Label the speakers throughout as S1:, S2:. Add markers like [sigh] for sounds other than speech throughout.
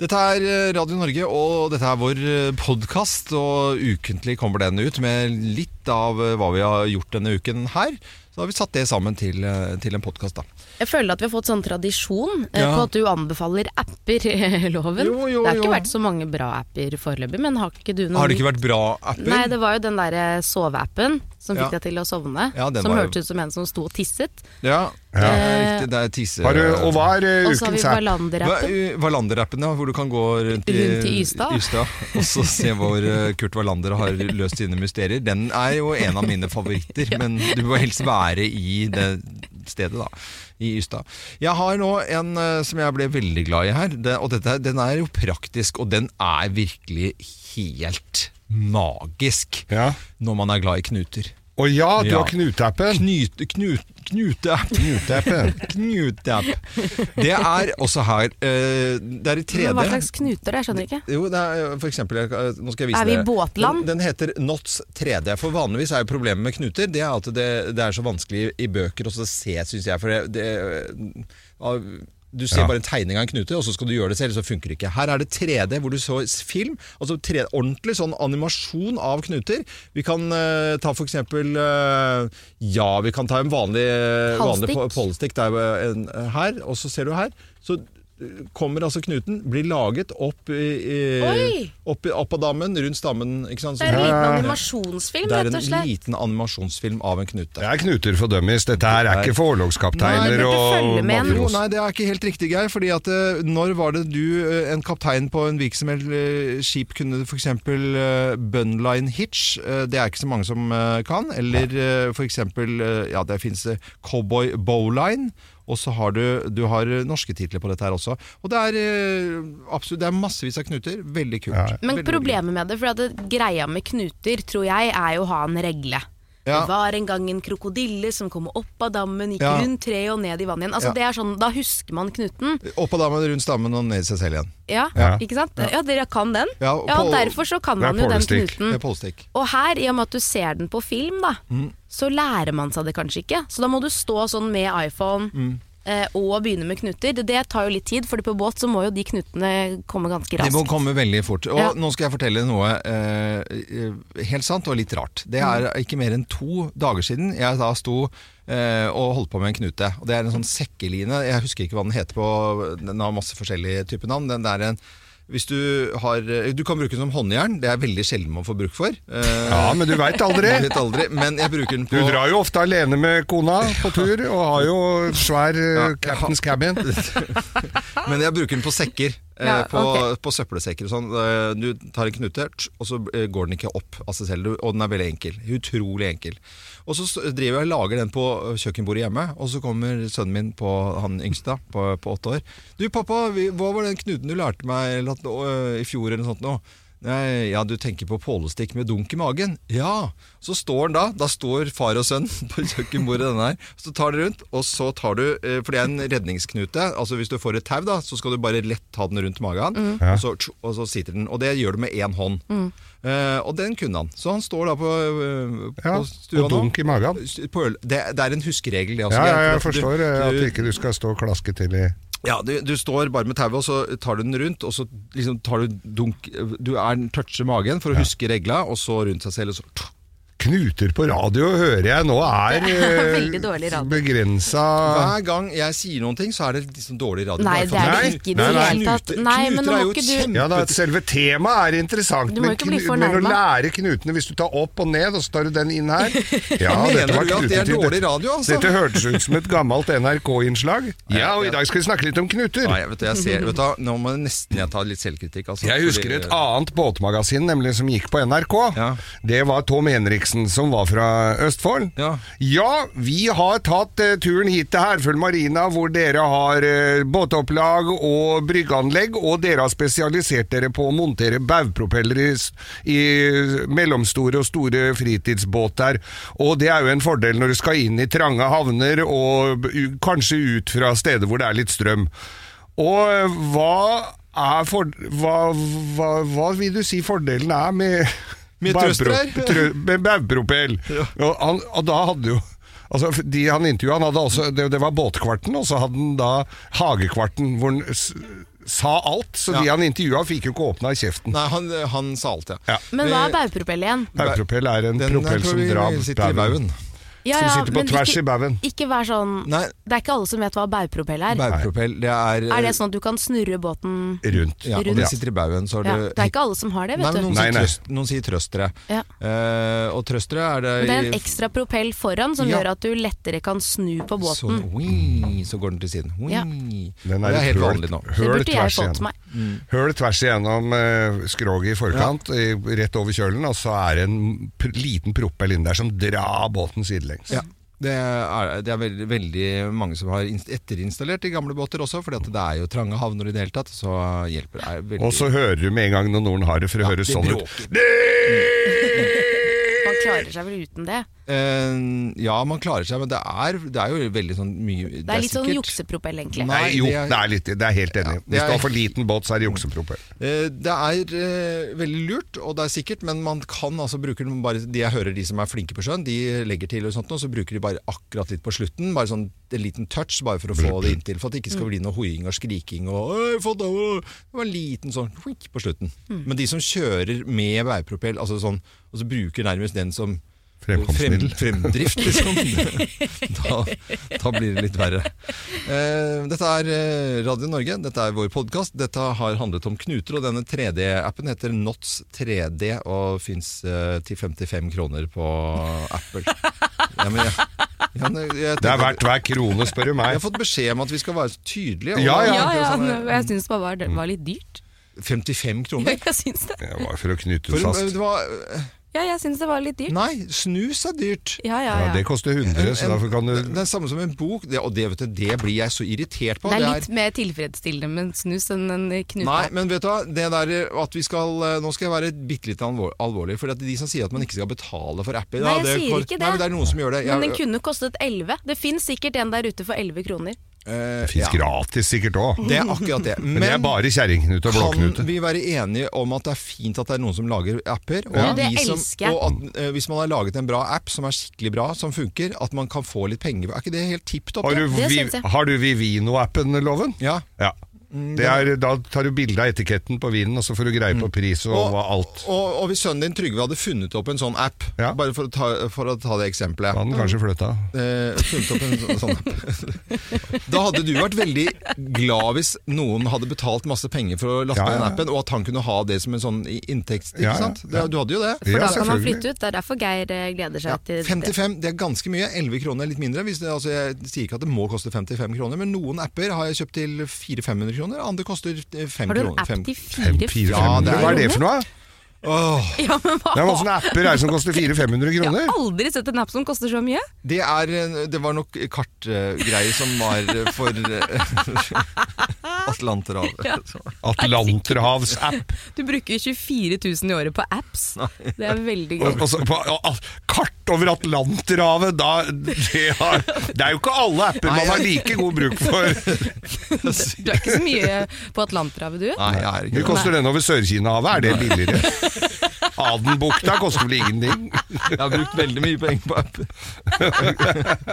S1: Dette er eh, Radio Norge, og dette er vår podkast. Og ukentlig kommer den ut med litt av eh, hva vi har gjort denne uken her. Så har vi satt det sammen til, eh, til en podkast, da.
S2: Jeg føler at vi har fått sånn tradisjon eh,
S1: Ja.
S2: på at du anbefaler apper, [laughs] Loven.
S1: Jo, jo,
S2: det har
S1: jo.
S2: ikke vært så mange bra apper foreløpig, men har ikke du noen
S1: Har det ikke vært bra apper?
S2: Nei, det var jo den derre soveappen som fikk
S1: Ja.
S2: deg til å sovne.
S1: Ja, den
S2: som
S1: var jo-
S2: hørtes ut som en som sto og tisset.
S1: Ja, det er
S2: Eh,
S1: riktig. Det er tisse...
S3: Har du, og hva er eh,
S2: Og så har vi
S3: ukens app?
S1: Hva-
S2: Wallander-appen.
S1: eh, Wallander-appen, ja, hvor du kan gå rundt i,
S2: Rundt i Ystad.
S1: og så se hvor eh, Kurt Wallander har løst sine mysterier. Den er jo en av mine favoritter,
S2: [laughs]
S1: men du må helst være i det stedet, da. I Ystad. Jeg har nå en eh, som jeg ble veldig glad i her, det, og dette, den er jo praktisk, og den er virkelig helt magisk
S3: Ja.
S1: når man er glad i knuter.
S3: Å ja, du
S1: Ja.
S3: har knuteappen.
S1: Knute, knut, knuteapp. [laughs]
S3: Knuteappen.
S1: Knuteapp. Det er også her eh, Det er i 3D.
S2: Men Hva slags knuter det? Jeg skjønner ikke.
S1: Jo, det er, for eksempel, jeg- eh, nå skal jeg vise
S2: Er vi i
S1: dere.
S2: båtland?
S1: Den, den heter Knots 3D, for vanligvis er jo problemet med knuter, det er at det, det er så vanskelig i bøker også å se, synes jeg, for det, det av- du ser
S3: Ja.
S1: bare en tegning av en knute, og så skal du gjøre det selv, så funker det ikke. Her er det 3D, hvor du så film, altså 3D, ordentlig sånn animasjon av knuter. Vi kan eh, ta for eksempel, eh, ja, vi kan ta en vanlig, eh, vanlig
S2: Halvstikk.
S1: po- polstikk der, eh, en, her, og så ser du her, så kommer altså knuten, blir laget opp, i, i,
S2: Oi!
S1: opp, i- opp av dammen, rundt stammen. Ikke sant?
S2: Det er en
S1: Så-
S2: liten
S3: Ja.
S2: animasjonsfilm,
S1: det er
S2: rett og
S1: en
S2: slett.
S1: liten animasjonsfilm av en knute.
S3: Det er knuter for dummies. Dette her er ikke for
S2: Nei,
S3: orlogskapteiner
S2: dette
S3: og
S2: følger med en-
S1: Jo,
S3: matros.
S1: nei, det er ikke helt riktig, Geir. fordi at eh, når var det du, eh, en kaptein på en virksomhet, eh, skip, kunne f.eks. Bunline eh, Hitch? Eh, Det er ikke så mange som eh, kan. Eller eh, f.eks. Ja, det fins Cowboy Bowline. Og så har du, du har eh, norske titler på dette her også. Og det er, eh, absolutt, det er massevis av knuter. Veldig kult.
S3: Ja.
S2: Men
S1: Veldig, veldig kult.
S2: problemet med det, for at det, greia med knuter, tror jeg, er jo å ha en regle.
S1: Ja.
S2: Det var en gang en krokodille som kom opp av dammen, gikk
S1: Ja.
S2: rundt treet og ned i vannet igjen. Altså,
S1: Ja.
S2: det er sånn, Da husker man knuten.
S1: Opp av dammen, rundt stammen og ned i seg selv igjen.
S2: Ja,
S3: Ja.
S2: ikke sant? Ja. dere kan den. Ja,
S1: Ja, og
S2: og
S1: på-
S2: Derfor så kan
S3: Det er
S2: man jo den
S3: pålestikk.
S1: Det er
S2: knuten.
S1: polestikk.
S2: Og her, i og med at du ser den på film, da,
S1: Mm.
S2: så lærer man seg det kanskje ikke. Så da må du stå sånn med iPhone
S1: Mm.
S2: eh, og begynne med knuter. Det, det tar jo litt tid, Fordi på båt så må jo de knutene komme ganske
S1: Det må
S2: raskt.
S1: komme veldig fort. Og
S2: Ja.
S1: nå skal jeg fortelle noe eh, helt sant og litt rart. Det er ikke mer enn to dager siden jeg da sto eh, og holdt på med en knute. Og det er en sånn sekkeline. Jeg husker ikke hva den heter på Den har masse forskjellige typer navn. Den der er en hvis du, har, du kan bruke den som håndjern, det er veldig sjelden man får bruk for. Eh,
S3: Ja, men du veit
S1: [laughs]
S3: aldri.
S1: jeg vet aldri, men jeg bruker den
S3: Du
S1: på
S3: drar jo ofte alene med kona på tur, og har jo svær eh, Captain's
S1: [laughs]
S3: Cabin.
S1: Men jeg bruker den på sekker. eh,
S2: Ah. Ja,
S1: på,
S2: ok.
S1: på søppelsekker og sånn. Eh, Du tar en knute, tsk, og så eh, går den ikke opp av seg selv. Du- Og den er veldig enkel. Utrolig enkel. Og så s- driver jeg og lager den på eh, kjøkkenbordet hjemme, og så kommer sønnen min, på, han yngste, da, på, på åtte år. 'Du, pappa, vi, hva var den knuten du lærte meg eller at, å, i fjor?' eller noe sånt. nå?» Nei, ja, du tenker på pålestikk med dunk i magen? Ja! Så står den da, da står far og sønn [laughs] på kjøkkenbordet denne her, så tar det rundt, og så tar du, eh, for det er en redningsknute, altså hvis du får et tau da, så skal du bare lett ta den rundt magen, og, så, tsk, og så sitter den, og det gjør du med én hånd. Eh, og den kunne han. Så han står da på, eh, på
S3: Ja,
S1: stua
S3: og
S1: nå.
S3: dunk i magen.
S1: På øl- Det, det er en huskeregel det også.
S3: Ja, ja,
S1: Geir,
S3: jeg
S1: for at du-
S3: forstår eh,
S1: du-
S3: at ikke du skal stå og klaske til i
S1: ja, du, du står bare med tauet, og så tar du den rundt, og så liksom tar du dunk Du er toucher magen for å huske regla, og så rundt seg selv, og så
S3: Knuter på radio hører jeg nå er,
S2: [laughs]
S3: eh,
S2: veldig dårlig radio.
S3: begrensa
S1: Hver gang jeg sier noen ting, så er det liksom dårlig radio.
S2: Nei, det er det
S3: Nei,
S2: ikke i det
S3: nei, nei.
S2: hele tatt.
S1: Knuter-
S2: Nei, men
S1: knuter
S2: nå
S1: er
S2: må
S1: jo
S2: ikke
S1: kjempe-
S2: du
S3: ja, da, Selve temaet er interessant,
S2: Du må
S3: men,
S2: ikke bli
S3: knu- men å
S2: fornærmet.
S3: lære knutene Hvis du tar opp og ned, og så tar du den inn
S1: [laughs]
S3: her Ja,
S1: Mener du at
S3: knuter
S1: det er
S3: til-
S1: dårlig radio, altså?
S3: Dette hørtes ut som et gammelt NRK-innslag. Ja, og i dag skal vi snakke litt om knuter.
S1: Nei, vet du, jeg ser, vet du, hva, Nå må jeg nesten jeg ta litt selvkritikk. Altså,
S3: Jeg husker
S1: fordi-
S3: et annet båtmagasin nemlig som gikk på NRK.
S1: Ja.
S3: Det var Tom Henriksen, som var fra Østfold.
S1: Ja.
S3: Ja, vi har tatt eh, turen hit til Herføl Marina, hvor dere har eh, båtopplag og bryggeanlegg, og dere har spesialisert dere på å montere baugpropeller i, s- i mellomstore og store fritidsbåter. Og det er jo en fordel når du skal inn i trange havner, og b- u- kanskje ut fra steder hvor det er litt strøm. Og eh, hva er for, hva, hva, hva vil du si fordelen er med
S1: Med
S3: baugpro-
S1: trøster?
S3: trø- Med baugpropell? Og, han- og da hadde jo Altså, de altså, han intervjua, han hadde også det, det var båtkvarten, og så hadde han da hagekvarten, hvor han s- sa alt, så de
S1: Ja.
S3: han intervjua, fikk jo ikke åpna kjeften.
S1: Nei, han, han sa alt, ja.
S3: Ja.
S2: Men hva er baugpropell igjen?
S3: Baugpropell er en
S1: Den
S3: propell som drar
S1: sitter i baugen.
S2: Ja,
S3: Som sitter på
S2: men
S3: tvers
S2: ikke,
S3: i baugen.
S2: Ikke vær sånn
S1: Nei,
S2: Det er ikke alle som vet hva baugpropell er.
S1: baugpropell, det er
S2: Er det sånn at du kan snurre båten
S3: Rundt.
S1: Ja, og
S2: rundt?
S1: den sitter i baugen, så
S2: ja.
S1: har
S2: Det
S1: du
S2: er ikke alle som har det,
S1: Nei,
S2: vet
S1: men noen,
S2: du.
S3: Nei,
S1: sier
S3: nei.
S1: Trøst, noen sier trøstere.
S2: Ja.
S1: Eh, og trøstere er det
S2: Men Det er en
S1: i-
S2: ekstra propell foran som
S1: Ja.
S2: gjør at du lettere kan snu på båten.
S1: Sånn, oi, så går den til siden. Oi.
S2: Ja.
S3: Den
S1: det
S3: et
S1: er helt
S3: høl-
S1: vanlig nå.
S2: Det
S3: Høl
S2: burde jeg
S3: tvers
S2: fått
S3: igjennom.
S2: meg. Mm.
S3: Høl tvers igjennom eh, skroget i forkant, i- rett over kjølen, og så er det en pr liten propell inni der som drar båten sidelengs.
S1: Ja. Det er, det er veldig, veldig mange som har inst- etterinstallert i gamle båter også, for det er jo trange havner i det hele tatt, så hjelper det. er veldig-
S3: Og så hører du med en gang når noen har det, for det høres
S1: det
S3: sånn ut.
S1: bråker.
S2: Man klarer seg vel uten det.
S1: Eh, ja, man klarer seg, men det er, det er jo veldig sånn mye Det
S2: Det er litt sånn
S1: sikkert-
S2: juksepropell, egentlig.
S1: Nei,
S3: Nei, jo,
S1: det er-
S3: det er, litt, det er helt enig.
S1: det
S3: Hvis du
S1: er-
S3: har for liten båt, så er det juksepropell.
S1: Eh, Det er eh, veldig lurt, og det er sikkert, men man kan altså bruke den bare De jeg hører de som er flinke på sjøen, de legger til og sånt, og så bruker de bare akkurat litt på slutten. Bare sånn en liten touch, bare for å få det inntil. For at det ikke skal bli noe hoiing og skriking og «Øy, fått av, øh!» Det var en liten sånn «huik» på slutten. Men de som kjører med veipropell, altså sånn, og så bruker nærmest den som
S3: Fremkomstmiddel.
S1: Frem, fremdrift, liksom. da, [laughs] da blir det litt verre. Eh, dette er eh, Radio Norge, dette er vår podkast. Dette har handlet om knuter, og denne 3D-appen heter Knots 3D og fins eh, til 55 kroner på Apple. Ja, men jeg, ja, men jeg, jeg,
S3: Det er
S1: tenker-
S3: verdt hver krone, spør du
S1: jeg
S3: meg.
S1: har fått beskjed om at vi skal være så tydelige. og-
S3: Ja,
S2: Ja, altså, ja,
S1: Sånn,
S2: men jeg syns bare det var litt dyrt.
S1: 55 kroner?
S2: Ja, jeg syns det.
S3: Det var for å knytte
S1: For,
S3: det
S1: eh,
S3: fast.
S1: det var,
S2: Ja, jeg syns det var litt dyrt.
S1: nei, snus er dyrt.
S2: Ja, ja,
S3: Ja,
S2: ja.
S3: det koster 100, så derfor kan
S1: Det er
S3: du
S1: det samme som en bok, det, og det, vet du, det blir jeg så irritert på.
S2: Det er litt mer tilfredsstillende med en snus enn en knute.
S1: Nei, men vet du hva, det der at vi skal eh, Nå skal jeg være bitte litt alvor, alvorlig. For at de som sier at man ikke skal betale for apper
S2: Nei, jeg
S1: ja,
S2: sier
S1: kor-
S2: ikke det.
S1: Nei, men det er noen som gjør det.
S2: Men den kunne kostet 11. Det fins sikkert en der ute for 11 kroner.
S1: eh,
S3: Fins
S1: ja,
S3: gratis sikkert òg.
S1: Det er akkurat
S3: [laughs]
S1: det.
S3: Men det er bare kjerringknute og
S1: Kan
S3: blåknute.
S1: vi være enige om at det er fint at det er noen som lager apper? Og,
S2: Ja.
S1: at
S2: Det
S1: vi som,
S2: elsker jeg.
S1: og at eh, hvis man har laget en bra app som er skikkelig bra, som funker, at man kan få litt penger. Er ikke det helt tipp topp?
S3: Har du,
S2: det
S3: vi,
S2: synes jeg.
S3: har du Vivino-appen, Loven?
S1: Ja. Mm,
S3: Ja. Det er, da tar du bilde av etiketten på vinen, og så får du greie på pris og,
S1: Og-
S3: hva alt.
S1: Og, og hvis sønnen din Trygve hadde funnet opp en sånn app,
S3: Ja.
S1: bare for å ta, for å ta det eksempelet
S3: Da hadde den kanskje flytta.
S1: Eh, funnet opp en sånn- sånn app. [laughs] Da hadde du vært veldig glad hvis noen hadde betalt masse penger for å laste
S3: Ja, ja,
S1: ned
S3: ja.
S1: den appen, og at han kunne ha det som en sånn i- inntekt. Ikke
S3: Ja, ja,
S1: sant?
S3: ja.
S1: Det, du hadde jo det.
S2: For
S3: Ja,
S2: da kan man
S3: selvfølgelig.
S2: flytte ut. Det er derfor Geir eh, gleder seg
S1: Ja,
S2: til
S1: 55, det er ganske mye. 11 kroner er litt mindre. Hvis det, altså, jeg sier ikke at det må koste 55 kroner, men noen apper har jeg kjøpt til 400-500 kroner, andre koster 5
S2: Har du en
S1: kroner.
S2: app
S1: Fem-
S2: til
S1: Ja, det
S2: 400
S1: er-
S3: Hva er det for noe?
S1: Åh,
S2: [laughs] Ja, men hva?
S3: Det er masse apper her som koster 400-500
S2: Jeg
S3: kroner.
S2: har aldri sett en app som koster så mye.
S1: det, er, eh, det var nok kartgreier som var eh, for eh, Atlanterhavet.
S3: Atlanterhavs-app.
S2: Du bruker 24 000 i året på apps. Det er veldig gøy.
S3: Og- og så på- og- at- Kart over Atlanterhavet, da det, har, det er jo ikke alle apper man har like god bruk for.
S2: Du er ikke så mye på Atlanterhavet, du.
S1: Nei, jeg er ikke
S3: Mye koster den over Sør-Kinahavet, er det billigere? Adenbukta koster vel ingenting?
S1: Jeg har brukt veldig mye penger på app.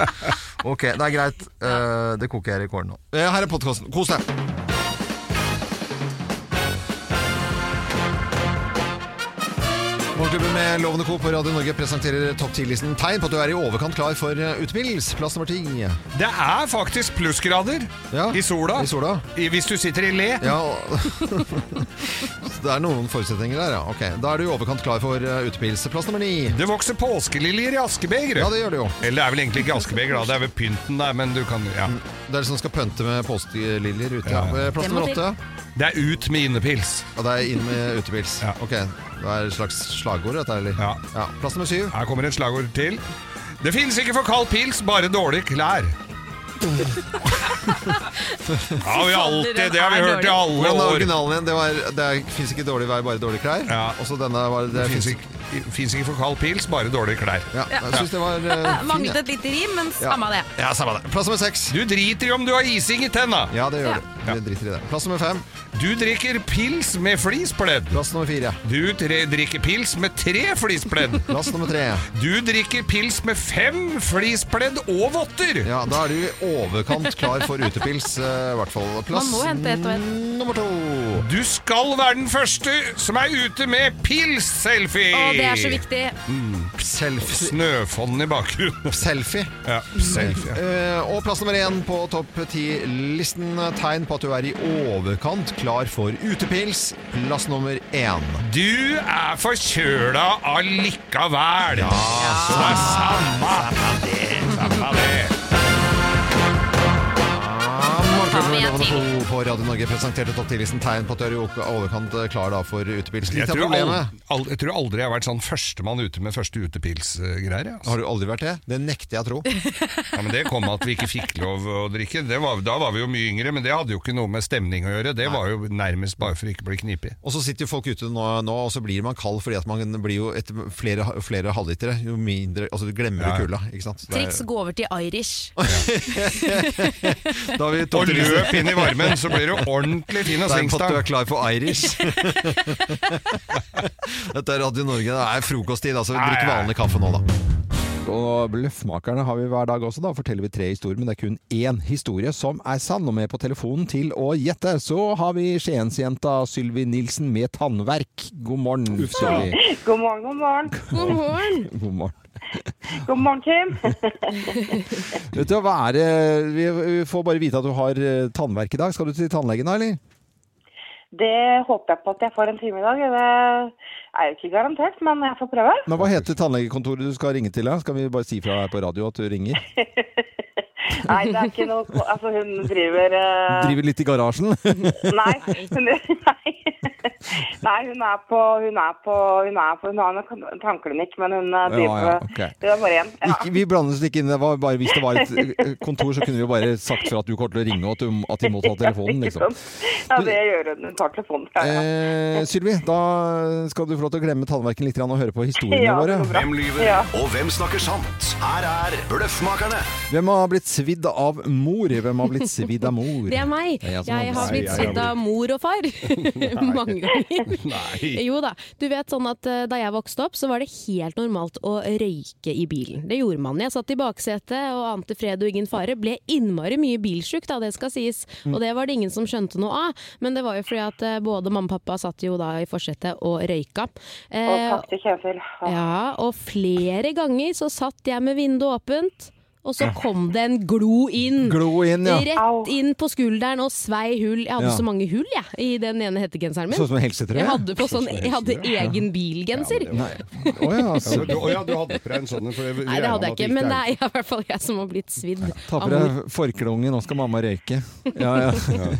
S1: ok, det er greit. Eh, det koker jeg i kålen nå. Eh, her er podkasten. Kos deg! Morgenklubben med Lovende Co. på Radio Norge presenterer topp 10-listen tegn på at du er i overkant klar for eh, utepils. Plass nummer ti.
S3: Det er faktisk plussgrader
S1: Ja,
S3: i sola.
S1: I sola.
S3: I- Hvis du sitter i le.
S1: Ja, og- [laughs] Så det er noen forutsetninger der, ja. Ok, Da er du i overkant klar for eh, utepils. Plass nummer ni.
S3: Det vokser påskeliljer i askebegeret.
S1: Ja, det gjør du jo.
S3: Eller det er vel egentlig ikke askebeger, da. Det er vel pynten der, men du kan ja.
S1: Det er de som skal pønte med postliljer ute. Ja.
S3: Ja.
S1: Eh, Plass
S2: Det må
S1: nummer
S2: til.
S1: åtte.
S3: Det er ut med innepils.
S1: Ja, det er inn med utepils.
S3: Ja.
S1: Ok, Det er et slags slagord, dette, eller?
S3: Ja.
S1: Plass nummer syv.
S3: Her kommer et slagord til. Det finnes ikke for kald pils, bare dårlige
S2: [laughs]
S3: klær. Ja, vi har alltid, det har vi hørt i alle
S1: Hvordan er
S3: år.
S1: originalen igjen? Det, var, det er- finnes ikke dårlig vær, bare dårlige klær.
S3: Ja.
S1: Og så denne var det,
S3: Det
S1: finnes
S3: finnes
S1: ikke
S3: ikke, Fins ikke for kald pils, bare dårlige klær.
S1: Ja, jeg syns det var eh, fin,
S2: Manglet
S1: jeg.
S2: et lite rim, men
S1: Ja.
S2: samme det.
S1: Ja, samme det. Plass nummer seks.
S3: Du driter i om du har ising i tenna!
S1: Ja, det gjør
S2: Ja.
S1: du. Vi driter i det. Plass nummer fem.
S3: Du drikker pils med flispledd.
S1: Plass nummer fire.
S3: Du tre drikker pils med tre flispledd.
S1: Plass nummer tre.
S3: Du drikker pils med fem flispledd og votter.
S1: Ja, da er du i overkant klar for utepils, eh, i hvert fall. Plass
S2: må hente ett og ett.
S1: nummer to.
S3: Du skal være den første som er ute med pils-selfie!
S2: Å, det er så viktig.
S1: Selfie.
S3: Snøfonn i bakgrunnen.
S1: Selfie.
S3: [laughs] Ja, selfie.
S1: Eh, og plass nummer én på topp ti-listen. Tegn på at du er i overkant klar for utepils. Plass nummer én.
S3: Du er forkjøla allikevel. Ja, så det er samme det. Samme det.
S2: Ta med en
S1: Morgenklubben Loven og Co. på Radio Norge presenterte topp 10-listen tegn på at du er i overkant eh, klar da for utepils.
S3: Jeg
S1: Litt av
S3: tror, aldri,
S1: problemet
S3: aldri, jeg tror aldri jeg har vært sånn førstemann ute med første utepilsgreier. jeg, Altså.
S1: Har du aldri vært det? Det nekter jeg å tro.
S3: Ja, men det kom at vi ikke fikk lov å drikke. Det var, da var vi jo mye yngre, men det hadde jo ikke noe med stemning å gjøre. Det var jo nærmest bare for å ikke bli knipig.
S1: Og så sitter jo folk ute nå, nå og så blir man kald fordi at man blir jo etter flere, flere halvlitere, jo mindre Altså du glemmer
S3: Ja.
S1: du kulda, ikke sant? Det er-
S2: Triks gå over til Irish.
S1: Da har vi
S3: Og
S1: topp 10-listen.
S3: løp inn i varmen, så blir du ordentlig fin og
S1: Tegn på at
S3: sengstang.
S1: du er klar for
S3: [laughs]
S1: Irish. Dette er Radio Norge. Det er frokosttid, altså.
S3: Nei,
S1: Drikk
S3: nei.
S1: vanlig kaffe nå, da. Og Bløffmakerne har vi hver dag også. Da forteller vi tre historier, men det er kun én historie som er sann. Og med på telefonen til å gjette, så har vi Skiensjenta Sylvi Nilsen med tannverk. God morgen, Sylvi.
S4: God morgen, god morgen.
S2: God morgen!
S1: God morgen.
S4: God morgen, Kim.
S1: Vet du, hva er det Vi vi får bare vite at du har eh, tannverk i dag. Skal du til tannlegen da, eller?
S4: Det håper jeg på at jeg får en time i dag. Det er jo ikke garantert, men jeg får prøve.
S1: Men hva heter tannlegekontoret du skal ringe til? da? Skal vi bare si fra her på radio at du ringer?
S4: Nei, det er ikke noe ko- Altså, hun driver eh,
S1: Driver litt i garasjen? [laughs]
S4: Nei. Hun, nei. nei, hun er på Hun er på Hun, er på, hun har en kan- tannklinikk, men hun eh, driver
S1: Ja, ja,
S4: med-
S1: ok.
S4: Det er bare én. Ja.
S1: Ikke, vi blandet oss ikke inn. Det var bare, hvis det var et eh, kontor, så kunne vi jo bare sagt fra at du kommer til å ringe, og at, du, at de må ta telefonen,
S4: Ikke
S1: liksom.
S4: sant? Ja, det gjør hun. Hun tar telefonen. Ja, ja.
S1: Eh, Sylvi, da skal du få lov til å glemme tannverken litt grann og høre på historiene
S4: Ja, det går
S1: våre.
S4: bra.
S5: Hvem lyver,
S4: Ja.
S5: og hvem snakker sant? Her er Bløffmakerne.
S1: Hvem har blitt svidd av mor? Hvem har blitt svidd av mor?
S2: Det er meg.
S1: Det er jeg som
S2: Jeg
S1: har
S2: har
S1: blitt
S2: blitt
S3: svidd.
S2: svidd av mor og far. [laughs] Mange ganger. Jo da. Du vet sånn at eh, da jeg vokste opp, så var det helt normalt å røyke i bilen. Det gjorde man. Jeg satt i baksetet og ante fred og ingen fare. Ble innmari mye bilsjuk, da, det skal sies. Og det var det ingen som skjønte noe av. Men det var jo fordi at eh, både mamma og pappa satt jo da i forsetet og røyka.
S4: Og
S2: Eh,
S4: takk til Kjetil.
S2: ja, og flere ganger så satt jeg med vinduet åpent, og så kom det en glo inn.
S1: Glo inn, ja.
S4: Au.
S2: Rett inn på skulderen og svei hull. Jeg hadde
S1: Ja.
S2: så mange hull jeg, i den ene hettegenseren min.
S1: Sånn som en helsetrøye?
S2: Jeg hadde, på sånn, jeg
S1: [laughs]
S2: hadde egen bilgenser.
S1: Nei. Å ja,
S3: Ja,
S1: altså.
S3: men du, å ja, du hadde på deg en sånn en, for
S2: Nei, det hadde jeg ikke, men det er i hvert fall jeg som har blitt svidd.
S1: Ta
S2: av
S1: på
S2: mor.
S1: deg forkleungen, nå skal mamma røyke. Ja, ja.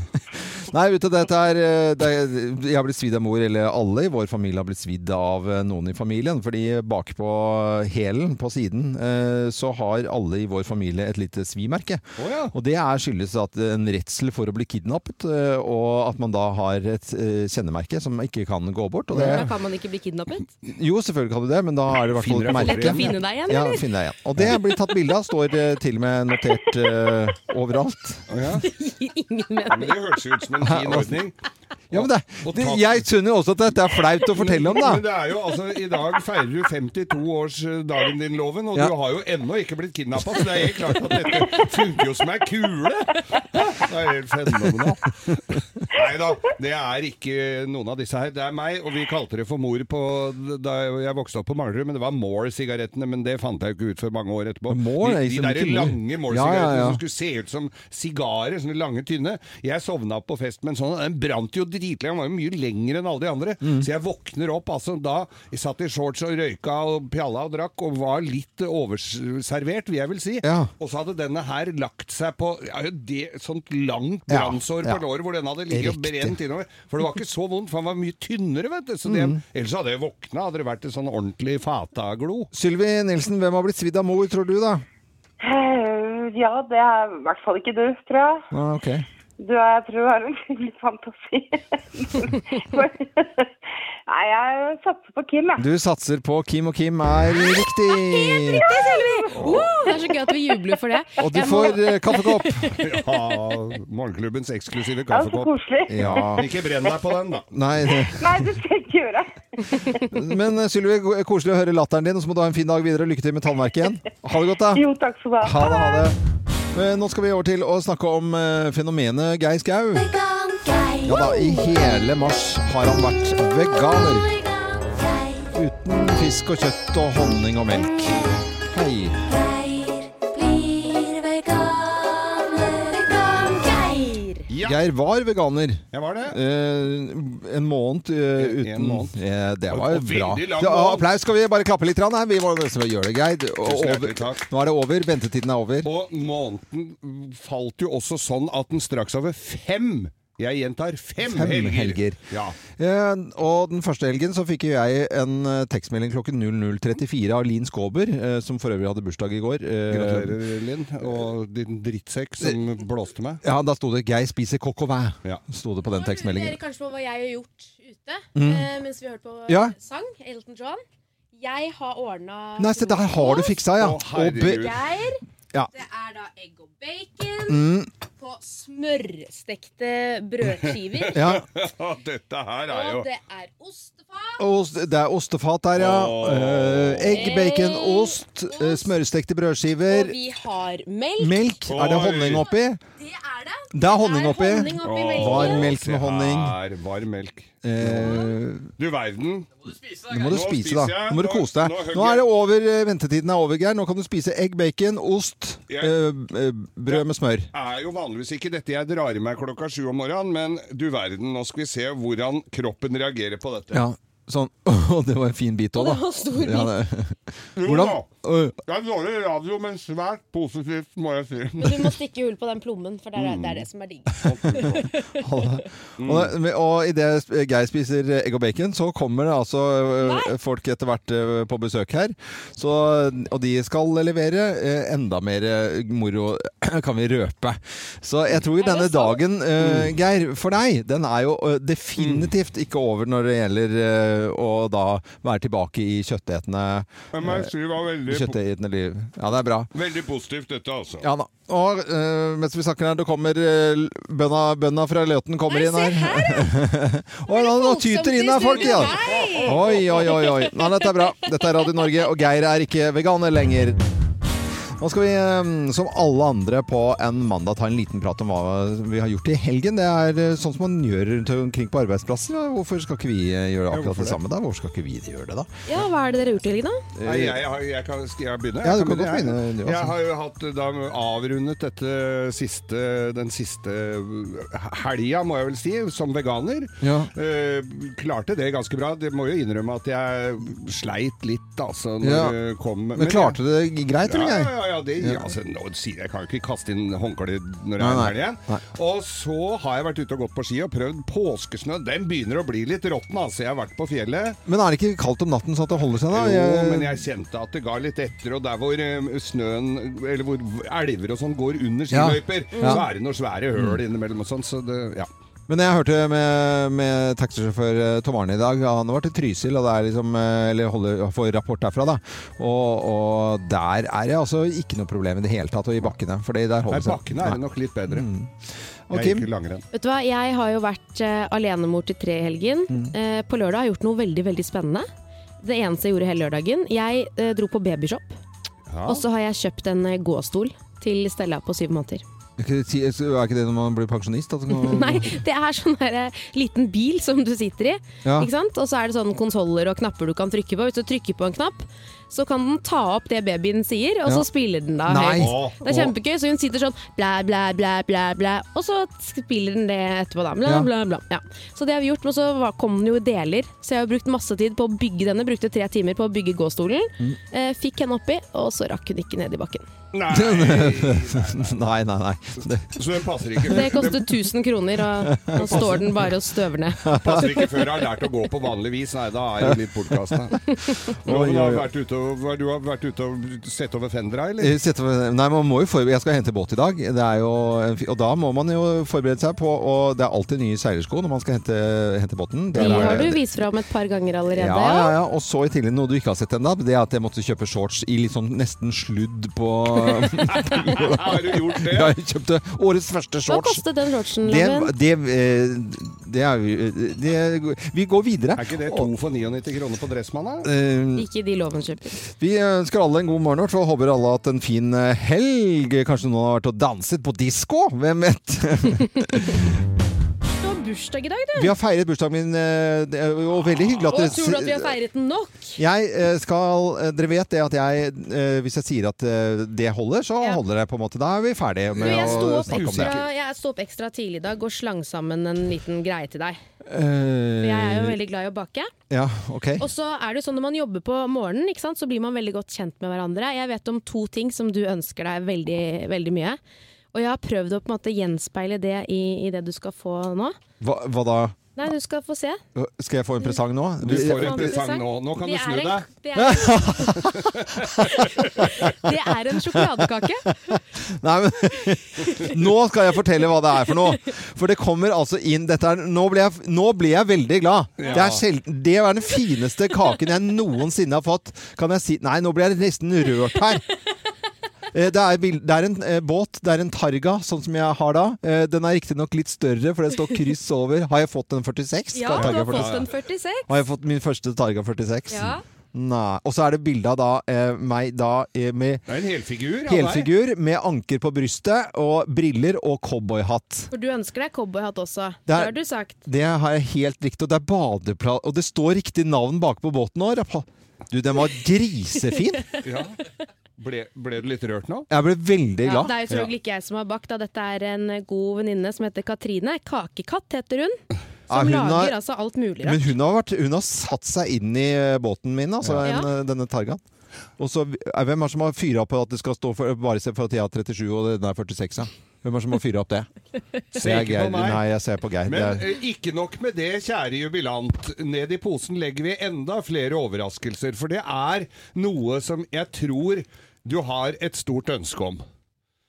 S1: Nei, vet du, dette er, eh, det er Jeg har blitt svidd av mor, eller alle i vår familie har blitt svidd av eh, noen i familien. Fordi bak på hælen, på siden, eh, så har alle i vår familie et lite svimerke.
S3: Å ja.
S1: Og det er skyldes at en redsel for å bli kidnappet, eh, og at man da har et eh, kjennemerke som ikke kan gå bort. Og
S2: Da
S1: det,
S2: kan man ikke bli
S1: [laughs]
S2: kidnappet.
S1: jo, selvfølgelig kan du det, men da er det i hvert
S3: Finner
S1: fall et
S3: jeg
S1: merke.
S2: Lett å finne deg igjen,
S1: Ja,
S2: eller?
S1: finne deg igjen. Og det blir tatt bilde av, står eh, til og med notert eh, overalt.
S2: Gir ingen mening.
S3: Det hørtes ut som en fin ordning.
S1: Ja, men det, det, jeg skjønner jo også at dette er flaut å fortelle om,
S3: Men
S1: Sånn da.
S3: det er jo, altså, I dag feirer du 52-årsdagen din, Loven, og
S1: Ja.
S3: du har jo ennå ikke blitt kidnappa. Så det er helt klart at dette funker jo som ei kule! Det er helt fenomenalt. Nei da, det er ikke noen av disse her. Det er meg, og vi kalte det for mor på, da jeg vokste opp på Manglerud. Men det var Moore-sigarettene, men det fant jeg jo ikke ut før mange år etterpå.
S1: Moore er
S3: de de der
S1: liksom tynne.
S3: lange
S1: Ja,
S3: Moore-sigarettene
S1: ja, ja.
S3: som skulle se ut som sigarer, sånne lange, tynne. Jeg sovna på fest med en sånn, og den brant jo dritlenge, den var jo mye lengre enn alle de andre.
S1: Mm.
S3: Så jeg våkner opp, altså da jeg satt i shorts og røyka og pjalla og drakk, og var litt overservert, vil jeg vel si.
S1: Ja.
S3: Og så hadde denne her lagt seg på ja, det, sånt langt
S1: Ja,
S3: brannsår
S1: ja.
S3: på låret, hvor den hadde ligget og
S1: Riktig.
S3: brent innover. For det var ikke så vondt, for den var mye tynnere, vet du. Så det,
S1: Mm.
S3: Ellers hadde jeg våkna, hadde det vært en sånn ordentlig fataglo.
S1: Sylvi Nilsen, hvem har blitt svidd av mor, tror du, da?
S4: Eh, ja, det er i hvert fall ikke du, tror jeg.
S1: Ah, ok.
S6: [laughs]
S4: Du, jeg tror jeg har en litt fantasi.
S6: Nei, jeg satser på Kim, jeg.
S1: Du satser på Kim, og Kim er riktig!
S7: Det, Sylvi! Wow, det er så gøy at vi jubler for det.
S1: Og du
S7: Jeg må-
S1: får eh, kaffekopp.
S3: Ja,
S1: [laughs]
S3: Morgenklubbens eksklusive
S6: Det er jo så
S3: kaffekopp.
S6: koselig.
S3: [laughs]
S1: Ja.
S3: Ikke brenn deg på den, da.
S1: Nei, det-
S6: Nei, det skal jeg ikke gjøre.
S1: men eh, Sylvi, go- koselig å høre latteren din, og så må du ha en fin dag videre. Lykke til med tannverket igjen. Ha det godt, da.
S6: Jo, takk skal du ha.
S1: Ha det, ha det. Eh, Nå skal vi over til å snakke om eh, fenomenet Geir Skau. Ja da, i hele mars har han vært veganer. Uten fisk og kjøtt og honning og melk. Hei. Geir var veganer
S3: Jeg var det.
S1: eh, en måned eh, uten
S3: En måned.
S1: Eh, Det var
S3: Og
S1: bra.
S3: veldig lang
S1: Ja,
S3: måned.
S1: applaus. Skal vi bare klappe litt? grann her? Vi må vi gjør det, Geir. Og
S3: Tusen
S1: over.
S3: hjertelig takk.
S1: Nå er det over. Ventetiden er over.
S3: Og måneden falt jo også sånn at den straks over fem jeg gjentar fem,
S1: Fem
S3: helger.
S1: helger.
S3: Ja.
S1: Eh, og den første helgen så fikk jo jeg en eh, tekstmelding klokken 00.34 av Lin Skåber, eh, som for øvrig hadde bursdag i går. Eh,
S3: Gratulerer, Linn, og din drittsekk som blåste meg.
S1: Ja, da sto det 'Geir spiser coq au vin'.
S3: Ja.
S1: Sto det på den
S2: Dere
S1: tekstmeldingen. Mm.
S2: kanskje på hva jeg har gjort ute eh, mens vi hørte på eh,
S1: Ja.
S2: sang. Elton John. Jeg har ordna
S1: Nei, se der har du fiksa, ja.
S3: Å, herregud. [laughs]
S1: Og be-
S2: Geir.
S1: Ja. Mm.
S2: Det er da egg og bacon på smørstekte brødskiver.
S1: ja.
S3: Dette her er jo
S2: Og det er ostefat.
S1: Ost, det er ostefat der, ja.
S3: Åh.
S1: Eh, egg, bacon, ost, eh, smørstekte
S2: Og
S1: brødskiver.
S2: vi har melk.
S1: Melk. Er det
S3: Oi.
S1: honning oppi?
S2: Det er det.
S1: Mm. Det er honning oppi.
S2: honning oppi
S3: Åh,
S2: melken.
S1: Varm melk
S3: se
S1: med honning.
S3: Her, varm melk.
S1: Eh,
S3: Du verden.
S1: nå må du
S3: Nå
S1: spise,
S3: spiser
S1: da.
S3: jeg.
S1: Nå må du
S3: Nå-
S1: kose
S3: nå
S1: deg.
S3: hugger
S1: Nå er
S3: jeg.
S1: det over. eh, Ventetiden er over, Geir. Nå kan du spise egg, bacon, ost,
S3: Ja.
S1: eh, eh, brød med smør.
S3: Er jo vanligvis ikke dette jeg drar i meg klokka sju om morgenen, men du verden, nå skal vi se hvordan kroppen reagerer på dette.
S1: Ja, sånn. [laughs] Å, det var en fin bit òg, da.
S2: Det var en stor bit.
S1: Ja, det.
S3: Jo
S1: Hvordan
S3: da,
S1: Oi,
S3: Det er Hm, dårlig radio, men svært positivt, må jeg si.
S2: Men du må stikke hull på den plommen, for det er det, er
S1: Mm.
S2: det som er digg.
S1: Alle. Og, det- og idet Geir spiser eh, egg og bacon, så kommer det altså eh, folk etter hvert eh, på besøk her. Så, og de skal levere eh, enda mer eh, moro, [clears throat] kan vi røpe. Så jeg tror denne
S2: det sant?
S1: dagen, eh, Geir, for deg, den er jo eh, definitivt ikke over når det gjelder eh, å da være tilbake i kjøttetende,
S3: Jeg må si det var veldig, po-
S1: kjøttetende liv. Ja, det er bra.
S3: veldig positivt, dette, altså.
S1: Ja da. Og eh, mens vi snakker her, det kommer eh, bønna, bønna fra Løten kommer inn her. [laughs] Oi, nå, nå tyter inn her folk, ja. Oi, oi, oi. oi. Nei, dette er bra. Dette er Radio Norge, og Geir er ikke veganer lenger. Nå skal vi, eh, som alle andre på en mandag, ta en liten prat om hva vi har gjort i helgen. Det er eh, sånn som man gjør rundt omkring på arbeidsplasser. Ja, Hvorfor skal ikke vi eh, gjøre akkurat det samme da? Hvorfor skal ikke vi gjøre det da?
S2: Ja, hva er det dere har gjort i helgen, da?
S3: Nei, jeg, har- jeg kan, skal jeg begynne?
S1: Ja, du
S3: Jeg
S1: kan godt begynne, du,
S3: Jeg,
S1: altså.
S3: jeg har jo hatt, eh, da, avrundet dette siste, den siste eh, helga, må jeg vel si, som veganer.
S1: Ja.
S3: Eh, klarte det ganske bra. Det må jo innrømme at jeg sleit litt, altså, når
S1: Ja.
S3: det kom.
S1: Men klarte du det greit,
S3: ja,
S1: eller
S3: ja,
S1: Geir?
S3: ja, ja, det, Altså, nå, sier jeg jeg kan jo ikke kaste inn håndkle når jeg
S1: Nei,
S3: er
S1: nei.
S3: her igjen.
S1: Nei.
S3: Og så har jeg vært ute og gått på ski og prøvd påskesnø. Den begynner å bli litt råtten, altså. Jeg har vært på fjellet.
S1: Men er det ikke kaldt om natten så at det holder seg da?
S3: Jo,
S1: Jeg-
S3: men jeg kjente at det ga litt etter, og der hvor eh, snøen, eller hvor elver og sånn går under
S1: Ja. Mm.
S3: skiløyper,
S1: Ja. Mm.
S3: så er det noen svære høl innimellom og sånn, så det, ja.
S1: Men jeg hørte med, med taxisjåfør eh, Tom Arne i dag, han var til Trysil, og det er liksom, eh, eller holder, får rapport derfra, da. Og, og der er det altså ikke noe problem i det hele tatt, og i bakkene. For der
S3: Nei,
S1: holder det seg.
S3: bakkene er det nok litt bedre.
S1: Mm. Og
S3: Jeg
S1: Kim?
S3: gikk
S1: [laughs]
S3: langrenn.
S2: Vet du hva, Jeg har jo vært eh, alenemor til tre i helgen.
S1: Mm.
S2: Eh, på lørdag har jeg gjort noe veldig veldig spennende. Det eneste jeg gjorde hele lørdagen. Jeg eh, dro på babyshop,
S3: Ja.
S2: og så har jeg kjøpt en eh, gåstol til Stella på syv måneder.
S1: Er ikke det- Er ikke det når man blir pensjonist? At man,
S2: [laughs] Nei, det er sånn der, eh, liten bil som du sitter i.
S1: Ja.
S2: Ikke sant? Og så er det sånn konsoller og knapper du kan trykke på. Hvis du trykker på en knapp, så kan den ta opp det babyen sier, og
S1: Ja.
S2: så spiller den da
S1: Nei.
S2: høyt. Det er kjempegøy. Så hun sitter sånn blæ, blæ, blæ, blæ, blæ, og så spiller den det etterpå, da. Blæ,
S1: Ja.
S2: blæ, blæ. Ja. Så det har vi gjort. Men så var- kom den jo i deler, så jeg har brukt masse tid på å bygge denne. Brukte tre timer på å bygge gåstolen.
S1: Mm.
S2: Eh, fikk henne oppi, og så rakk hun ikke ned i bakken.
S3: Nei,
S1: nei, nei, nei. Det,
S3: så den passer ikke.
S2: Det kostet 1000 kroner, og nå står den bare og støver ned.
S3: Den passer ikke før jeg har lært å gå på vanlig vis. Nei, da er jeg litt bortkasta. Og
S1: Oi, [laughs]
S3: hun har
S1: oi, oi.
S3: vært ute og, hva, du har vært ute og sett over fendera, eller?
S1: Eh, sette- Nei, man må jo forberede Jeg skal hente båt i dag. Det er jo en fi- og da må man jo forberede seg på Og det er alltid nye seilersko når man skal hente, hente båten. Det
S6: De
S1: er-
S6: har du vist fram et par ganger allerede.
S1: ja, ja, ja. Og så i tillegg noe du ikke har sett ennå, det er at jeg måtte kjøpe shorts i litt sånn nesten sludd
S6: [laughs]
S1: på [laughs]
S3: Har du gjort det?
S1: Jeg kjøpte årets første
S6: Hva
S1: shorts.
S6: kostet den shortsen,
S1: Det,
S6: Loven?
S1: det, eh, det er vi- eh, det, Vi går videre.
S3: Er ikke det
S1: Og,
S3: to for 99 kroner på Dressmann, da?
S1: eh,
S6: Ikke de Loven kjøper.
S1: Vi ønsker alle en god morgen og håper alle har hatt en fin eh, helg. Kanskje noen har vært og danset på disko? Hvem vet? [laughs]
S6: Du har bursdag i dag, du.
S1: Vi har feiret bursdagen min, eh, det er jo veldig hyggelig at
S6: Og tror du at vi har
S1: s-
S6: feiret den nok?
S1: Jeg eh, skal eh, Dere vet det at jeg eh, Hvis jeg sier at eh, det holder, så
S6: Ja.
S1: holder det på en måte. Da er vi ferdige
S6: Du,
S1: med
S6: jeg sto
S1: å
S6: opp
S1: snakke om
S6: ekstra,
S1: det.
S6: jeg sto opp ekstra tidlig i dag og slang sammen en liten greie til deg. For
S1: Eh,
S6: Jeg er jo veldig glad i å bake.
S1: Ja, ok.
S6: Og så er det jo sånn når man jobber på morgenen, ikke sant? så blir man veldig godt kjent med hverandre. Jeg vet om to ting som du ønsker deg veldig, veldig mye. Og jeg har prøvd å på en måte gjenspeile det i, i det du skal få nå.
S1: Hva, hva da?
S6: Nei, du skal få se.
S1: Skal jeg få en
S6: Mm.
S1: presang nå?
S3: Du får
S6: Kan
S3: en
S6: du
S3: presang
S6: se?
S3: nå. Nå kan du
S6: Det
S3: snu
S6: er [laughs] en-
S3: deg.
S6: Det er, det er en sjokoladekake.
S1: Nei, men [laughs] Nå skal jeg fortelle hva det er for noe. For det kommer altså inn dette er, nå, ble jeg, nå ble jeg veldig glad. Det, er sjelden, det er den fineste kaken jeg noensinne har fått. Kan jeg si Nei, nå ble jeg nesten rørt her. Eh, Det er, bild- det er en eh, båt, det er en Targa, sånn som jeg har da. Eh, Den er riktignok litt større, for det står kryss over. Har jeg fått en 46?
S6: Ja, du
S1: Targa
S6: har fått
S1: 46?
S6: en 46.
S1: Har jeg fått min første Targa 46?
S6: Ja.
S1: Nei. Og så er det bilde av da, eh, meg da eh, med
S3: Det er en helfigur. av deg.
S1: Helfigur med anker på brystet og briller og cowboyhatt.
S6: For du ønsker deg cowboyhatt også.
S1: Det
S6: Det
S1: er-
S6: har du sagt.
S1: Det har jeg helt riktig. Og det er badeplass Og det står riktig navn bakpå båten òg. Du, den var grisefin!
S3: Ja. Ble, ble du litt rørt nå?
S1: Jeg ble veldig
S6: Ja,
S1: glad.
S6: det er jo selvfølgelig ikke jeg som har bakt, da. Dette er en god venninne som heter Katrine. Kakekatt heter hun.
S1: Ja,
S6: Som
S1: hun
S6: lager
S1: har-
S6: altså alt mulig
S1: Men
S6: rart.
S1: hun har, vært, hun har satt seg inn i eh, båten min, altså
S6: Ja.
S1: en, eh, denne Targaen. Og så, eh, Hvem er det som har fyra opp at det skal stå for, bare se for at jeg har 37 og den er 46? Ja? Hvem er det som har fyra opp
S6: [laughs]
S1: det? Det
S3: Se
S1: er
S3: ikke
S1: Geir.
S3: på meg.
S1: Nei, jeg ser på Geir. Det
S3: Men
S1: er,
S3: eh, ikke nok med det, kjære jubilant. Ned i posen legger vi enda flere overraskelser, for det er noe som jeg tror du har et stort ønske om.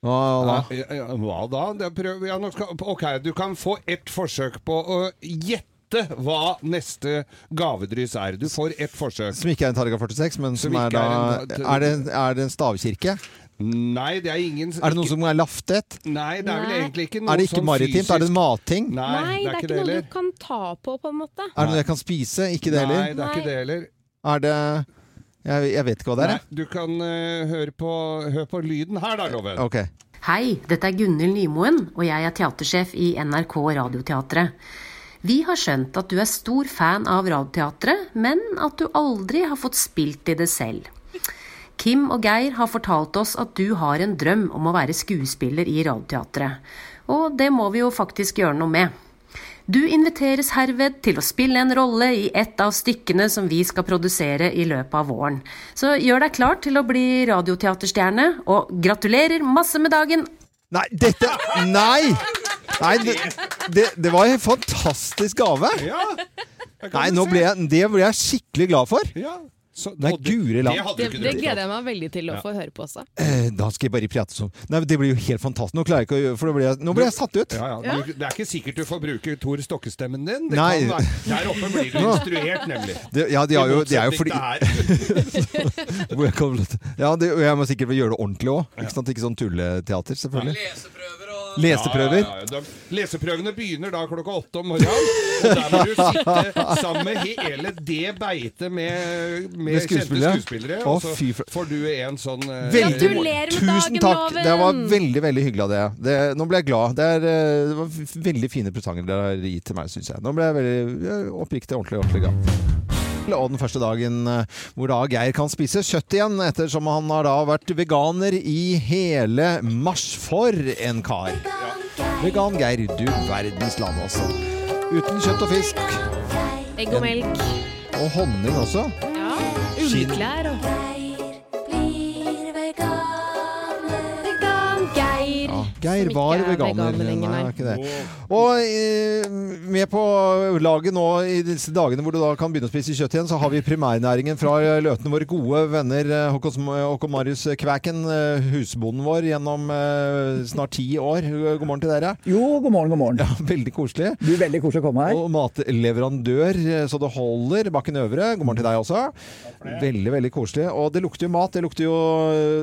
S1: hva da?
S3: Ja, ja, ja, hva da? Det prøver jeg nå skal, ok, du kan få ett forsøk på å gjette hva neste gavedryss er. Du får ett forsøk.
S1: Som ikke er en Targa 46, men som,
S3: Som
S1: er
S3: ikke
S1: da
S3: er
S1: er,
S3: en- eh,
S1: det, en- er det en stavkirke?
S3: Nei, det er ingen
S1: Er det noe som er laftet?
S3: Nei, det er vel
S6: Nei.
S3: egentlig ikke noe
S1: Er det ikke
S3: sånn
S1: maritimt?
S3: fysisk-
S1: Er det en matting?
S3: Nei,
S6: Nei, det er ikke
S3: det
S6: noe
S3: heller.
S6: du kan ta på, på en måte.
S1: Er det noe jeg kan spise? Ikke
S3: Nei,
S1: det heller.
S3: det er ikke
S6: Nei.
S3: det heller.
S1: Er det jeg, jeg vet ikke hva det er,
S3: Nei, du kan eh, høre, på, hør på lyden her, da, Loven.
S1: jeg. Ok.
S8: Hei, dette er Gunhild Nymoen, og jeg er teatersjef i NRK Radioteatret. Vi har skjønt at du er stor fan av Radioteatret, men at du aldri har fått spilt i det selv. Kim og Geir har fortalt oss at du har en drøm om å være skuespiller i Radioteatret. Og det må vi jo faktisk gjøre noe med. Du inviteres herved til å spille en rolle i et av stykkene som vi skal produsere i løpet av våren. Så gjør deg klar til å bli radioteaterstjerne, og gratulerer masse med dagen!
S1: Nei, dette Nei! Nei, det, det, det var en fantastisk gave.
S3: Ja,
S1: [laughs]
S3: jeg kan
S1: Nei,
S3: jo
S1: nå
S3: se.
S1: ble jeg, det ble jeg skikkelig glad for.
S3: ja. Så,
S1: Nei,
S3: og det-
S1: guri land.
S3: Det hadde du
S6: Det,
S3: ikke
S6: det
S3: trodd.
S6: gleder jeg meg veldig til å få høre på også.
S1: Eh, Da skal jeg bare prate som Nei, men Det blir jo helt fantastisk. Nå klarer jeg ikke å gjøre For nå ble jeg, nå ble jeg satt ut.
S3: Ja, ja. Du, det er ikke sikkert du får bruke Tor Stokkestemmen din. Det
S1: Nei.
S3: Kan være. Der oppe blir du instruert, nemlig.
S1: Det, ja, de har jo, det er jo fordi
S3: fordi
S1: Hvor jeg kommer til- Ja, det, og jeg må sikkert gjøre det ordentlig òg. Ikke, sant? ikke sånn tulleteater, selvfølgelig. Leseprøver og Leseprøver.
S3: Leseprøvene begynner da klokka åtte om morgenen. Og der må du sitte sammen med hele det beitet med, med,
S1: Med skuespillere.
S3: kjente skuespillere.
S1: Å,
S3: Og så
S1: fy fr-
S3: får du en sånn eh,
S1: Veldig-
S6: Gratulerer med dagen,
S1: Tusen takk.
S6: Loven!
S1: Det var veldig veldig hyggelig av deg. Det, nå ble jeg glad. Det, er, eh, det var f- veldig fine presanger dere har gitt til meg, syns jeg. Nå ble jeg veldig eh, oppriktig ordentlig, ordentlig glad. Og den første dagen eh, hvor da Geir kan spise kjøtt igjen, ettersom han har da vært veganer i hele mars. For en kar! Vegan Geir, du verdens land, altså. Uten kjøtt og fisk.
S6: Egg og melk.
S1: Og honning også.
S6: Ja.
S1: Skinn.
S6: Ullklær og
S9: Geir blir veganer.
S6: Vegan Geir.
S1: Ja, Geir
S2: ikke
S1: var
S2: er
S1: veganer.
S2: veganer lenger,
S1: Nei,
S2: nei.
S1: er ikke det. Og eh, med på laget nå i disse dagene hvor du da kan begynne å spise kjøtt igjen, så har vi primærnæringen fra Løten, våre gode venner eh, Håkon Sm- Håkon Marius Kvæken, eh, husbonden vår gjennom eh, snart ti år. God morgen til [laughs] dere.
S9: Jo, god morgen, god morgen.
S1: Ja, veldig koselig.
S9: Du, veldig koselig å komme her.
S1: Og matleverandør, eh, så det holder. Bakken Øvre, god morgen til deg også. Veldig, veldig koselig. Og det lukter jo mat. Det lukter jo,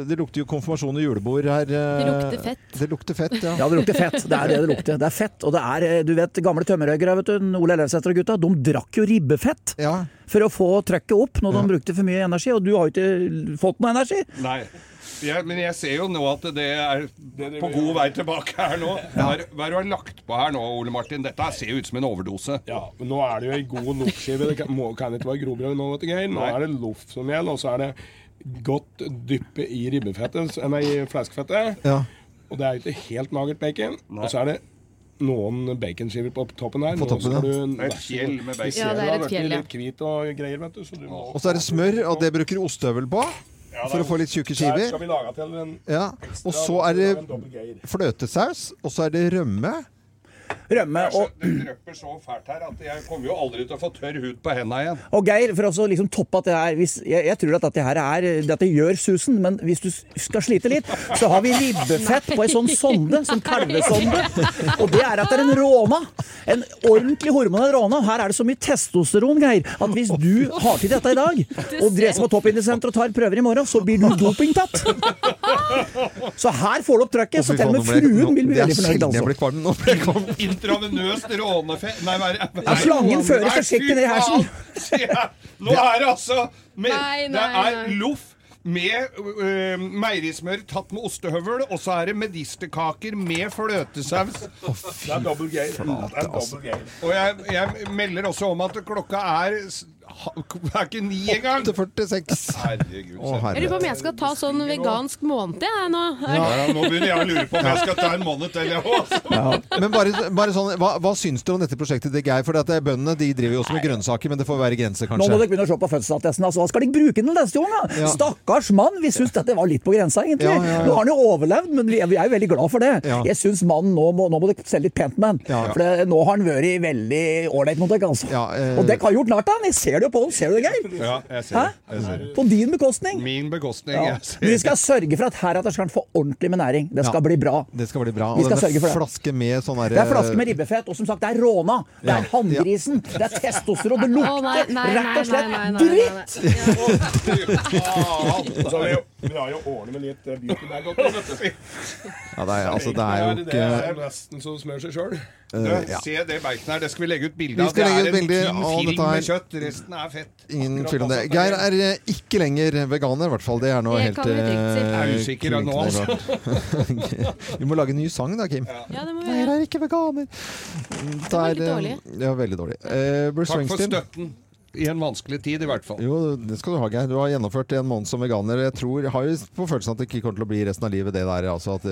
S1: det lukter jo konfirmasjon og julebord her. eh, Det
S2: lukter fett.
S1: Det lukter fett, ja.
S9: Ja, det lukter fett. Det er det det lukter. Det er fett. Og det er, eh, du vet, gamle tømmerøyere, vet du, Ole Elvesæter og gutta, de drakk jo ribbefett.
S1: Ja.
S9: For å få trøkket opp når de brukte for mye energi, og du har jo ikke fått noe energi.
S3: Nei. Jeg, men jeg ser jo nå at det er på god vei tilbake her nå. Hva er hva er det du har lagt på her nå, Ole Martin? Dette ser jo ut som en overdose.
S10: Ja, men nå er det jo ei god loffskive. Det kan, må, kan ikke være grobrød nå, vet du, Geir. Nå
S3: Nei.
S10: er det loff som igjen, og så er det godt dyppe i ribbefettet, nei, i fleskefettet.
S1: Ja.
S10: Og det er jo ikke helt magert bacon. Og så er det noen baconskiver på toppen her.
S1: På toppen, ja.
S3: Et fjell med bacon.
S2: Ja, det er et fjell, ja.
S10: ja. Litt hvit og greier, vet du, så du må...
S1: Og så er det smør, og det bruker du ostehøvel på for å få litt tjukke
S10: Der
S1: skiver.
S10: skal vi lage til en
S1: Ja. Og så er det fløtesaus, og så er det rømme.
S9: Rømme
S3: Altså,
S9: og,
S10: Det drypper så fælt her at jeg kommer jo aldri til å få tørr hud på henda igjen.
S9: og Geir, for å så liksom toppe at det her hvis, jeg, jeg tror at dette her er Dette gjør susen, men hvis du s- skal slite litt, så har vi ribbefett på ei sånn sonde, sånn kalvesonde. Og det er at det er en råna. En ordentlig hormonell råna. Her er det så mye testosteron, Geir, at hvis du har til dette i dag, og dere som er toppindisenter og tar prøver i morgen, så blir du dopingtatt. Så her får du opp trøkket, så
S1: Fy
S9: til og
S1: faen,
S9: med
S1: nå ble-
S9: fruen vil
S1: nå-
S9: bli
S1: det er
S9: veldig fornøyd.
S1: sjelden jeg
S9: altså.
S1: blir kvalm. Nå ble jeg kvalm.
S3: Intravenøst rånefe... Nei, hva er det?
S9: Ja, slangen føres
S3: Nei,
S9: forsiktig
S3: fy
S9: ned i hersen.
S3: faen, sier jeg. Nå er det altså med,
S2: Nei, nei,
S3: Det
S2: nei.
S3: er loff med øh, meierismør tatt med ostehøvel, og så er det medisterkaker med fløtesaus.
S10: Det er double gay. Det er double gay.
S3: Og jeg, jeg melder også om at klokka er s- ha- Det er ikke ni engang!
S1: 8.46.
S3: Herregud.
S2: Jeg
S3: se.
S1: Å,
S2: lurer på
S1: herre.
S2: om jeg skal ta sånn vegansk måned jeg, nå.
S3: Ja, nå begynner jeg å lure på om jeg skal ta en måned til, jeg også.
S1: Men bare, bare sånn, hva, hva syns dere om dette prosjektet til Geir? For at det er bøndene de driver jo også med grønnsaker, men det får være grenser,
S9: Nå må
S1: kanskje.
S9: dere begynne å se på fødselsattesten. Altså, hva skal de bruke den til neste gang? da?
S1: Ja.
S9: Stakkars mann! Vi syns dette var litt på grensa, egentlig.
S1: Ja, ja, ja.
S9: Nå har han jo overlevd, men vi er, vi er jo veldig glad for det.
S1: Ja.
S9: Jeg syns mannen nå må, nå må dere se litt pent med han.
S1: Ja.
S9: For det, nå har han vært veldig ålreit mot dere, altså.
S1: Ja, eh.
S9: Og dere har gjort narr av han! Jeg ser det jo på han. Ser du det, Geir?
S3: Ja, jeg
S9: Hæ?
S3: ser det. Jeg ser det.
S9: På din bekostning.
S3: Min bekostning.
S9: Ja.
S3: Jeg ser
S9: Men vi skal sørge for at heretter skal han få ordentlig med næring. Det skal
S1: Ja.
S9: bli bra.
S1: Det skal bli bra.
S9: Vi skal
S1: denne
S9: sørge for det.
S1: flaske med sånn
S9: Det er flaske med ribbefett, og som sagt, det er råna. Det
S1: Ja.
S9: er handgrisen. Det er testosteron. Det lukter
S2: Å, nei, nei, nei,
S9: rett og slett
S2: nei, nei, nei, nei, nei.
S9: dritt!
S10: Så vi, vi har jo årene med litt eh, beauty bag oppi, vet du.
S3: [laughs]
S1: Ja, det er, altså, det er jo
S10: Det
S1: ikke
S10: er nesten som smører seg sjøl.
S3: Du, Se det beinet her, det skal Eh, vi legge ut bilde
S1: Vi
S3: av.
S1: skal
S3: Det
S1: legge
S3: er
S1: ut
S3: en
S1: bilde
S3: tynn
S1: av
S3: film
S1: dette her.
S3: med kjøtt, resten er fett.
S1: Ingen tvil om det.
S3: altså,
S1: Geir er eh, ikke lenger veganer, i hvert fall. Det er nå
S2: Det
S1: helt
S2: kan vi trygt si.
S1: eh,
S3: Jeg er usikker
S1: klinkende
S3: nå, altså.
S1: klart. [laughs] Vi må lage en ny sang da, Kim.
S2: Ja, det må vi
S1: Geir
S2: gjøre.
S1: er ikke veganer. Det
S2: var
S1: er,
S2: litt
S1: eh,
S2: dårlig.
S1: Ja, veldig dårlig. Eh, Bruce
S3: Takk for
S1: Springsteen.
S3: støtten i en vanskelig tid, i hvert fall.
S1: Jo, det skal du ha, Geir. Du har gjennomført en måned som veganer. Jeg tror, jeg har jo på følelsen at det ikke kommer til å bli resten av livet, det der. Altså, at,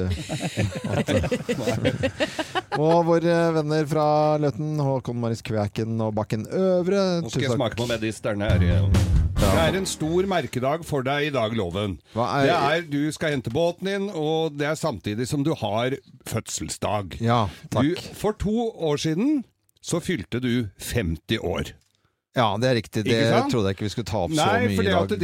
S1: at, [laughs] og våre venner fra Løten, Håkon Maris Kvæken og Bakken Øvre.
S3: Nå skal jeg
S1: tusen takk.
S3: smake på medisterne her. igjen. Det er en stor merkedag for deg i dag, Loven.
S1: Hva er-
S3: Det er Du skal hente båten din, og det er samtidig som du har fødselsdag.
S1: Ja,
S3: Du,
S1: takk.
S3: for to år siden så fylte du 50 år.
S1: Ja, det er riktig. Det
S3: Ikke sant?
S1: trodde jeg ikke vi skulle ta opp så mye
S3: Nei, for
S1: i
S3: det,
S1: dag.
S3: at det,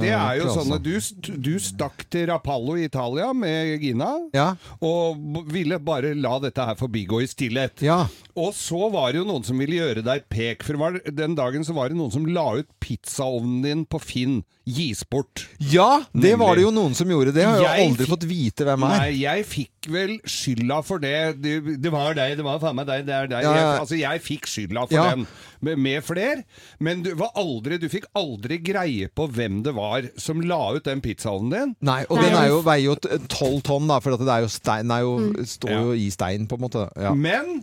S3: det er jo
S1: Klasse.
S3: sånn at du, st- du stakk til Rapallo i Italia med Gina,
S1: Ja.
S3: og b- ville bare la dette her forbigå i stillhet.
S1: Ja.
S3: Og så var det jo noen som ville gjøre deg et pek, for det var, den dagen så var det noen som la ut pizzaovnen din på Finn. Gis bort.
S1: ja, det
S3: Nemlig.
S1: var det jo noen som gjorde. Det har jeg jo
S3: Jeg
S1: aldri
S3: fikk-
S1: fått vite hvem er.
S3: Nei, jeg fikk vel skylda for det. Det, det var deg, det var faen meg deg, det er deg.
S1: Ja, ja.
S3: Jeg, altså, jeg fikk skylda for
S1: Ja.
S3: den, med, med fler. Men du, var aldri, du fikk aldri greie på hvem det var som la ut den pizzaovnen din.
S1: Nei, og den er jo, veier jo t- 12 tonn, da, for at det er jo stein, den er jo,
S3: Mm.
S1: står jo i stein, på en måte. Ja.
S3: Men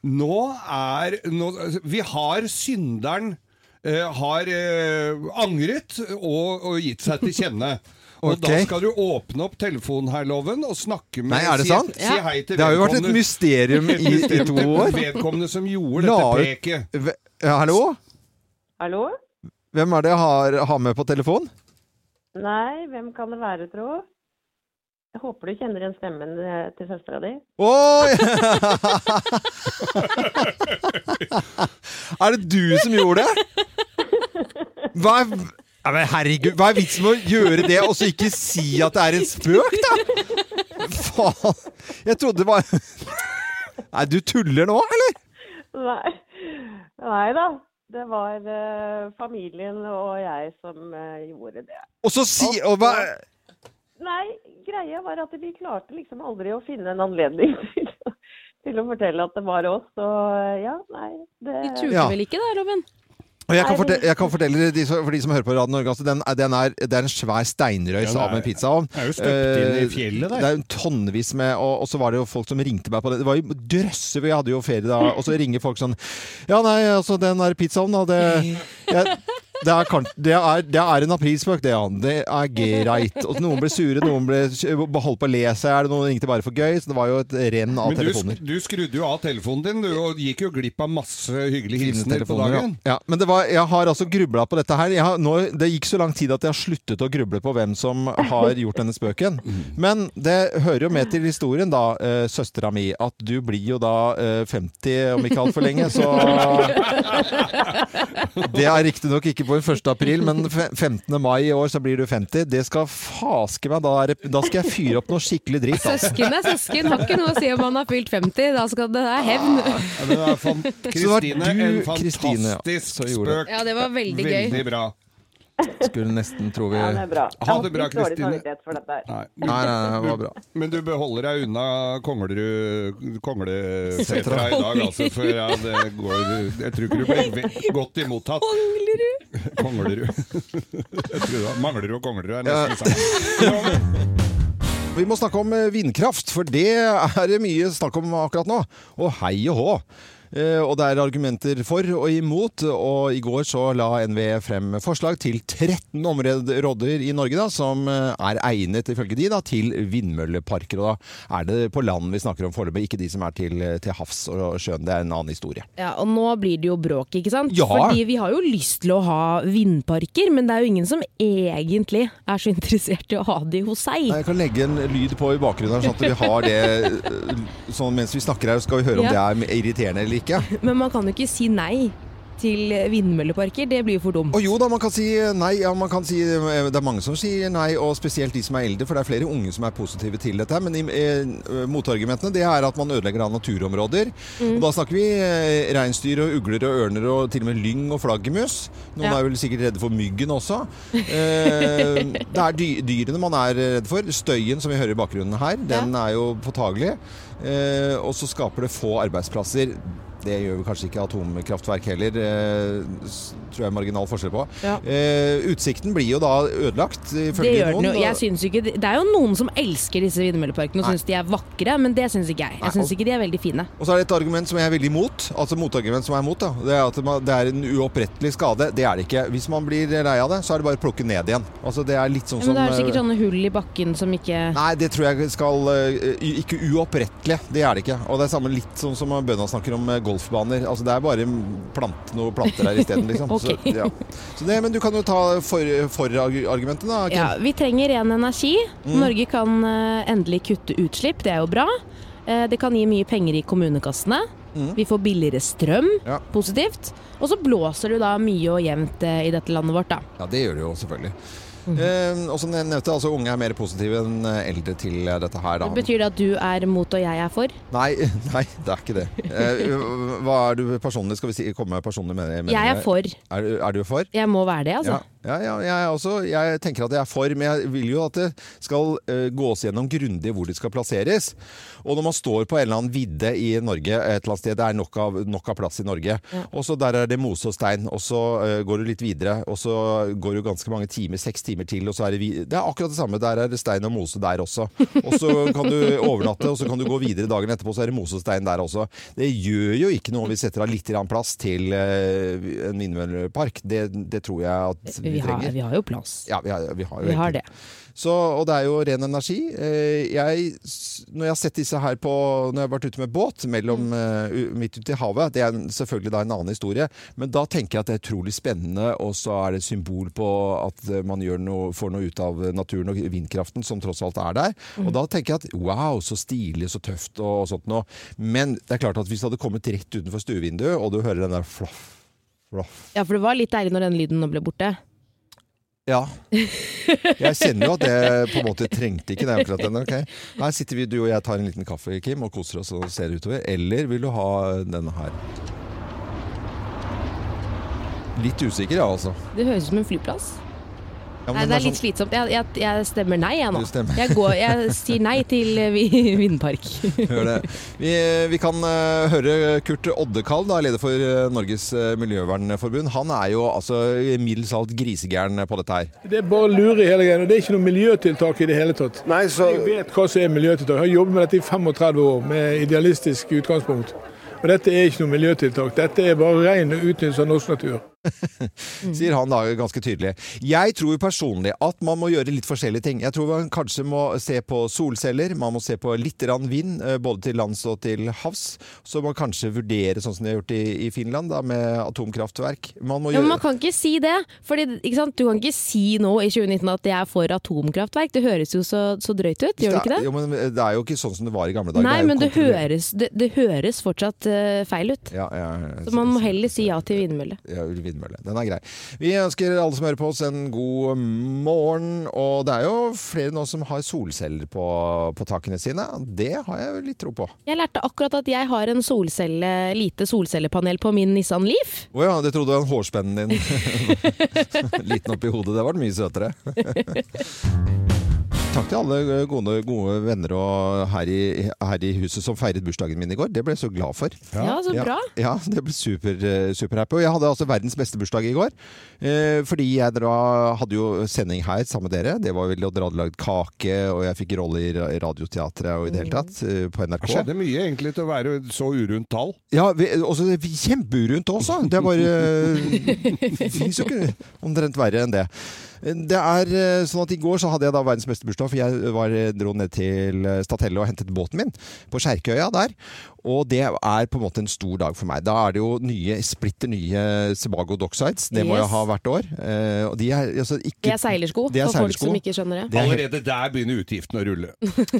S3: nå er nå, altså, Vi har synderen eh, har eh, angret og, og gitt seg til kjenne. Og
S1: Ok.
S3: da skal du åpne opp telefonen her, Loven, og snakke med
S1: Nei, er det
S3: si,
S1: sant?
S3: si hei til
S1: Det har jo vært et
S3: vedkommende-
S1: mysterium [laughs]
S3: [laughs]
S1: i, i to år.
S3: Vedkommende som gjorde
S1: La
S3: dette
S1: ut-
S3: preket.
S1: Ve- Ja, hallo?
S6: Hallo?
S1: Hvem er det jeg har, har med på telefon?
S6: Nei, hvem kan det være, tro? Jeg håper du kjenner igjen stemmen eh, til søstera di.
S1: Oi! [laughs] er det du som gjorde det? Hva er, ja, men herregud, hva er vitsen med å gjøre det og så ikke si at det er en spøk, da? Faen. Jeg trodde det var Nei, du tuller nå, eller?
S6: Nei. Nei da. Det var eh, familien og jeg som eh, gjorde det.
S1: Og så si og hva,
S6: Nei, greia var at vi klarte liksom aldri å finne en anledning [laughs] til, å- til å fortelle at det var oss. Og ja, nei det...
S2: Du turte
S1: Ja.
S2: vel ikke da, Robin?
S1: og jeg,
S2: Nei,
S1: kan
S2: men-
S1: fortelle, jeg kan fortelle de, som- for de som hører på Radio Norge, altså, den, er- den er, det er en svær steinrøys
S3: Ja, det er-
S1: av en pizzaovn.
S3: det er jo støpt inn i
S1: Eh,
S3: fjellet der.
S1: Det er jo tonnevis med og, og så var det jo folk som ringte meg på det. Det var jo drøsser, vi hadde jo ferie da. Og så ringer folk sånn Ja, nei, altså, den der pizzaovnen, da, det jeg, det er, kan- det, er, det er en aprilspøk, det, Jan. Det er greit. Og så noen ble sure, noen ble holdt på å le seg i hjel, noen ringte bare for gøy. Så det var jo et renn av
S3: Men du,
S1: telefoner.
S3: sk- du skrudde jo av telefonen din, du, og gikk jo glipp av masse hyggelige hilsener på
S1: Hilsentelefoner,
S3: dagen.
S1: Ja. ja, men det var, jeg har altså grubla på dette her. Jeg har, nå, det gikk så lang tid at jeg har sluttet å gruble på hvem som
S6: [laughs]
S1: har gjort denne spøken.
S6: Mm.
S1: Men det hører jo med til historien, da, eh, søstera mi, at du blir jo da eh, 50 om ikke altfor lenge,
S6: [laughs]
S1: så Det er riktignok ikke på 1. april, men fe- 15. mai i år så blir du 50. Det skal faske meg, da, er, det- da skal jeg fyre opp noe skikkelig dritt. altså.
S6: [laughs]
S2: Søsken er søsken, har ikke noe å si om han har fylt 50. Da skal det være hevn.
S3: Ja, men det var fan-
S1: [laughs] Så det
S3: Kristine,
S1: var du,
S3: en
S1: Kristine, ja,
S3: fantastisk
S1: som gjorde det.
S3: spøk.
S2: Ja, det var veldig gøy.
S3: Veldig bra.
S1: Skulle nesten tro vi
S6: Ja, det er bra.
S3: Ha det bra,
S6: Jeg har litt dårlig
S3: Kristine.
S6: samvittighet for dette her.
S3: Nei,
S1: Nei, nei, nei, det var bra.
S3: Men du beholder deg unna Konglerud Konglesetra i dag, altså. For ja, det går Jeg tror ikke du blir ve- godt imottatt. Konglerud. [laughs] Jeg tror det. Manglerud og Konglerud er nesten
S1: [laughs]
S3: sammen.
S1: Vi må snakke om eh, vindkraft, for det er det mye snakk om akkurat nå. Og hei og hå. Eh, Og det er argumenter for og imot, og i går så la NVE frem forslag til 13 områder i Norge da, som eh, er egnet, ifølge de, da, til vindmølleparker. Og da er det på land vi snakker om foreløpig, ikke de som er til, til havs og sjøen. Det er en annen historie.
S2: Ja, og nå blir det jo bråk, ikke sant?
S1: Ja.
S2: Fordi vi har jo lyst til å ha vindparker, men det er jo ingen som egentlig er så interessert i å ha de hos seg.
S1: Nei, Jeg kan legge en lyd på i bakgrunnen her, sånn at vi har det eh, sånn mens vi snakker her, skal vi høre om
S2: Ja.
S1: det er irriterende eller ikke.
S2: Men man kan jo ikke si nei til vindmølleparker, det blir jo for dumt.
S1: Og jo da, man kan si nei. Ja, man kan si, eh, det er mange som sier nei, og spesielt de som er eldre, for det er flere unge som er positive til dette. Men i- eh, motargumentene det er at man ødelegger da naturområder.
S3: Mm.
S1: Og da snakker vi eh, reinsdyr og ugler og ørner og til og med lyng og flaggermus. Noen
S3: Ja.
S1: er vel sikkert redde for myggen også.
S3: [laughs]
S1: Eh, det er dy dyrene man er eh, redd for. Støyen som vi hører i bakgrunnen her, den er jo påtagelig. Eh, og så skaper det få arbeidsplasser. Det gjør vel kanskje ikke atomkraftverk heller. Eh, s- tror jeg er marginal forskjell på.
S2: Ja.
S1: Eh, utsikten blir jo da ødelagt,
S2: Det
S1: ifølge
S2: gjør
S1: noen.
S2: den jo. Jeg synes jo ikke, det er jo noen som elsker disse vindmølleparkene og
S1: Nei.
S2: syns de er vakre, men det syns ikke jeg.
S1: Nei,
S2: Jeg syns
S1: og-
S2: ikke de er veldig fine.
S1: Og så er det et argument som jeg er veldig imot, altså motargument som jeg er imot, da. Det er at man- det er en uopprettelig skade. Det er det ikke. Hvis man blir lei av det, så er det bare å plukke ned igjen. Altså det er litt sånn
S2: Ja, men
S1: som
S2: det er jo
S1: eh,
S2: sikkert sånne hull i bakken som ikke
S1: Nei, det tror jeg skal eh, Ikke uopprettelig, det er det ikke. Og det er samme litt sånn som bøndene snakker om eh, golfbaner. Altså det er bare plant noen planter der isteden,
S2: [laughs]
S1: liksom.
S2: Ok.
S1: så, ja. så det, men du kan jo ta for- for-argumentet, da. Kim.
S2: Ja, vi trenger ren energi.
S1: Mm.
S2: Norge kan eh, endelig kutte utslipp, det er jo bra. Eh, det kan gi mye penger i kommunekassene.
S1: Mm.
S2: Vi får billigere strøm,
S1: Ja.
S2: positivt. Og så blåser det jo da mye og jevnt eh, i dette landet vårt, da.
S1: Ja, det gjør det jo selvfølgelig.
S2: Mhm.
S1: Eh, og som jeg nevnte, altså unge er mer positive enn eh, eldre til eh, dette her, da.
S2: Betyr det at du er mot og jeg er for?
S1: Nei, [laughs] nei, det er ikke det. Eh, hva er du personlig? Skal vi si, komme med personlige men- meninger?
S2: Jeg er for.
S1: Er, du- er du for?
S2: Jeg må være det, altså.
S1: Ja, ja, ja jeg, er også, jeg tenker at jeg er for, men jeg vil jo at det skal eh, gås gjennom grundig hvor det skal plasseres. Og når man står på en eller annen vidde i Norge et eller annet sted, det er nok av, nok av plass i Norge, og så der er det mose og stein, og så eh, går du litt videre, og så eh, går du ganske mange timer, seks timer til, og så er det, vi- det er akkurat det samme, der er det stein og mose der også. Og så kan du overnatte, og så kan du gå videre dagen etterpå, så er det mose og stein der også. Det gjør jo ikke noe om vi setter av litt grann plass til eh, en vindmøllepark, det, det tror jeg at vi,
S2: Vi har,
S1: trenger.
S2: vi har jo plass.
S1: Ja, vi har, vi har jo
S2: Vi har
S1: egentlig-
S2: det.
S1: Så, og det er jo ren energi. Eh, Jeg, s- når jeg har sett disse her på, når jeg har vært ute med båt mellom, eh, u- midt ute i havet, det er en- selvfølgelig da en annen historie, men da tenker jeg at det er utrolig spennende, og så er det et symbol på at eh, man gjør gjør noe, får noe ut av naturen og vindkraften som tross alt er der. Og da tenker jeg at wow, så stilig, så tøft og sånt noe. Men det er klart at hvis det hadde kommet rett utenfor stuevinduet, og du hører den der flaff, flaff
S2: Ja, for det var litt deilig når den lyden nå ble borte.
S1: Ja. Jeg kjenner jo at jeg på en måte trengte ikke det. akkurat den, ok? Her sitter vi, du og jeg tar en liten kaffe, Kim, og koser oss og ser utover. Eller vil du ha denne her? Litt usikker, ja, altså.
S2: Det høres ut som en flyplass.
S1: Ja, men
S2: nei,
S1: den
S2: det
S1: er sånn,
S2: er litt slitsomt. Jeg, jeg, jeg stemmer nei, jeg nå.
S1: Du stemmer.
S2: Jeg, går, jeg sier nei til eh, vi- [laughs] vindpark.
S1: Gjør det. Vi, vi kan eh, høre Kurt Oddekall, da, leder for eh, Norges eh, miljøvernforbund. Han er jo altså mildt salt grisegæren på dette her.
S10: Det er bare lure i hele greia. og Det er ikke noe miljøtiltak i det hele tatt. Jeg vet hva som er miljøtiltak. Jeg har jobbet med dette i 35 år, med idealistisk utgangspunkt. Og dette er ikke noe miljøtiltak. Dette er bare ren utnyttelse av norsk natur.
S2: Mm.
S1: sier han da ganske tydelig. Jeg tror personlig at man må gjøre litt forskjellige ting. Jeg tror man kanskje må se på solceller, man må se på litt grann vind, eh, både til lands og til havs. Så man kanskje vurdere sånn som de har gjort i, i Finland, da, med atomkraftverk. Man må
S2: Ja, men
S1: gjøre
S2: man kan ikke si det. Fordi, ikke sant? Du kan ikke si nå i 2019 at jeg er for atomkraftverk. Det høres jo så, så drøyt ut, gjør det ikke det?
S1: Jo, men det er jo ikke sånn som det var i gamle dager.
S2: Nei,
S1: er jo
S2: men det
S1: kontrollert.
S2: høres, det, det høres fortsatt eh, feil ut.
S1: Ja, ja,
S2: Så man må heller si ja til vindmølle.
S1: Ja, vindmølle. Den er grei. Vi ønsker alle som hører på oss en god morgen. Og det er jo flere nå som har solceller på, på takene sine. Det har jeg jo litt tro på.
S2: Jeg lærte akkurat at jeg har en solcelle, lite solcellepanel på min Nissan Leaf.
S1: Å ja, det trodde jeg var hårspennen din. [laughs] Liten oppi hodet. Det var mye søtere. [laughs] Takk til alle gode, gode venner og her i, her i huset som feiret bursdagen min i går. Det ble jeg så glad for.
S2: Ja, så bra.
S1: Ja, det ble super, eh, superhappy. Og jeg hadde altså verdens beste bursdag i går. Eh, fordi jeg dra, hadde jo sending her sammen med dere. Det var veldig å dra lagd kake, og jeg fikk rolle i ra- radioteatret og i
S2: Mm.
S1: det hele tatt eh, på NRK.
S3: Det skjedde mye egentlig til å være så urundt tall.
S1: Ja, vi- også det er kjempeurundt også. Det er eh, bare Det fins jo ikke omtrent verre enn det. Det er eh, sånn at I går så hadde jeg da verdens beste bursdag, for jeg var, dro ned til eh, Stathelle og hentet båten min på Skjerkøya der. Og det er på en måte en stor dag for meg. Da er det jo nye, splitter nye Sebago Docksides. Det må
S2: Yes.
S1: jeg ha hvert år. Eh, Og de er, altså, ikke,
S2: Det er seilersko,
S1: Det er
S2: for folk
S1: seilersko.
S2: som ikke skjønner det.
S1: Det er helt-
S3: Allerede der begynner utgiftene å rulle.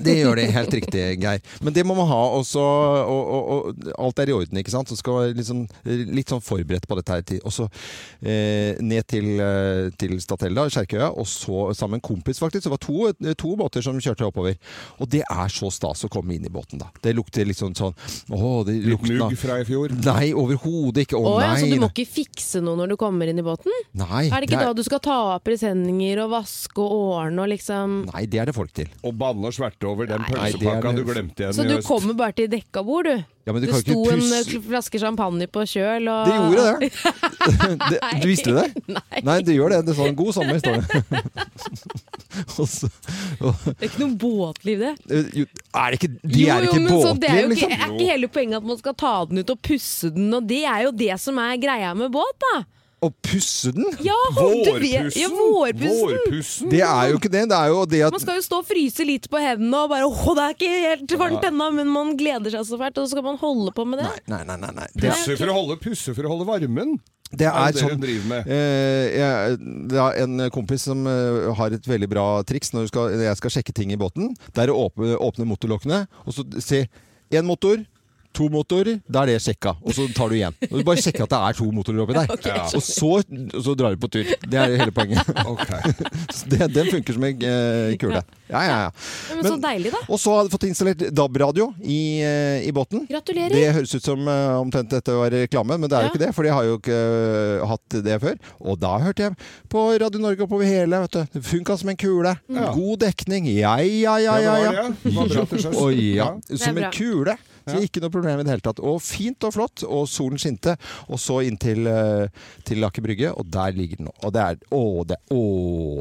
S1: Det gjør det, helt riktig, Geir. Men det må man ha også, og, og, og alt er i orden, ikke sant? Så skal man være litt sånn- litt sånn forberedt på dette her. til- Og så eh, ned til, eh, til Statella, Kjerkøya, og så sammen med en kompis faktisk. Det var to, to båter som kjørte oppover. Og det er så stas å komme inn i båten da. Det lukter liksom sånn, åh, det
S3: Litt
S1: lukter
S3: mugg fra i fjor.
S1: Nei, overhodet ikke. Å
S2: Å ja, så du
S1: nei.
S2: må ikke fikse noe når du kommer inn i båten?
S1: Nei,
S2: er det ikke
S1: det er-
S2: da du skal ta av presenninger og vaske og ordne og liksom
S1: Nei, det er det folk til.
S3: Og banne og sverte over den
S1: Nei, det er
S3: pølsepakka du
S1: det-
S3: glemte igjen
S2: Så du
S3: i øst.
S2: kommer bare til dekka bord, du?
S1: Ja, men du
S2: det
S1: kan jo
S2: sto
S1: ikke
S2: en
S1: pus-
S2: eh, flaske champagne på kjøl og
S1: Det gjorde det. [laughs] det du visste det?
S2: Ah. [laughs] Nei.
S1: Nei, det gjør det. Det står en god sommer, står det.
S2: [laughs]
S1: og så, og,
S2: Det er ikke noe båtliv, det.
S1: Eh, jo, Er det ikke, de er ikke
S2: men så det er,
S1: båtliv,
S2: jo ikke,
S1: liksom?
S2: er ikke hele poenget at man skal ta den ut og pusse den, og det er jo det som er greia med båt, da.
S1: Og pusse den?
S2: Ja, holdt det ved- ja, vårpussen. Vårpussen.
S1: Det er jo ikke det. Det er jo det at
S2: Man skal jo stå og fryse litt på hendene og bare åh, det er ikke helt varmt ennå, men man gleder seg så fælt, og så skal man holde på med det.
S1: Nei, nei, nei. nei. Det,
S3: Pusse for å holde, pusse for å holde varmen.
S1: det er
S3: det
S1: sånn
S3: hun driver med.
S1: eh, jeg, Det er en kompis som eh, har et veldig bra triks når du skal, når jeg skal sjekke ting i båten. Det er å åpne, åpne motorlokkene og så se én motor. To motorer, da er det sjekka, og så tar du igjen. Og du bare sjekker at det er to motorer
S2: [laughs]
S1: oppi der.
S3: Ok, jeg skjønner.
S1: Og så, og så drar du på tur. Det er hele poenget. [laughs] Så det, den funker som en eh, kule. Ja, ja, ja.
S2: Ja, men så deilig, da.
S1: Og så hadde jeg fått installert DAB-radio i, eh, i båten.
S2: Gratulerer.
S1: Det høres ut som eh, omtrent dette var reklame, men det er jo
S2: Ja.
S1: ikke det. For de har jo ikke eh, hatt det før. Og da hørte jeg på Radio Norge oppover hele. Vet du. Det Funka som en kule.
S2: Mm.
S3: Ja.
S1: God dekning. Ja, ja, ja. ja,
S3: Ja, det
S1: ja.
S3: var det. Det var bra til sjøs.
S1: Oi, ja.
S3: Ja.
S1: Som
S3: Det er
S1: en
S3: bra.
S1: kule. Så ikke noe problem i det hele tatt. Og fint og flott, og solen skinte. Og så inn til, eh, til Aker Brygge, og der ligger den nå. Og det er Å, det, å,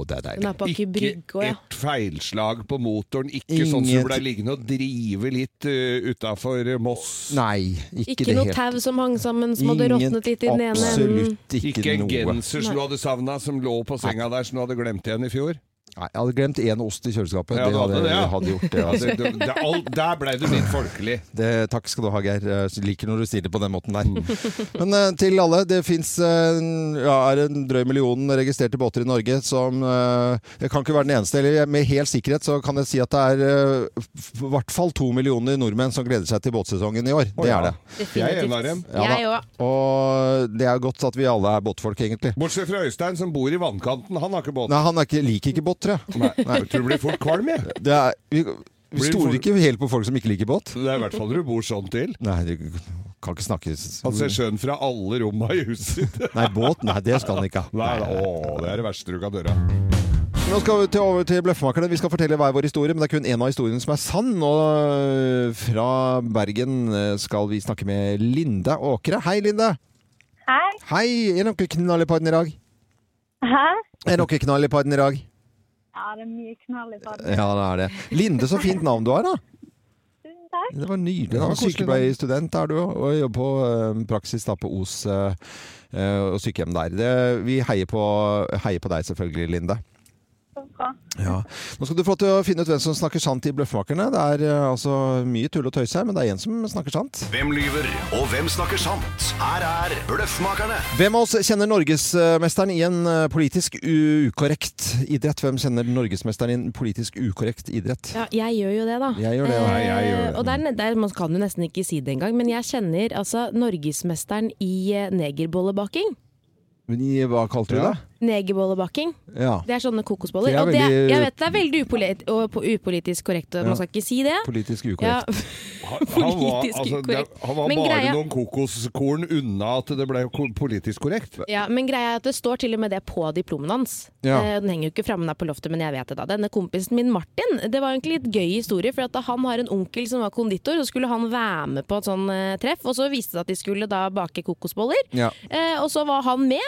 S1: det er deilig.
S2: Den er på Aker Brygge òg, ja.
S3: Et feilslag på motoren, ikke sånn som
S1: Inget-
S3: du ble liggende og drive litt uh, utafor Moss.
S1: Nei, ikke,
S2: Ikke
S1: det
S2: noe
S1: helt.
S2: tau som hang sammen som hadde råtnet litt i den ene enden.
S1: Absolutt ikke
S3: en
S1: noe.
S3: genser som
S2: Nei.
S3: du hadde savna, som lå på senga der som du hadde glemt igjen i fjor.
S1: Nei, jeg hadde glemt én ost i kjøleskapet.
S3: Ja, du
S1: det
S3: hadde
S1: hadde,
S3: det, ja.
S1: jeg hadde gjort det.
S3: [laughs] Ja, det- det- det- alt- der ble du litt folkelig.
S1: Det, takk skal du ha, Geir. Jeg liker når du sier det på den måten der.
S3: Mm.
S1: [laughs] Men eh, til alle. Det fins ja, er en drøy million registrerte båter i Norge som eh, Jeg kan ikke være den eneste. Eller jeg- med hel sikkerhet så kan jeg si at det er eh, f- i hvert fall to millioner nordmenn som gleder seg til båtsesongen i år.
S3: Å,
S1: Det
S3: ja.
S1: er det.
S3: Definitivt. Jeg er en av dem.
S1: da.
S3: Jeg òg.
S1: Og det er godt at vi alle er båtfolk, egentlig.
S3: Bortsett fra Øystein som bor i vannkanten, han har ikke båt.
S1: Nei, han er ikke, liker ikke båt, tror jeg.
S3: Nei, jeg tror du blir fort kvalm, jeg.
S1: Det er, vi vi
S3: Blir
S1: stoler
S3: for-
S1: ikke helt på folk som ikke liker båt.
S3: Det er i hvert fall du bor sånn til.
S1: Nei, du kan ikke snakke
S3: Han ser sjøen fra alle romma i huset sitt.
S1: Nei, båt? Nei, det skal han ikke ha.
S3: [laughs] Nei, å, det er det verste du kan gjøre.
S1: Nå skal vi til, over til Bløffmakerne. Vi skal fortelle hver vår historie, men det er kun én av historiene som er sann. Og øh, fra Bergen øh, skal vi snakke med Linda Åkre. Hei, Linda.
S6: Hei.
S1: Hei. Er dere knall i padden i dag?
S6: Hæ?
S1: Er dere knall i padden i dag?
S6: Ja, det er mye knall i baden.
S1: Ja, det er det. Linde, så fint navn du har, da.
S6: Tusen takk.
S1: Det var nydelig.
S6: Det var
S1: da.
S6: koselig
S1: Sykepleierstudent er du, og jobber på eh, praksis da på Os eh, eh, og sykehjem der. Det, vi heier på, heier på deg selvfølgelig, Linde. Ja. Nå skal du få lov til å finne ut hvem som snakker sant i Bløffmakerne. Det er eh, altså mye tull og tøys her, men det er én som snakker sant.
S5: Hvem lyver, og hvem snakker sant? Her er Bløffmakerne.
S1: Hvem av oss kjenner norgesmesteren i en eh, politisk u- ukorrekt idrett? Hvem kjenner norgesmesteren i en politisk ukorrekt idrett?
S2: Ja, jeg gjør jo det, da.
S1: Jeg gjør det, ja. Nei, jeg gjør det.
S2: Eh, Og der, der, man kan jo nesten ikke si det engang, men jeg kjenner altså norgesmesteren i eh, negerbollebaking.
S1: Men i- Hva kalte du det?
S2: Negerbollebaking.
S1: Ja.
S2: Det er sånne kokosboller.
S1: Det er
S2: og det,
S1: veldig-
S2: jeg vet det er veldig upolit og po- upolitisk korrekt, og
S1: Ja.
S2: man skal ikke si det.
S1: Politisk
S2: Ja.
S1: ukorrekt.
S3: Han han var,
S2: Politisk
S3: altså, det,
S2: ukorrekt.
S3: han var
S2: Men
S3: bare
S2: greia-
S3: noen kokoskorn unna at det ble ko- politisk korrekt.
S2: Ja, men greia er at det står til og med det på diplomet hans.
S3: Ja.
S2: Eh, Den henger jo ikke framme der på loftet, men jeg vet det da. Denne kompisen min Martin, det var egentlig litt gøy historie. For at da han har en onkel som var konditor, så skulle han være med på et sånn eh, treff. Og så viste det seg at de skulle da bake kokosboller.
S1: Ja. Mhm.
S2: Eh, og så var han med,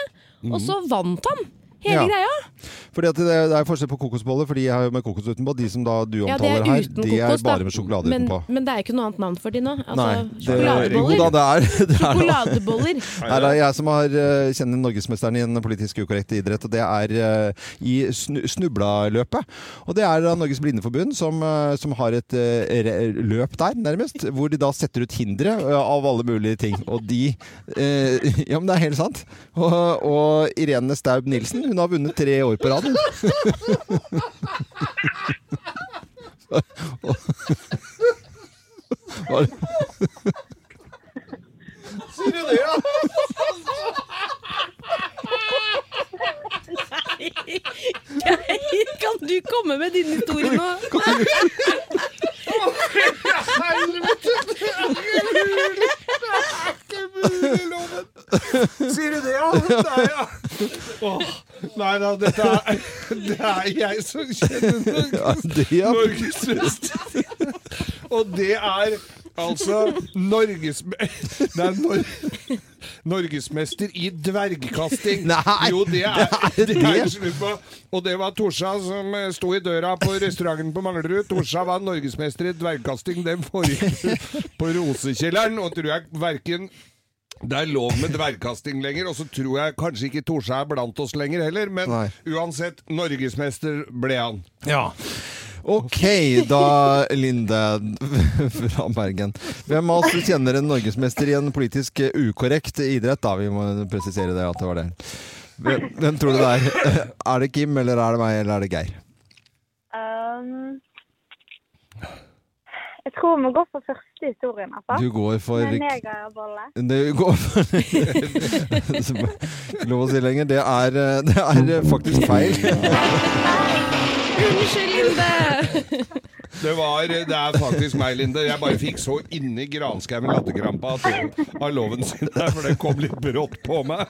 S2: og så vant han hele
S1: Ja.
S2: greia.
S1: Fordi at det, det er forskjell på kokosboller, for de er jo med kokos utenpå. De som da du
S2: det
S1: omtaler
S2: er
S1: her,
S2: uten
S1: de er
S2: kokos, da.
S1: bare med sjokolade
S2: men,
S1: utenpå.
S2: Men det er jo ikke noe annet navn for de nå. Altså,
S1: Nei, det, jo
S2: sjokoladeboller.
S1: da, det er, [laughs] det er
S2: Sjokoladeboller.
S1: [laughs] Nei, det er jeg som har, eh, kjenner norgesmesteren i en politisk ukorrekt idrett, og det er eh, i snu, snublaløpet. Og det er da Norges Blindeforbund som, eh, som har et eh, re- løp der, nærmest, hvor de da setter ut hindre eh, av alle mulige ting. Og de eh, [laughs] Ja, men det er helt sant. Og, og Irene Staub Nilsen, hun har vunnet tre år på [laughs] rad. [laughs] Var
S3: Sier du det, ja?
S2: Nei, Geir, kan du komme med din historie nå?
S3: [laughs] Sier du det, ja? Nei, ja. Åh, nei da, dette er, [laughs] det er jeg som kjenner
S1: Ja, det er-
S3: Norges beste. Og det er altså Norges... Det er Nor Norgesmester i dvergkasting.
S1: Nei,
S3: jo, det er
S1: det er
S3: det. er
S1: det.
S3: slutt på. Og det var Torsa som eh, sto i døra på restauranten på Manglerud. Torsa var norgesmester i dvergkasting. Den forrige på Rosekjelleren, og tror jeg verken det er lov med dvergkasting lenger, og så tror jeg kanskje ikke Torsa er blant oss lenger heller, men
S1: Nei.
S3: uansett, norgesmester ble han.
S1: Ja. Ok, da, Linde [laughs] fra Bergen. Hvem av oss kjenner en norgesmester i en politisk eh, ukorrekt idrett? Da, Vi må presisere det, at det var det. Hvem, hvem tror du det er? [laughs] Er det Kim, eller er det meg, eller er det Geir?
S6: Um, jeg tror vi går for første historien, altså.
S1: Du går for-
S6: Med negerbolle.
S1: [laughs] Det går Ikke [laughs] lov å si lenger. Det er, eh, det er eh, faktisk feil.
S2: Unnskyld, Linde!
S3: Det, var, det er faktisk meg, Linde. Jeg bare fikk så inni granskauen latterkrampa til- av loven sin der, for den kom litt brått på meg.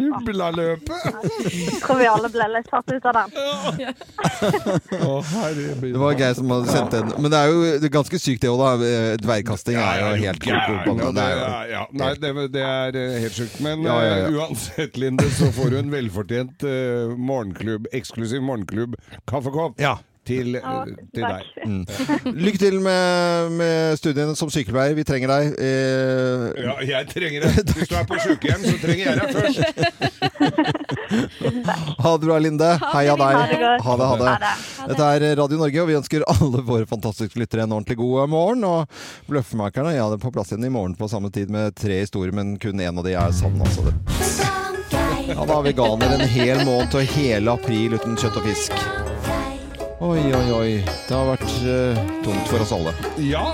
S3: Snublaløpet!
S6: Jeg tror vi alle ble litt tatt ut av den.
S1: Det var Geir som hadde sendt den. Men det er jo det er ganske sykt, det òg, da. Eh, Dvergkasting er jo helt koko.
S3: Ja,
S1: Det
S3: det,
S1: er jo
S3: er- ja. Nei, det, det er eh, helt sjukt. Men
S1: Ja, ja, ja.
S3: eh, uansett, Linde, så får du en velfortjent eh, morgenklubb, eksklusiv morgenklubb-kaffekopp. til,
S11: Ja,
S3: til deg.
S1: Mm. Lykke til med, med studiene som sykepleier. Vi trenger deg. Eh,
S3: Ja, jeg trenger det. Hvis du er på sykehjem, så trenger jeg deg først.
S1: Ha det bra, Linde. Heia deg.
S3: Ha det godt.
S1: Ha det, ha
S3: Ha
S1: det. Dette er Radio Norge, og vi ønsker alle våre fantastiske lyttere en ordentlig god morgen. Og Bløffmakerne ja, det er på plass igjen i morgen på samme tid med tre historier, men kun én av de er sann. Altså. Ja, da har veganer en hel måned og hele april uten kjøtt og fisk. Oi, oi, oi. Det har vært eh, tungt for oss alle.
S3: Ja.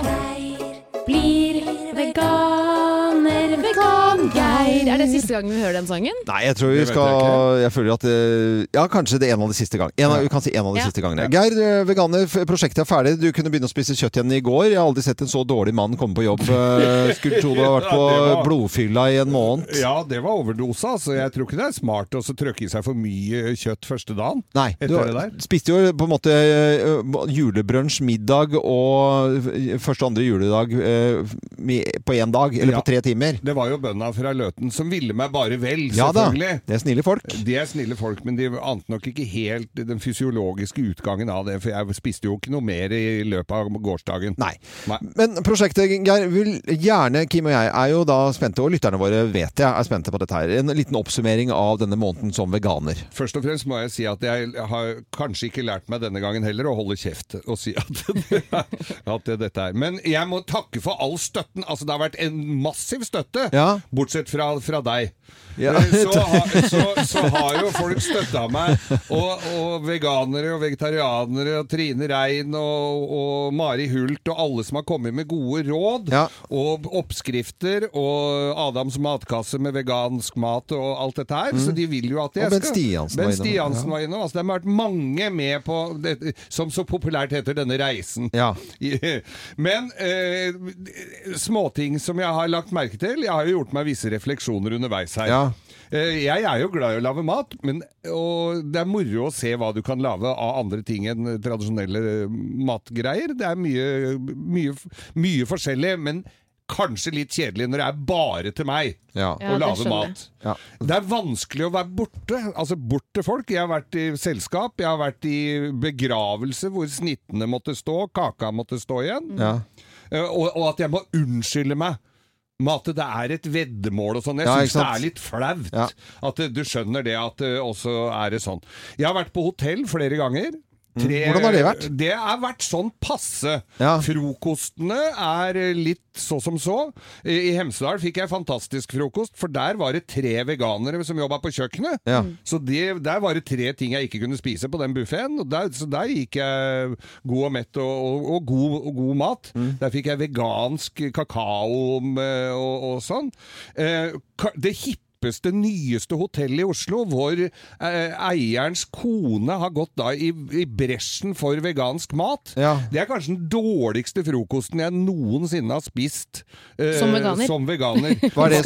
S2: Blir veganer, vegan-Geir. Er det siste gang vi hører den sangen?
S1: Nei, jeg tror vi
S3: Det vet jeg
S1: skal Jeg føler at eh, Ja, kanskje det er en av de siste gangene. En av, Vi kan si en av de
S2: Ja.
S1: siste gangene. Geir, eh, veganer, f- prosjektet er ferdig. Du kunne begynne å spise kjøtt igjen i går. Jeg har aldri sett en så dårlig mann komme på jobb. Eh, Skulle tro du har vært
S3: [laughs] Ja,
S1: på
S3: det var-
S1: blodfylla i en måned.
S3: Ja, det var overdose, altså. Jeg tror ikke det er smart å så trøkke i seg for mye kjøtt første dagen.
S1: Nei,
S3: Etter
S1: du
S3: det der.
S1: spiste jo på en måte eh, julebrunsj, middag og f- første og andre juledag eh, med- på én dag, eller
S3: Ja.
S1: på tre timer.
S3: Det var jo bøndene fra Løten som ville meg bare vel,
S1: Ja da,
S3: selvfølgelig.
S1: det er snille folk.
S3: De er snille folk, men de ante nok ikke helt den fysiologiske utgangen av det, for jeg spiste jo ikke noe mer i løpet av gårsdagen.
S1: Nei. Men prosjektet, Geir, vi vil gjerne, Kim og jeg er jo da spente, og lytterne våre vet jeg er spente på dette her. En liten oppsummering av denne måneden som veganer.
S3: Først og fremst må jeg si at jeg har kanskje ikke lært meg denne gangen heller å holde kjeft og si at, [laughs] at det er dette er. Men jeg må takke for all støtten. Altså, det har vært en massiv støtte, bortsett fra, fra deg.
S1: Ja.
S3: Eh, Så, har, så, så har jo folk støtta meg, og, og veganere og vegetarianere og Trine Rein og, og Mari Hult og alle som har kommet med gode råd og oppskrifter og Adams matkasse med vegansk mat og alt dette her. Så de vil jo at jeg
S1: Og Bent
S3: skal-
S1: Stiansen var
S3: Bent
S1: innom.
S3: Stiansen
S1: Ja.
S3: var innom. Altså, det har vært mange med på det, som så populært heter 'Denne reisen'. [laughs] Men eh, småting som jeg har lagt merke til Jeg har jo gjort meg visse refleksjoner underveis her. Eh, Jeg er jo glad i å lage mat, men, og det er moro å se hva du kan lage av andre ting enn tradisjonelle eh, matgreier. Det er mye, mye, mye forskjellig, men kanskje litt kjedelig når det er bare til meg
S1: Ja.
S3: å
S1: Ja, det
S3: lage
S1: skjønner jeg.
S3: mat. Det er vanskelig å være borte. Altså bort til folk. Jeg har vært i selskap, jeg har vært i begravelse hvor snittene måtte stå, kaka måtte stå igjen.
S1: Ja.
S3: Eh, Og, og at jeg må unnskylde meg. Mate, det er et veddemål og sånn. Jeg
S1: Ja,
S3: syns
S1: ikke
S3: det
S1: sant?
S3: er litt flaut at eh, du skjønner det at eh, også er det sånn. Jeg har vært på hotell flere ganger. Tre-
S1: Mm. Hvordan har det vært?
S3: Det har vært sånn passe.
S1: Ja.
S3: Frokostene er eh, litt så som så. I i Hemsedal fikk jeg fantastisk frokost, for der var det tre veganere som jobba på kjøkkenet.
S1: Ja.
S3: Så det, der var det tre ting jeg ikke kunne spise på den buffeen. Så der gikk jeg god og mett og, og, og, god, og god mat.
S1: Mm.
S3: Der fikk jeg vegansk kakao med, og, og sånn. Eh, ka- det hippeste, nyeste hotellet i Oslo, hvor eh, eierens kone har gått da i, i bresjen for vegansk mat. Det er kanskje den dårligste frokosten jeg noensinne har spist eh,
S1: Som veganer.
S3: Som
S1: [laughs]
S3: veganer.
S1: Var det,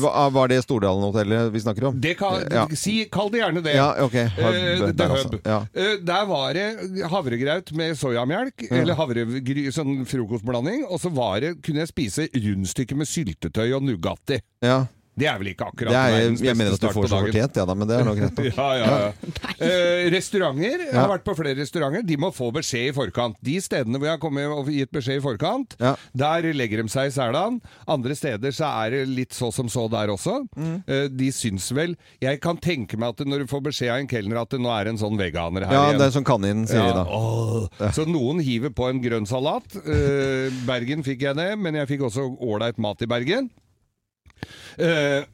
S1: hva- var det Stordalen-hotellet vi snakker om?
S3: Det kan,
S1: Ja.
S3: si, kall det gjerne det.
S1: Ja, ok. Hub
S3: Eh,
S1: der
S3: the Hub.
S1: altså. Ja.
S3: Eh, der var det havregraut med soyamelk,
S1: Ja.
S3: eller havregry, sånn frokostblanding, og så var det, kunne jeg spise rundstykker med syltetøy og Nugatti.
S1: Ja.
S3: Det er vel ikke
S1: Det
S3: akkurat
S1: er,
S3: verdens
S1: jeg
S3: beste
S1: mener at du
S3: start
S1: får
S3: på
S1: så
S3: dagen.
S1: fortjent, ja da, men det er nok
S3: [laughs]
S1: greit. da.
S3: Ja, ja, ja. Eh, restauranter. Jeg har
S1: Ja.
S3: vært på flere restauranter. De må få beskjed i forkant. De stedene hvor jeg har kommet og gitt beskjed i forkant, der legger de seg i selen. Andre steder så er det litt så som så der også.
S1: Mm.
S3: Eh, de syns vel Jeg kan tenke meg at når du får beskjed av en kelner at det nå er en sånn veganer her
S1: Ja,
S3: igjen.
S1: det er sånn kaninen, sier de da.
S3: åh. Så noen hiver på en grønn salat. Eh, Bergen fikk jeg det, men jeg fikk også ålreit mat i Bergen. Eh,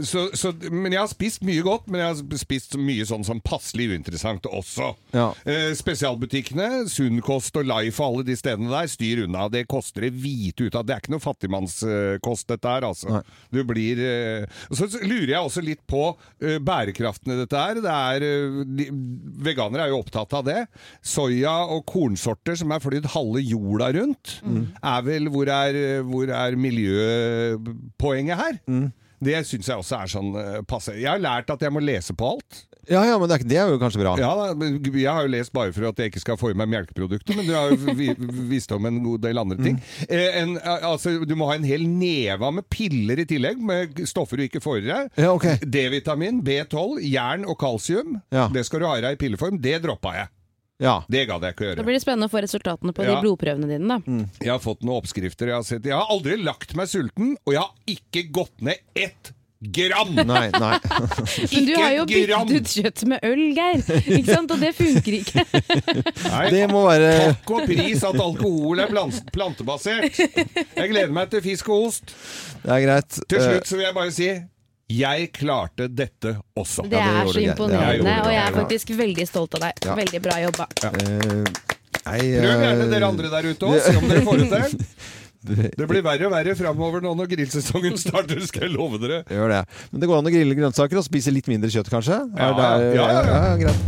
S3: så, så, men jeg har spist mye godt, men jeg har spist mye sånn som passelig uinteressant også.
S1: Ja.
S3: Eh, spesialbutikkene, Sunnkost og Life og alle de stedene der, styr unna. Det koster det hvite ut av. Det er ikke noe fattigmannskost, dette her, altså. Du blir eh, Så lurer jeg også litt på eh, bærekraften i dette her. Det er, eh, de, veganere er jo opptatt av det. Soya og kornsorter som er flydd halve jorda rundt, er vel hvor er, hvor er miljøpoenget her? Det syns jeg også er sånn eh, passe. Jeg har lært at jeg må lese på alt.
S1: Ja, ja, men det er, ikke- det er jo kanskje bra.
S3: Ja, da, men jeg har jo lest bare for at jeg ikke skal få i meg melkeprodukter, men du har jo vi- visst om en god del andre ting. Eh, en, altså, du må ha en hel neve med piller i tillegg, med stoffer du ikke får i deg.
S1: Ja, ok.
S3: D-vitamin, B12, jern og kalsium.
S1: Ja.
S3: Det skal du ha i deg i pilleform. Det droppa jeg. Det gadd jeg ikke
S2: Da
S3: gjøre.
S2: blir det spennende å få resultatene på
S3: Ja.
S2: de blodprøvene dine, da.
S3: Jeg har fått noen oppskrifter. Jeg har, sett. jeg har aldri lagt meg sulten, og jeg har ikke gått ned ett gram!
S2: Nei,
S3: [laughs]
S2: nei. Men du
S3: Ikke
S2: har jo
S3: et gram!
S2: byttet ut kjøtt med øl, Geir. Ikke sant? Og det funker ikke.
S1: Det må være
S3: Takk og pris at alkohol er plans- plantebasert. Jeg gleder meg til fisk og ost.
S1: Det er greit.
S3: Til
S1: Eh,
S3: slutt så vil jeg bare si jeg klarte dette også.
S2: Det er så imponerende, og jeg er faktisk veldig stolt av deg.
S3: Ja.
S2: Veldig bra jobba.
S1: Eh,
S3: Prøv gjerne dere andre der ute òg, se om dere får det til.
S1: [laughs]
S3: Det blir verre og verre framover nå når grillsesongen [laughs] starter, skal jeg love dere.
S1: Gjør det. Men det går an å grille grønnsaker og spise litt mindre kjøtt, kanskje?
S3: Ja,
S1: Er det-
S3: ja, ja, ja.
S1: greit.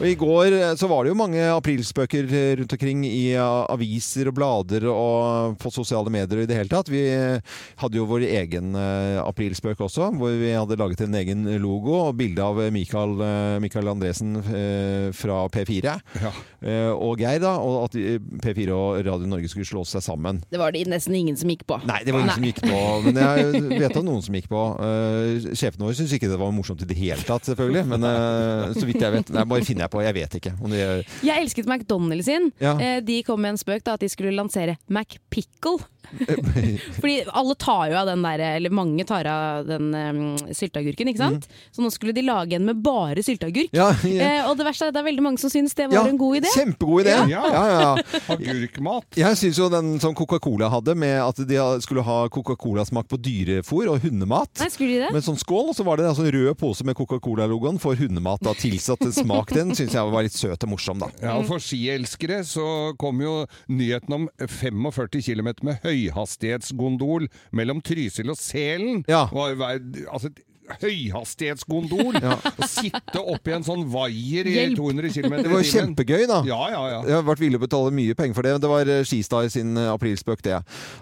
S1: Og I går eh, så var det jo mange aprilspøker eh, rundt omkring i eh, aviser og blader og eh, på sosiale medier og i det hele tatt. Vi eh, hadde jo vår egen eh, aprilspøk også, hvor vi hadde laget en egen logo og bilde av eh, Michael, eh, Michael Andresen eh, fra P4 Eh, og Geir, da. Og at eh, P4 og Radio Norge skulle slå seg sammen.
S2: Det var det nesten ingen som gikk på.
S1: Nei, det var ingen som gikk på. Men jeg vet om noen som gikk på. Uh, sjefene våre syntes ikke det var morsomt i det hele tatt, selvfølgelig. Men eh, så vidt jeg vet. Nei, bare finner jeg på. Jeg vet ikke. Om det,
S2: Jeg elsket McDonald's sin.
S1: Ja.
S2: Eh, De kom med en spøk da at de skulle lansere McPickle. Fordi alle tar jo av den der, eller mange tar av den eh, sylteagurken, ikke sant? Så nå skulle de lage en med bare sylteagurk.
S1: Ja, ja.
S2: Eh, og det verste er at det er veldig mange som syns det var
S1: Ja,
S2: en god idé.
S1: Kjempegod idé!
S2: Ja.
S3: Agurkmat.
S1: Jeg syns jo den som Coca-Cola hadde, med at de skulle ha Coca-Cola-smak på dyrefôr og hundemat.
S2: Nei, skulle de det?
S1: Med sånn skål, og så var det en sånn rød pose med Coca-Cola-logoen for hundemat. da, Tilsatt en smak Den syns jeg var litt søt og morsom, da.
S3: Ja, og For skielskere så kom jo nyheten om 45 km med høyhastighetsgondol mellom Trysil og Selen. Var, var, altså, et høyhastighetsgondol!
S1: Ja.
S3: Å sitte oppi en sånn vaier i
S1: Hjelp.
S3: 200 km i
S1: Det var jo
S3: timen.
S1: kjempegøy, da.
S3: Ja, ja, ja.
S1: Jeg har vært villig til å betale mye penger for det. men Det var eh, Skistar sin eh, aprilspøk, det.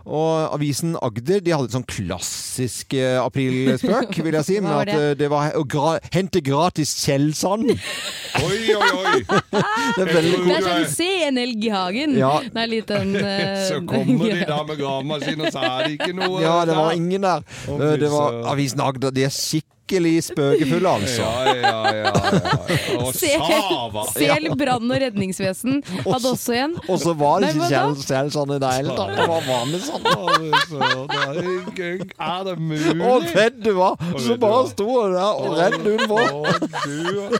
S1: Og avisen Agder de hadde et sånn klassisk eh,
S3: [laughs]
S1: aprilspøk, vil jeg si.
S3: Hva
S1: Men
S3: var
S1: at
S3: det?
S1: eh, det var å gra hente gratis
S3: [laughs]
S1: skjellsand.
S3: Oi, oi, oi!
S1: Det er veldig
S2: Det er sånn se en elg i hagen.
S1: Ja.
S2: Det er litt en eh,
S3: Så kommer
S2: [laughs]
S3: de da med gravemaskin, og så er det ikke noe
S1: Ja, det var ingen der.
S3: Å,
S1: Eh, Det
S3: fy
S1: var
S3: søren.
S1: avisen Agder. De er skikkelig spøkefulle, altså.
S3: Ja, ja, ja. ja. Og
S2: [laughs] Se-
S3: sava!
S2: Sel brann- og redningsvesen hadde også en.
S1: Og så var det
S2: Nei,
S1: ikke
S2: hva da?
S1: skjell- skjellsand i det hele tatt. Det var vanlig sånn. sand.
S3: Er det mulig?
S1: Å, redd du var! Så bare sto du der og redd hun var.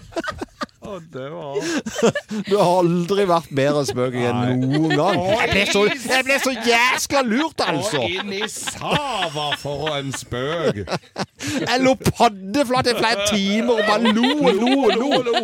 S1: Du har aldri vært bedre spøk enn noen gang. Jeg ble så, jeg ble så jæskla lurt, altså!
S3: Og inn i sava for en spøk!
S1: Jeg lå paddeflat i flere timer og bare lo og lo og lo.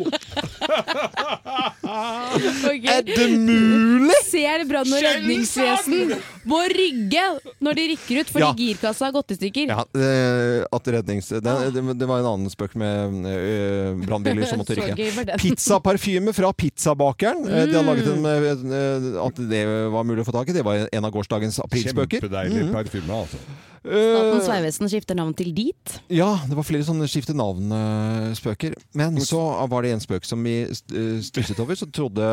S2: Ok.
S1: Er det mulig?
S2: Ser brann- og redningsvesen må rygge når de rykker ut fordi
S1: Ja.
S2: girkassa har gått i stykker.
S1: Ja, eh, at rednings... Det,
S2: Ah.
S1: det, det var en annen spøk med øh,
S2: [laughs]
S1: brannbiler som måtte
S2: Så gøy var
S1: rykke.
S2: den.
S1: Pizzaparfyme fra pizzabakeren. Eh, De hadde
S2: Mm.
S1: laget en, eh, eh, at det var mulig å få tak i. Det var en av gårsdagens aprilspøker.
S3: Kjempedeilig
S1: Mhm.
S3: parfyme, altså.
S2: Statens vegvesen skifter navn til Dit.
S1: Ja, det var flere sånne skifte navn-spøker. Men så var det en spøk som vi st- eh, stusset over, så trodde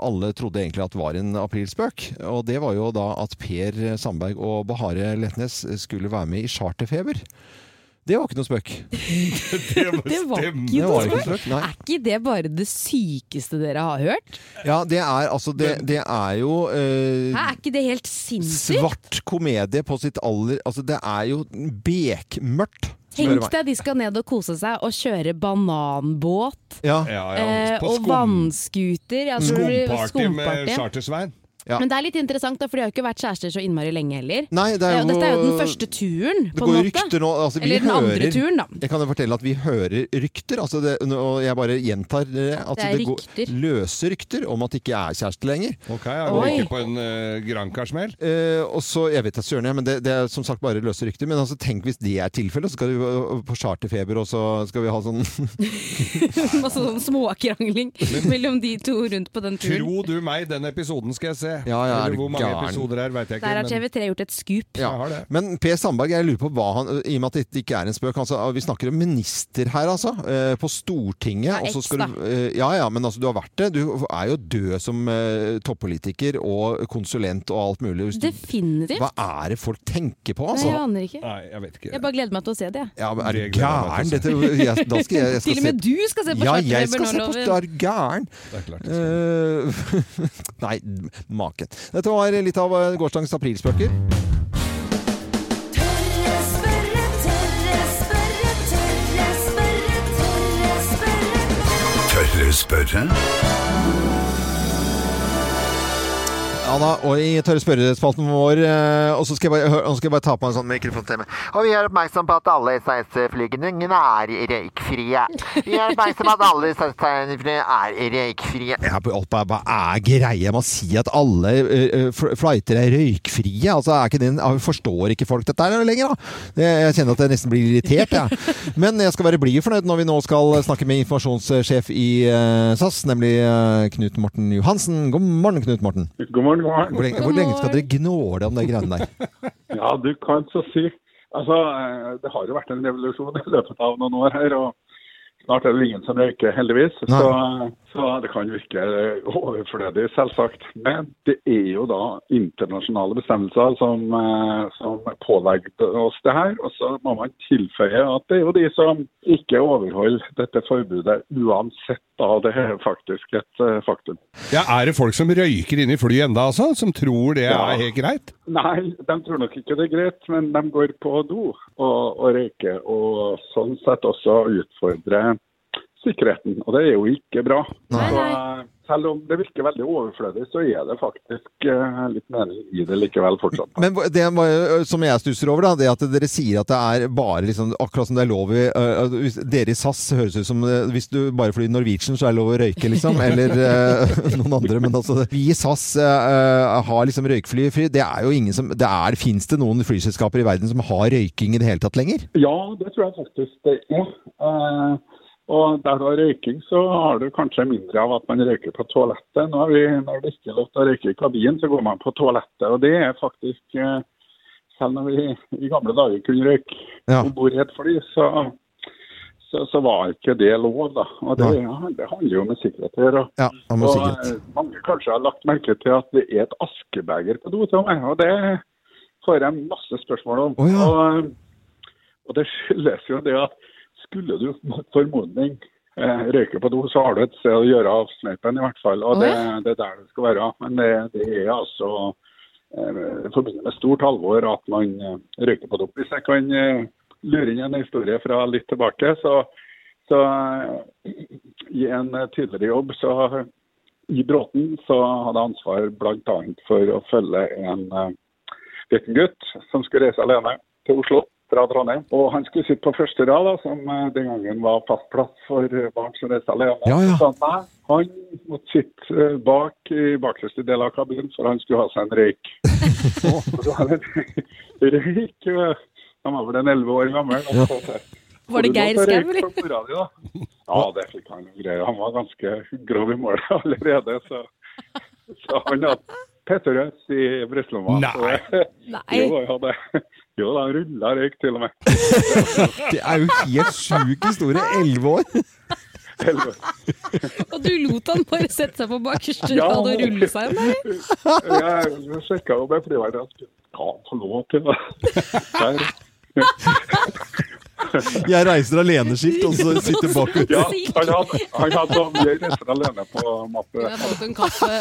S1: alle trodde egentlig at det var en aprilspøk. Og det var jo da at Per Sandberg og Bahare Letnes skulle være med i Charterfeber. Det var ikke noe spøk.
S2: Det var ikke
S1: Det var
S2: noe
S1: ikke
S2: spøk.
S1: spøk, nei.
S2: Er ikke det bare det sykeste dere har hørt?
S1: Ja, det er altså Det, det er jo eh,
S2: Hæ, er ikke det helt sinnssykt?
S1: svart komedie på sitt aller Altså, det er jo bekmørkt. spør du
S2: Tenk
S1: meg.
S2: deg de skal ned og kose seg og kjøre bananbåt
S1: Ja.
S2: eh, og vannskuter. Altså,
S3: Skumparty med
S2: skumparty.
S3: Chartersvein.
S2: Men det er litt interessant, da, for de har jo ikke vært kjærester så innmari lenge heller.
S1: Nei, det er
S2: Eh, og
S1: jo-
S2: Dette er jo den første turen,
S1: Det
S2: på
S1: går
S2: en
S1: jo
S2: måte. [laughs]
S1: rykter nå. Altså, vi
S2: Eller den
S1: hører,
S2: andre turen, da.
S1: Jeg kan jo fortelle at vi hører rykter. Altså det, og jeg bare gjentar det. At
S2: Det
S1: det,
S2: er
S1: går
S2: rykter.
S1: løse rykter om at det ikke er kjæreste lenger.
S3: Ok, jeg går ikke på en uh, Granca-smell.
S1: Eh, og så, jeg vet at søren jeg, men det, det er som sagt bare løse rykter. Men altså, tenk hvis det er tilfellet, så skal vi øh, på charterfeber, og så skal vi ha sånn
S2: Masse sånn Altså, småkrangling mellom de to rundt på den turen.
S3: Tro du meg, den episoden skal jeg se.
S12: det.
S1: Ja, ja, er
S12: Eller
S1: du
S12: hvor mange
S1: gæren?
S12: episoder her, vet jeg ikke.
S6: Der har
S12: men-
S6: TV3 gjort et skup.
S1: Ja. Men Per Sandberg, jeg lurer på hva han I og med at dette ikke er en spøk altså, Vi snakker om minister her, altså. eh, På Stortinget.
S6: Ja,
S1: og så
S6: eks,
S1: skal du, eh, ja, ja, men altså, du har vært det. Du er jo død som eh, toppolitiker og konsulent og alt mulig. Hvis du-
S6: Definitivt.
S1: Hva er det folk tenker på, altså?
S6: Nei, jeg aner ikke.
S1: Nei, jeg vet
S6: Jeg bare gleder meg til å se det. jeg.
S1: Ja, men er du
S12: Det gleder jeg meg
S1: gæren?
S12: til å
S1: Dette,
S12: se.
S1: jeg, da skal jeg, jeg
S6: [laughs]
S1: skal
S6: Til og med
S1: se-
S6: du skal se på
S1: Ja,
S6: Charter
S1: jeg skal se på
S6: Bernardoven.
S1: Star Gæren. Eh, [laughs] nei, maken. Dette var litt av eh, gårsdagens aprilspøker.
S5: Tørre spørre?
S1: Ja da, og i tørre spørrespalten vår eh, Og så skal jeg bare, hør- og så skal jeg bare ta på meg en sånn mikrofontemme. Og vi er oppmerksom på at alle SAS-flygninger er røykfrie. Vi er oppmerksom på at alle SAS-flygninger er røykfrie. Ja, på- opp- Hva er greia med å si at alle eh, fl- flighter er røykfrie? Altså, er ikke det, en- ah, Forstår ikke folk dette her lenger, da? Det, jeg kjenner at jeg nesten blir irritert, jeg. [laughs] Men jeg skal være blid og fornøyd når vi nå skal snakke med informasjonssjef i eh, SAS, nemlig eh, Knut Morten Johansen. God morgen, Knut Morten.
S13: God morgen, god morgen.
S1: Hvor lenge, hvor lenge skal dere gnåle om de greiene der?
S13: Ja, du kan så si. Altså, eh, det har jo vært en revolusjon i løpet av noen år her, og snart er det vel ingen som røyker, heldigvis. Så, så det kan virke overflødig, selvsagt. Men det er jo da internasjonale bestemmelser som, eh, som pålegger oss det her. Og så må man tilføye at det er jo de som ikke overholder dette forbudet, uansett da. Det er faktisk et eh, faktum.
S12: Ja, Er det folk som røyker inne i flyet enda, altså? Som tror det
S13: Ja.
S12: er helt greit?
S13: Nei, de tror nok ikke det er greit, men de går på do og, og røyker. Og sånn sett også utfordrer sikkerheten, og det er jo ikke bra. Så, eh, selv om det virker veldig overflødig, så er det faktisk eh, litt mening i det likevel fortsatt.
S1: Men hvor- det var jo- eh, som jeg stusser over, da, det at dere sier at det er bare liksom, akkurat som det er lov i øh, øh, hvis, Dere i SAS høres ut som øh, hvis du bare flyr Norwegian, så er det lov å røyke, liksom. Eller øh, [laughs] noen andre. Men altså, vi i SAS øh, øh, har liksom røykfly. fly. Det er jo ingen som det er, Fins det noen flyselskaper i verden som har røyking i det hele tatt lenger?
S13: Ja, det tror jeg faktisk det er. Eh, og der du har røyking, så har du kanskje mindre av at man røyker på toalettet. Nå har vi, når det ikke er lov til å røyke i kabinen, så går man på toalettet. Og det er faktisk eh, Selv når vi i gamle dager kunne røyke
S1: Ja.
S13: om bord i et fly, så, så, så var ikke det lov, da. Og det,
S1: Nei.
S13: ja, det handler jo om sikkerhet å gjøre.
S1: Ja, om
S13: og
S1: sikkerhet.
S13: eh, mange kanskje har lagt merke til at det er et askebeger på do til meg, og det får jeg masse spørsmål om. og, eh, og det skyldes jo det at skulle du mot formodning eh, røyke på do, så har du et sted å gjøre av sneipen i hvert fall. Og det, det er der det skal være. Men det, det er altså eh, forbundet med stort alvor at man eh, røyker på do. Hvis jeg kan eh, lure inn en historie fra litt tilbake, så, så eh, i en eh, tidligere jobb så i Bråten så hadde jeg ansvar bl.a. for å følge en eh, liten gutt som skulle reise alene til Oslo fra Trondheim. Og han skulle sitte på første rad, da, som eh, den gangen var fast plass for eh, barn som reiste alene.
S14: Ja, ja.
S13: Så nei, han måtte sitte eh, bak i bakerste del av kabinen, for han skulle ha seg en røyk. Og så var det en røyk eh, Han var vel en elleve år gammel. og så-
S6: Var det
S13: Og du
S6: Geir
S13: lå til å
S6: Skau,
S13: røyke
S6: eller?
S13: på mora di, da. Ja, det fikk han greier. Han var ganske grov i målet allerede, så, så han hadde Petterøes i brystlomma.
S12: Nei.
S13: Så,
S6: Nei.
S13: Jo, han hadde, jo da, han rulla røyk til og med.
S1: Det er jo helt sjuk historie. Elleve år!
S6: Og du lot han bare sette seg på bakerste
S13: Ja.
S6: rad og rulle seg inn der?
S13: Jeg sjekka jo med flyverden at skal han få lov til det? Der.
S1: Jeg reiser aleneskilt, og så sitter bakut.
S13: Ja, han hadde, han hadde sånn, jeg reiser alene på mappe.
S6: Fått en kaffe.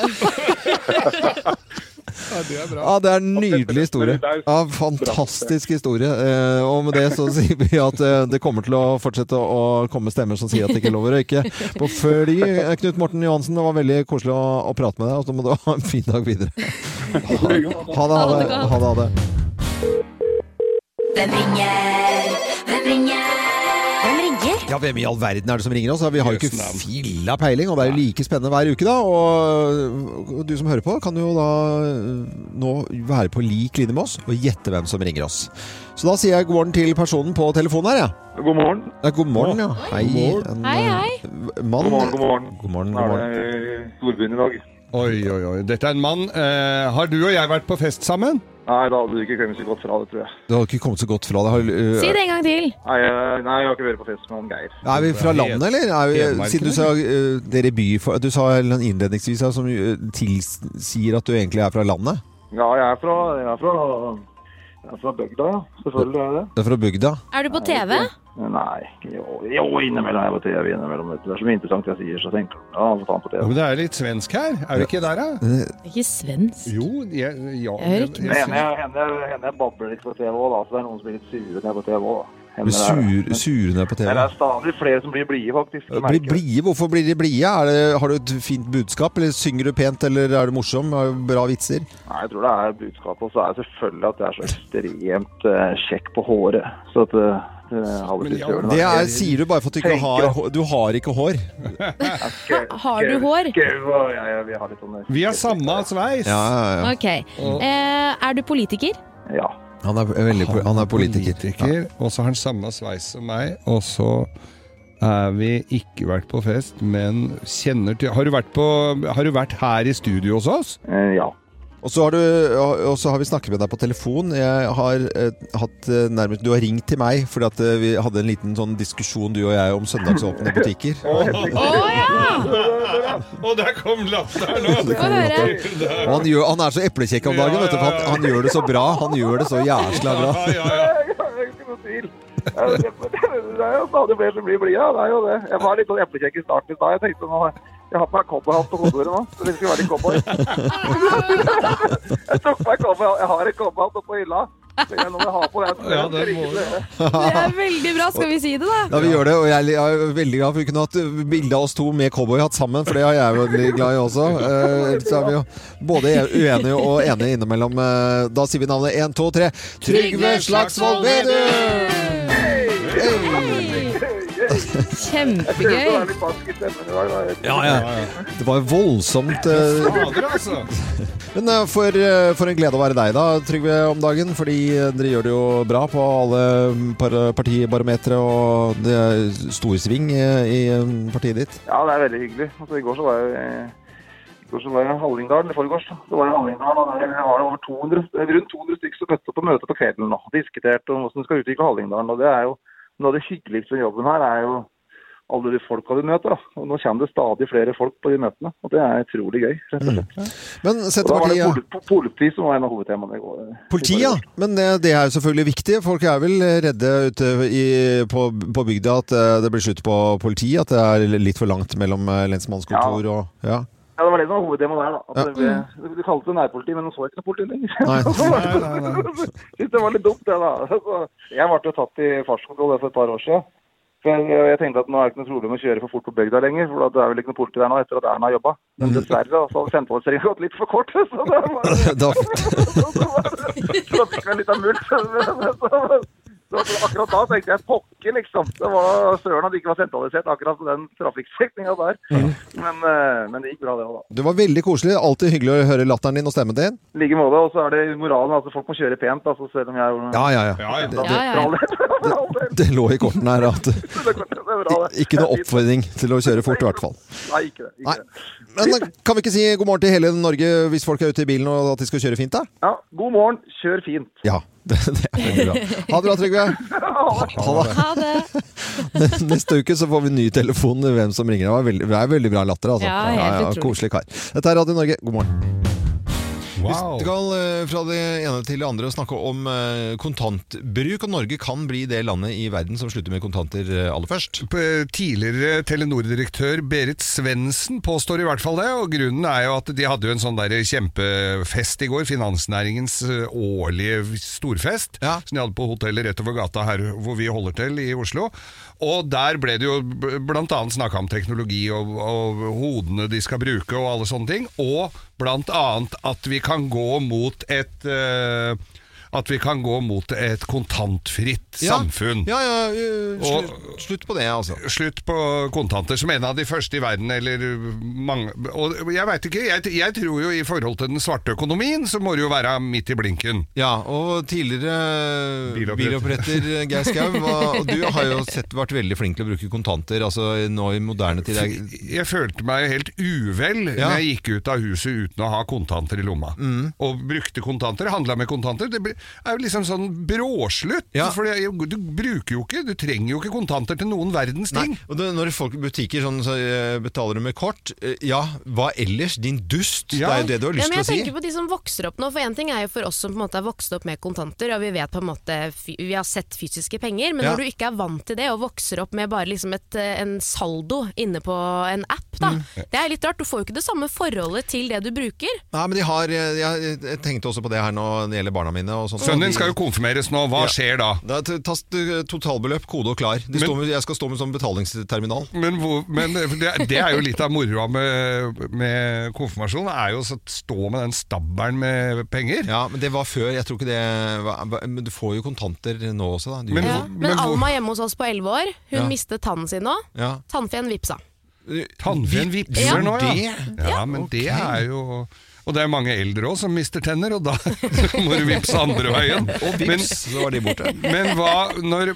S13: det er
S1: Ja, det er en nydelig historie. Ja, fantastisk historie. Eh, Og med det så [laughs] sier vi at eh, det kommer til å fortsette å komme stemmer som sier at det ikke er lov å røyke på fly. Eh, Knut Morten Johansen, det var veldig koselig å, å prate med deg, og så må du ha en fin dag videre. Ha, ha det, ha det. Ha det, ha det.
S15: Hvem ringer? Hvem ringer? Hvem ringer?
S1: Ja, hvem i all verden er det som ringer oss? Vi har jo ikke filla peiling, og det er jo like spennende hver uke, da. Og du som hører på, kan jo da eh, nå være på lik linje med oss og gjette hvem som ringer oss. Så da sier jeg god morgen til personen på telefonen her, jeg. Ja.
S16: God morgen.
S1: Ja, god morgen, ja. Hei.
S16: God morgen.
S1: En,
S16: Hei, hei.
S1: eh, Mann.
S16: God morgen, god morgen.
S1: God morgen,
S16: Nå
S1: god
S16: er
S1: morgen.
S16: det storbyen i dag.
S3: Oi, oi, oi. Dette er en mann. Eh, har du og jeg vært på fest sammen?
S14: Nei, da hadde du ikke kommet så godt fra det, tror jeg.
S1: Du har ikke kommet så godt fra det. Har, øh,
S6: Si det en gang til.
S14: Nei, eh, nei jeg har ikke vært på fest med han Geir.
S1: Er vi fra landet, eller? Er vi,
S14: Hedmarken,
S1: siden du sa øh, dere byfolk Du sa innledningsvis her, som øh, tilsier at du egentlig er fra landet?
S14: Ja, jeg er fra, jeg er fra, jeg er fra bygda, ja. Selvfølgelig er jeg det.
S1: Du er fra bygda?
S6: Er du på TV?
S14: Nei, jo, jo innimellom er jeg på TV. innimellom. vet du. Det er så mye interessant jeg sier, så tenker jeg ja, få ta han på TV.
S3: Ja, men det er litt svensk her. Er vi ikke der, da?
S6: Ikke svensk.
S3: Jo, jeg, ja,
S14: Jeg hører ikke Men henne, henne, henne babler litt på TV òg, da. Så det er noen som blir litt sure når jeg er på TV òg, da.
S1: Du
S14: Henne der.
S1: sur, surer ned på TV?
S14: Men det er stadig flere som blir blide, faktisk. det
S1: Blir
S14: merker jeg.
S1: blide? Hvorfor blir de blide? Er det, har du et fint budskap? Eller synger du pent, eller er du morsom? Har du bra vitser?
S14: Nei, jeg tror det er budskapet. Og så er det selvfølgelig at det er så ekstremt eh, kjekk på håret. Så at eh, det har vi lyst til å gjøre
S1: Det er, sier du bare for at du ikke har hår. Du har ikke hår.
S6: Har du hår?
S14: ja, ja, vi har litt sånn
S3: Vi har samme sveis.
S1: Ja, ja, ja.
S6: Ok. Eh, er du politiker?
S14: Ja.
S1: Han er, veldig, po- han er politiker.
S3: Og så har han samme sveis som meg, og så er vi ikke vært på fest, men kjenner til Har du vært, på, har du vært her i studio hos oss?
S14: Eh, ja.
S1: Og så har, du, og så har vi snakket med deg på telefon. Jeg har eh, hatt eh, nærmest Du har ringt til meg fordi at eh, vi hadde en liten sånn diskusjon du og jeg om søndagsåpne
S14: [laughs]
S1: butikker.
S3: ja! Og der kom latteren nå!
S1: Få høre. Og han, gjør, han er så eplekjekk om dagen, vet du, for han, han gjør det så bra. Han gjør det så jæsla bra.
S14: Det er jo stadig flere som blir blide. Det er jo det. Jeg var litt sånn eplekjekk i starten i stad. Jeg tenkte nå Jeg har på meg cowboyhatt på hodet nå. Så det skulle være litt cowboy. [laughs] Jeg tok meg cowboy. Jeg har en cowboyhatt oppå hylla. Så jeg nå må jeg ha på den.
S3: Ja, det må
S6: Det er veldig bra. Skal vi si det, da?
S1: Ja, vi gjør det, og jeg er veldig glad for vi kunne hatt bilde av oss to med cowboyhatt sammen, for det er jeg veldig glad i også. Eh, ellers er vi jo både e- uenige og enige innimellom. Eh, Da sier vi navnet 1, 2, 3. Trygve Slagsvold Vedum!
S14: Jeg
S6: Kjempegøy.
S14: litt barsk i stemmen i dag. da.
S1: Ja, ja. Det var voldsomt. eh.
S3: Fader, altså.
S1: Men eh, for, eh, for en glede å være deg da, Trygve, om dagen. Fordi eh, dere gjør det jo bra på alle mm, par- partibarometre, og det er stor sving eh, i eh, partiet ditt.
S14: Ja, det er veldig hyggelig. Altså, I går så var jeg eh, i går så var jeg i Hallingdal, i forgårs. da. Så var jeg i Hallingdal, og der var det over 200, eh, rundt 200 stykker som møtte opp på møte på kvelden og diskuterte om hvordan vi skal utvikle Hallingdalen. Og det er jo noe av det hyggeligste med jobben her, er jo alle de folka vi møter. da. Og nå kommer det stadig flere folk på de møtene, og det er utrolig gøy. rett og slett. Og
S1: Men
S14: da var det
S1: Senterpartiet
S14: poli- po- politi som var en av hovedtemaene i går.
S1: Politi, ja. Men eh, det, det er jo selvfølgelig viktig. Folk er vel eh, redde ute i, på, på bygda at eh, det blir slutt på politi, at det er litt for langt mellom eh, lensmannskontor og ja.
S14: Ja, det var det som var hovedtemaet der. da. At
S1: Ja.
S14: det, ble, det kalles det nærpoliti, men nå så jeg ikke noe politi lenger.
S1: Nei.
S14: [laughs] Synes det var litt dumt, det da. [laughs] Så Jeg ble jo tatt i fartskontroll for et par år siden. For jeg, jeg tenkte at nå er det ikke noe problem å kjøre for fort på bygda lenger, for det er vel ikke noe politi der nå etter at Erna har jobba. Men dessverre da, så hadde sentraliseringen gått litt for kort. [laughs] Så det var,
S1: Da,
S14: så da fikk vi en liten mult. [laughs] Så, så, så akkurat da tenkte jeg pokker, liksom. Det var søren at det ikke var sentralisert akkurat på den trafikkstrekninga der. Men, eh, men det gikk bra, det òg, da.
S1: det var veldig koselig. Alltid hyggelig å høre latteren din og stemmen din.
S14: I like måte. Og så er det moralen. altså Folk må kjøre pent, altså, selv om jeg er [laughs]
S1: Ja, ja, ja.
S14: Det,
S1: Det-
S14: det,
S1: Det lå i kortene her
S14: [laughs]
S1: at Ikke noe oppfordring til å kjøre fort, i hvert fall.
S14: Nei, ikke det. Ikke det.
S1: Men da kan vi ikke si god morgen til hele Norge hvis folk er ute i bilen og at de skal kjøre fint, da?
S14: Ja, god morgen. Kjør fint.
S1: Ja. [laughs] Det, det er veldig bra. Ha det bra, Trygve. Ha det.
S6: Ha det.
S1: Neste uke så får vi ny telefon hvem som ringer. Det, var veldig, det er veldig bra latter, altså.
S6: Ja, helt utrolig.
S1: koselig kar. Dette er Radio Norge, god morgen.
S3: Wow.
S1: Vi skal eh, fra det ene til det andre snakke om eh, kontantbruk. Og Norge kan bli det landet i verden som slutter med kontanter eh, aller først.
S3: P- Tidligere Telenor-direktør Berit Svendsen påstår i hvert fall det, og grunnen er jo at de hadde jo en sånn der kjempefest i går, finansnæringens eh, årlige storfest, som de hadde på hotellet rett over gata her hvor vi holder til i Oslo. Og der ble det jo b- blant annet snakka om teknologi og, og hodene de skal bruke og alle sånne ting, og blant annet at vi kan gå mot et eh, at vi kan gå mot et kontantfritt
S1: Ja.
S3: samfunn.
S1: Ja, ja, eh, slutt, slutt på det, altså.
S3: Slutt på kontanter, som en av de første i verden, eller mange Og jeg veit ikke, jeg, jeg tror jo i forhold til den svarte økonomien, så må det jo være midt i blinken.
S1: Ja, og tidligere biloppretter eh, Geir Skau, hva- du har jo sett, vært veldig flink til å bruke kontanter altså nå i moderne tid. er-
S3: Jeg følte meg helt uvel
S1: Ja. Mm.
S3: når jeg gikk ut av huset uten å ha kontanter i lomma. Og brukte kontanter, handla med kontanter. Det blir- er jo liksom sånn bråslutt. For det- du bruker jo ikke, du trenger jo ikke kontanter til noen verdens ting.
S1: Nei, og det, når folk i butikker sånn, så, eh, betaler du med kort, eh, ja, hva ellers? Din dust! Det er jo det du har
S2: ja,
S1: lyst
S2: men
S1: til
S2: jeg
S1: å si.
S2: tenker på de som vokser opp nå, for en ting er jo for oss som på en måte er vokst opp med kontanter, og vi vet på en måte, fy- vi har sett fysiske penger, men
S1: Ja.
S2: når du ikke er vant til det, og vokser opp med bare liksom et, eh, en saldo inne på en app,
S1: Mm.
S2: da, det er litt rart, du får jo ikke det samme forholdet til det du bruker.
S1: Nei, men de har, eh, jeg, jeg tenkte også på det her nå når det gjelder barna mine. Og sånt.
S3: Sønnen din skal jo konfirmeres nå, hva skjer da?
S1: Da t- tas eh, totalbeløp, kode og klar. De
S3: Men-
S1: står med, jeg skal stå med sånn betalingsterminal.
S3: Men, hvor, men det, det er jo litt av moroa med, med konfirmasjon, er jo å stå med den stabbelen med penger.
S1: Ja, men det var før. Jeg tror ikke det var, Men du får jo kontanter nå også, da. Du,
S3: Men
S2: Ja. Men, Alma hjemme hos oss på 11 år, hun
S1: Ja.
S2: mistet tannen sin nå.
S1: Ja.
S2: Tannfeen vipsa.
S3: Tannfeen
S2: Ja.
S3: vipser nå, ja.
S2: Ja.
S3: Ja, men det
S2: Ok.
S3: er jo og det er mange eldre òg som mister tenner, og da [laughs] må du vippse andre veien.
S1: [laughs] Og vips, så var de borte.
S3: Men hva, når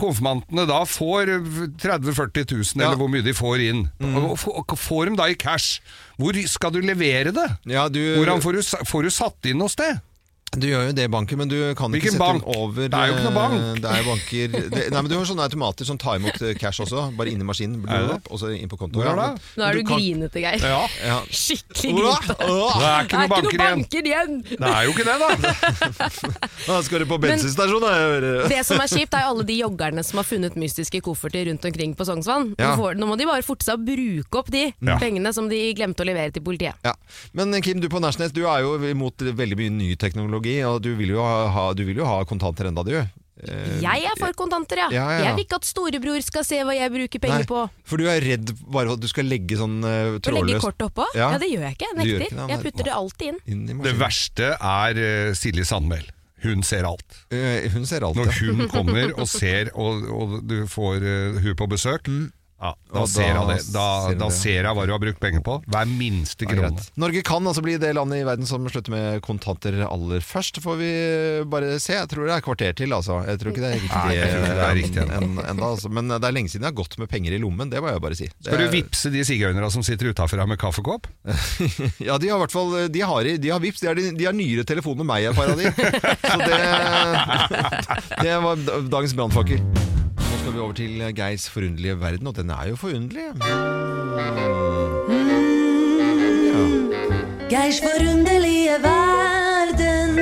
S3: konfirmantene da får 30 000-40 000, eller hvor mye de får inn,
S1: Mm.
S3: og få- og får dem da i cash, hvor skal du levere det? Hvordan får du, sa- får du satt inn noe sted?
S1: Du gjør jo det i banken, men du kan
S3: Hvilken
S1: ikke sette
S3: bank?
S1: den over
S3: Det er jo ikke noe bank.
S1: eh, Det er jo banker det, Nei, men Du har sånne automater som tar imot eh, cash også. Bare inn i maskinen, blå
S3: Er det?
S1: opp, og så inn på kontoen.
S3: Hvor er det?
S2: Nå er du grinete, Geir.
S1: Ja.
S2: [laughs]
S1: Ja.
S2: Skikkelig
S1: Ola,
S2: grinete.
S1: Ola.
S3: Det er ikke noe banker igjen.
S2: banker igjen.
S3: Det er jo ikke det, da!
S1: Da skal du på bensinstasjonen, da. jeg hører.
S2: Det som er kjipt, er jo alle de joggerne som har funnet mystiske kofferter rundt omkring på Sognsvann. Nå,
S1: Ja.
S2: får, nå må de bare forte seg å bruke opp de
S1: Ja.
S2: pengene som de glemte å levere til politiet.
S1: Ja. Men eh, Kim, du på Nashnes, du er jo imot veldig mye ny teknologi, og du vil jo ha, du vil jo ha kontanter enda, du. Eh,
S2: Jeg er for kontanter, ja.
S1: Ja, ja, ja.
S2: Jeg vil ikke at storebror skal se hva jeg bruker penger
S1: Nei,
S2: på.
S1: For du er redd bare for at du skal legge sånn uh,
S2: Å legge
S1: trådløst
S2: kortet oppå? Ja. det gjør jeg ikke. Jeg
S1: Du gjør
S2: nekter.
S1: ikke det,
S2: jeg
S1: nei.
S2: putter det alltid inn.
S3: Det verste er eh, Silje Sandmæl. Hun ser alt.
S1: Eh, hun ser alt,
S3: Når
S1: ja.
S3: hun kommer og ser, og, og du får uh, hun på besøk, ja, da,
S1: Og
S3: ser
S1: Mm. da
S3: hun det. Da
S1: ser hun
S3: ser, da
S1: det.
S3: ser hun hva du har brukt penger på. Hver minste krone.
S1: Norge kan altså bli det landet i verden som slutter med kontanter aller først, får vi bare se. Jeg tror det er et kvarter til, altså. Jeg tror ikke det er riktig,
S3: Nei, jeg tror ikke det er riktig
S1: en- en- enda, altså. Men det er lenge siden jeg har gått med penger i lommen, det må jeg bare si.
S3: Skal du vippse de sigøynerne som sitter utafor her med kaffekopp?
S1: Ja, de har i hvert fall De har, i- de har vips, de har, de har nyere telefon enn meg, et par av de. Så det,
S3: [laughs]
S1: det var da- dagens brannfakkel. Nå skal vi over til Geirs forunderlige verden, og den er jo forunderlig.
S6: Geirs forunderlige verden.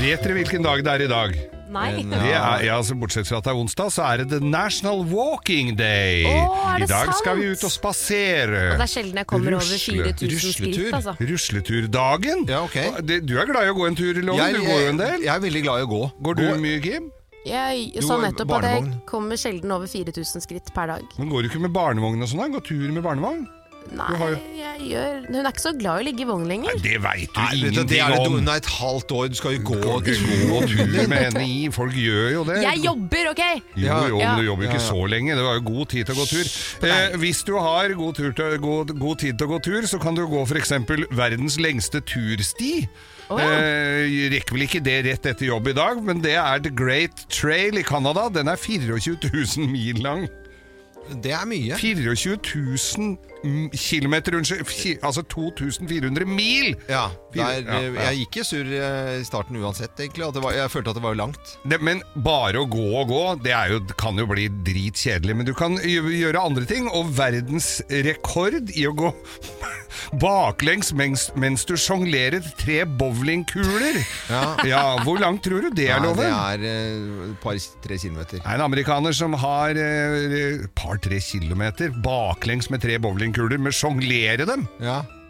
S3: Vet dere hvilken dag det er i dag?
S6: Nei.
S1: eh,
S3: Det er, ja, altså Bortsett fra at det er onsdag, så er det The National Walking Day.
S2: Å, er
S3: I
S2: det
S3: dag skal
S2: sant?
S3: vi ut og spasere.
S2: Og det er sjelden jeg kommer over 4000 skritt,
S3: Rusletur.
S2: altså.
S3: Rusleturdagen. Og det- Du er glad i å gå en tur, Loven.
S1: Jeg-
S3: Du går jo en del.
S1: Jeg er veldig glad i å gå.
S3: Går du mye, Kim?
S2: Jeg
S3: Du
S2: sa
S3: er
S2: nettopp at jeg
S3: barnevogn.
S2: kommer sjelden over 4000 skritt per dag.
S3: Men går du ikke med barnevogn og sånn? da? Går tur med barnevogn? Du har
S2: Nei,
S3: jo-
S2: jeg gjør Hun er ikke så glad i å ligge i vogn lenger.
S3: Det veit du
S1: Nei, det,
S3: ingenting
S1: det er det
S3: om.
S1: under et halvt år. Du skal jo gå og
S3: Gå tur med henne i. Folk gjør jo det.
S2: Jeg jobber, OK?
S1: Mm.
S3: Jo, jo, men du jobber
S1: Ja,
S3: ikke
S1: ja.
S3: så lenge. Det var jo god tid til å gå tur. Eh, hvis du har god, tur til, god, god tid til å gå tur, så kan du gå f.eks. verdens lengste tursti.
S6: Å, ja.
S3: eh, rekker vel ikke det rett etter jobb i dag, men det er The Great Trail i Canada. Den er 24 000 mil lang.
S1: Det er mye.
S3: 24 000 kilometer, unnskyld. fi- Altså 2400 mil!
S1: Ja,
S3: Fire-
S1: der,
S3: ja, ja.
S1: Jeg gikk i surr eh, i starten uansett, egentlig. At det var, jeg følte at det var jo langt.
S3: Det, men bare å gå og gå, det er jo, kan jo bli dritkjedelig. Men du kan gjø- gjøre andre ting, og verdensrekord i å gå [laughs] baklengs mens, mens du sjonglerer tre bowlingkuler. Ja.
S1: [laughs]
S3: hvor langt tror du det er,
S1: Nei,
S3: Loven?
S1: Det er eh, et par-tre kilometer.
S3: Det er en amerikaner som har et par-tre kilometer baklengs med tre bowlingkuler, med sjonglere dem.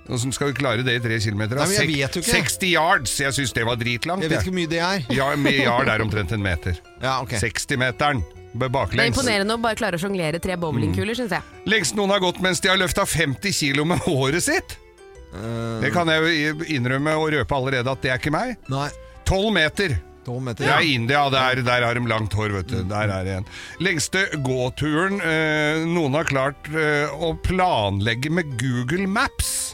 S3: Og som skal klare det i tre kilometer. da?
S1: Nei, men jeg
S3: Sek-
S1: vet jo ikke.
S3: 60 yards! Jeg syns det var dritlangt.
S1: Jeg vet ikke hvor mye det er.
S3: Ja, en milliard er omtrent en meter.
S1: Ja, ok.
S3: 60-meteren b-
S2: Det er
S3: baklengs.
S2: imponerende å bare klare å sjonglere tre bowlingkuler, syns jeg.
S3: Lengst noen har gått mens de har løfta 50 kilo med håret sitt.
S1: Eh,
S3: Det kan jeg jo innrømme og røpe allerede at det er ikke meg. Tolv meter. Det
S17: ja.
S3: er India, der, der har de langt hår, vet du. Der er det en. Lengste gåturen eh, noen har klart eh, å planlegge med Google Maps.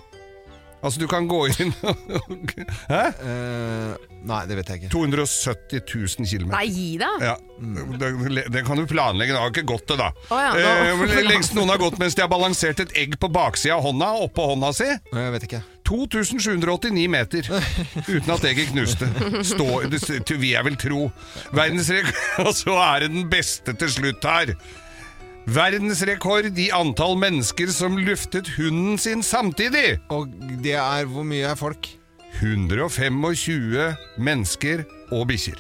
S3: Altså, du kan gå inn [laughs] og Hæ?
S1: Eh, nei, det vet jeg ikke.
S3: 270 000 km.
S2: Nei, gi deg!
S3: Ja, det, det kan du planlegge. Det har ikke gått det, da.
S2: Å ja,
S3: Eh,
S2: nå-
S3: vel, lengst noen har gått mens de har balansert et egg på baksida av hånda, oppå hånda si.
S1: Eh, Jeg vet ikke.
S3: 2789 meter uten at egget knuste. Stå, det, det vil jeg vel tro. Verdensrekord [laughs] Og så er det den beste til slutt her. Verdensrekord i antall mennesker som luftet hunden sin samtidig.
S1: Og det er Hvor mye er folk?
S3: 125 mennesker og bikkjer.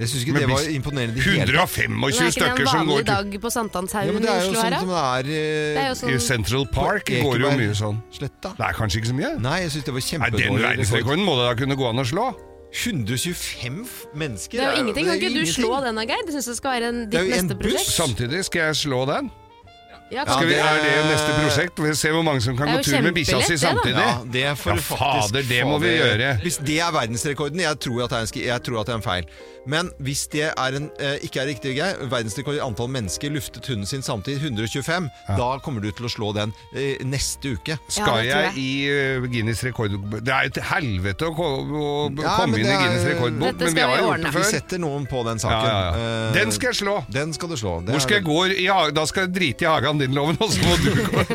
S1: Jeg syns ikke
S3: Men
S1: det var
S3: bikkjer-
S1: imponerende. i det hele tatt.
S3: 125
S2: det er ikke
S3: stykker
S2: det en
S3: som går
S2: vanlig
S3: tur.
S2: dag på
S1: Ja,
S2: Sankthanshaugen
S1: men
S2: i
S1: det er jo
S2: Oslo
S1: sånn
S2: her,
S1: som
S2: da?
S1: det er, eh,
S2: Det er jo sånn-
S3: I Central Park
S1: På
S3: går det jo
S1: Ekeberg
S3: mye sånn.
S1: Sletta.
S3: Det er kanskje ikke så mye?
S1: Nei, jeg syns det var
S3: Nei, den
S1: kjempedårlig. rekord.
S3: verdensrekorden må det da kunne gå an å slå.
S1: 125 mennesker?
S2: Det er jo ingenting. Kan
S1: det er
S2: ikke du
S1: ingenting.
S2: slå den da, Geir? Det syns jeg skal være en,
S3: Det
S2: ditt
S3: er jo en
S2: neste
S3: buss.
S2: prosjekt.
S3: Samtidig skal jeg slå den.
S2: Ja,
S3: Skal vi,
S2: kanskje.
S3: er det neste prosjekt? Vi ser hvor mange som kan
S2: Det er
S3: gå
S2: jo
S3: tur med bikkja si
S2: kjempelett, det, da.
S3: samtidig.
S1: Ja, det får
S3: Ja,
S1: du faktisk
S3: fader, det må vi
S1: fader-
S3: gjøre.
S1: Hvis det er verdensrekorden, jeg tror at det er en, sk- jeg tror at det er en feil. Men hvis det er en, eh, ikke er riktig, Geir, verdensrekord i antall mennesker luftet hunden sin samtidig, 125, da kommer du til å slå den eh, neste uke.
S3: Skal jeg i eh, Guinness rekordbok Det er jo til helvete å ko- å
S1: Ja, men
S3: komme inn i
S1: det er-
S3: Guinness rekordbok, men vi har jo gjort det
S1: Vi
S3: før.
S1: setter noen på den
S3: Ja,
S1: saken.
S3: ja, ja.
S1: Eh,
S3: Den skal jeg slå!
S1: Den skal du slå. Det
S3: Hvor
S1: er-
S3: skal jeg gå i hagen? Da skal jeg drite i hagen din, Loven, og så må du
S2: [laughs]
S3: gå.
S1: Det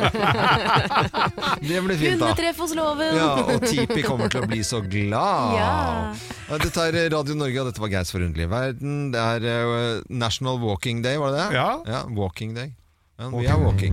S1: blir fint, da.
S2: Hundetreff hos loven!
S1: Ja, og Tipi kommer til å bli så glad.
S2: Ja.
S1: Ja, Dette er Radio Norge, og dette var Geirs forunderlige verden. Det er eh, National Walking Day, var det det?
S3: Ja.
S1: walking Day. Ja, vi er walking.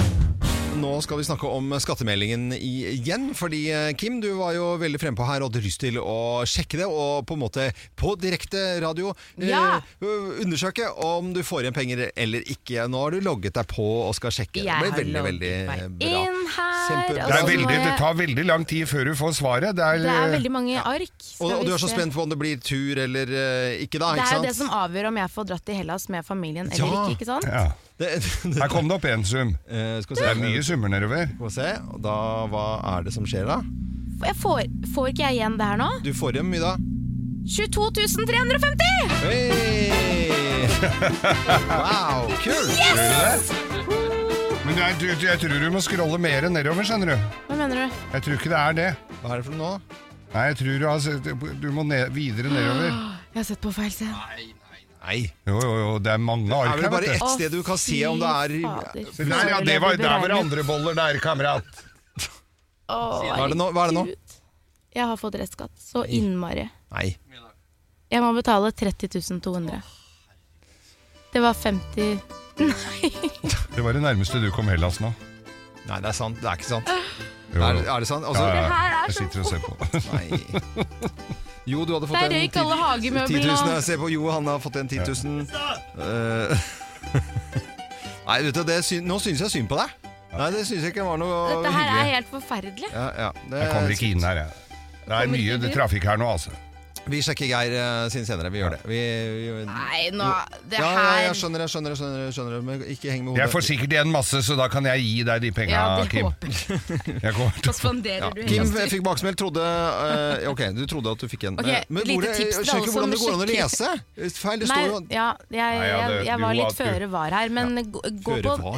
S1: Nå skal vi snakke om eh, skattemeldingen i- igjen, fordi eh, Kim, du var jo veldig frempå her og hadde lyst til å sjekke det, og på en måte på direkte radio eh,
S2: Ja.
S1: øh, undersøke om du får igjen penger eller ikke. Nå har du logget deg på og skal sjekke.
S2: Jeg
S1: det
S2: har
S1: blir veldig, veldig bra.
S2: Inn her! altså,
S1: Kjempe-
S2: og
S3: Det,
S2: så
S3: er
S2: må
S3: veldig, det
S2: jeg-
S3: tar veldig lang tid før du får svaret. Det er,
S2: Det er veldig mange ark. Skal
S1: Og, og
S2: vi
S1: du er så
S2: se.
S1: spent på om det blir tur eller eh, ikke, da.
S2: Det er jo
S1: ikke sant?
S2: det som avgjør om jeg får dratt til Hellas med familien eller
S1: Ja.
S2: ikke. ikke sant?
S3: eh, Ja.
S1: [laughs]
S3: Her kom det opp én sum.
S1: eh, skal vi se.
S3: Det er mye summer nedover.
S1: Skal vi se, og da hva er det som skjer da?
S2: F- Jeg får, får ikke jeg igjen det her nå?
S1: Du får igjen mye da.
S2: 22 350!
S1: Hey! Wow, kult!
S2: Yes!
S3: Men jeg, jeg, jeg tror du må scrolle mer nedover, skjønner du.
S2: Hva mener du?
S3: Jeg tror ikke det er det.
S1: Hva er det for noe nå?
S3: Nei, jeg tror du, har, sett- du må ned, videre nedover.
S2: Jeg har sett på feil sted.
S1: Nei.
S3: Jo, jo, jo, det er mange
S1: Er
S3: ark
S1: vel
S3: her,
S1: bare
S3: vet
S1: ett
S3: du.
S1: sted du kan se om det er
S2: Fy
S3: Nei, ja, det var, der var det andre boller der, kamerat.
S2: Åh,
S1: Hva er det nå? Hva er det nå?
S2: herregud. Jeg har fått restskatt. Så innmari.
S1: Nei.
S2: Jeg må betale 30 200. Det var 50
S3: Det var det nærmeste du kom Hellas nå.
S1: Nei, det er sant. Det er ikke sant.
S3: Jo, jo.
S1: Er, er det sant? Altså,
S3: Ja, ja,
S2: Det her er
S3: Jeg sitter og ser på.
S1: Nei. Jo, du hadde fått
S2: Der
S1: en
S2: røyk alle
S1: 10
S2: hagemøblene.
S1: 10 000. Jeg ser på Jo, han har fått en 10 000. Eh, [laughs] Nei, vet du, det syn, nå synes jeg synd på deg. Nei, det synes jeg ikke var noe
S2: Dette her er
S1: hyggelig.
S2: helt forferdelig.
S1: Ja, ja. Det-
S3: Jeg kommer ikke inn her, jeg. Det er mye det trafikk her nå, altså.
S1: Vi sjekker Geir eh, sin senere. Vi gjør det. Vi, vi,
S2: Nei, nå Det
S1: ja, ja, jeg
S2: her
S1: skjønner, jeg skjønner, jeg skjønner, jeg skjønner men ikke heng med hodet.
S3: Jeg får sikkert igjen masse, så da kan jeg gi deg de penga,
S2: Ja, det
S3: Kim.
S2: håper jeg.
S3: Jeg kommer til
S2: Da spanderer
S1: Ja.
S2: du
S1: Kim
S2: Hellas.
S1: fikk baksmell, trodde eh, Ok, du trodde at du fikk en.
S2: Ok,
S1: Eh,
S2: et lite
S1: hvordan-
S2: tips til
S1: jeg
S2: alle
S1: skjønner ikke hvordan det
S2: som
S1: går an å lese.
S2: sjekker.
S1: Feil, det
S2: Nei,
S1: står jo
S2: ja, jeg,
S1: Nei, ja,
S2: jeg,
S1: det-
S2: jeg
S1: du
S2: var
S1: var-
S2: litt føre var her, men gå, gå
S1: Føre
S2: på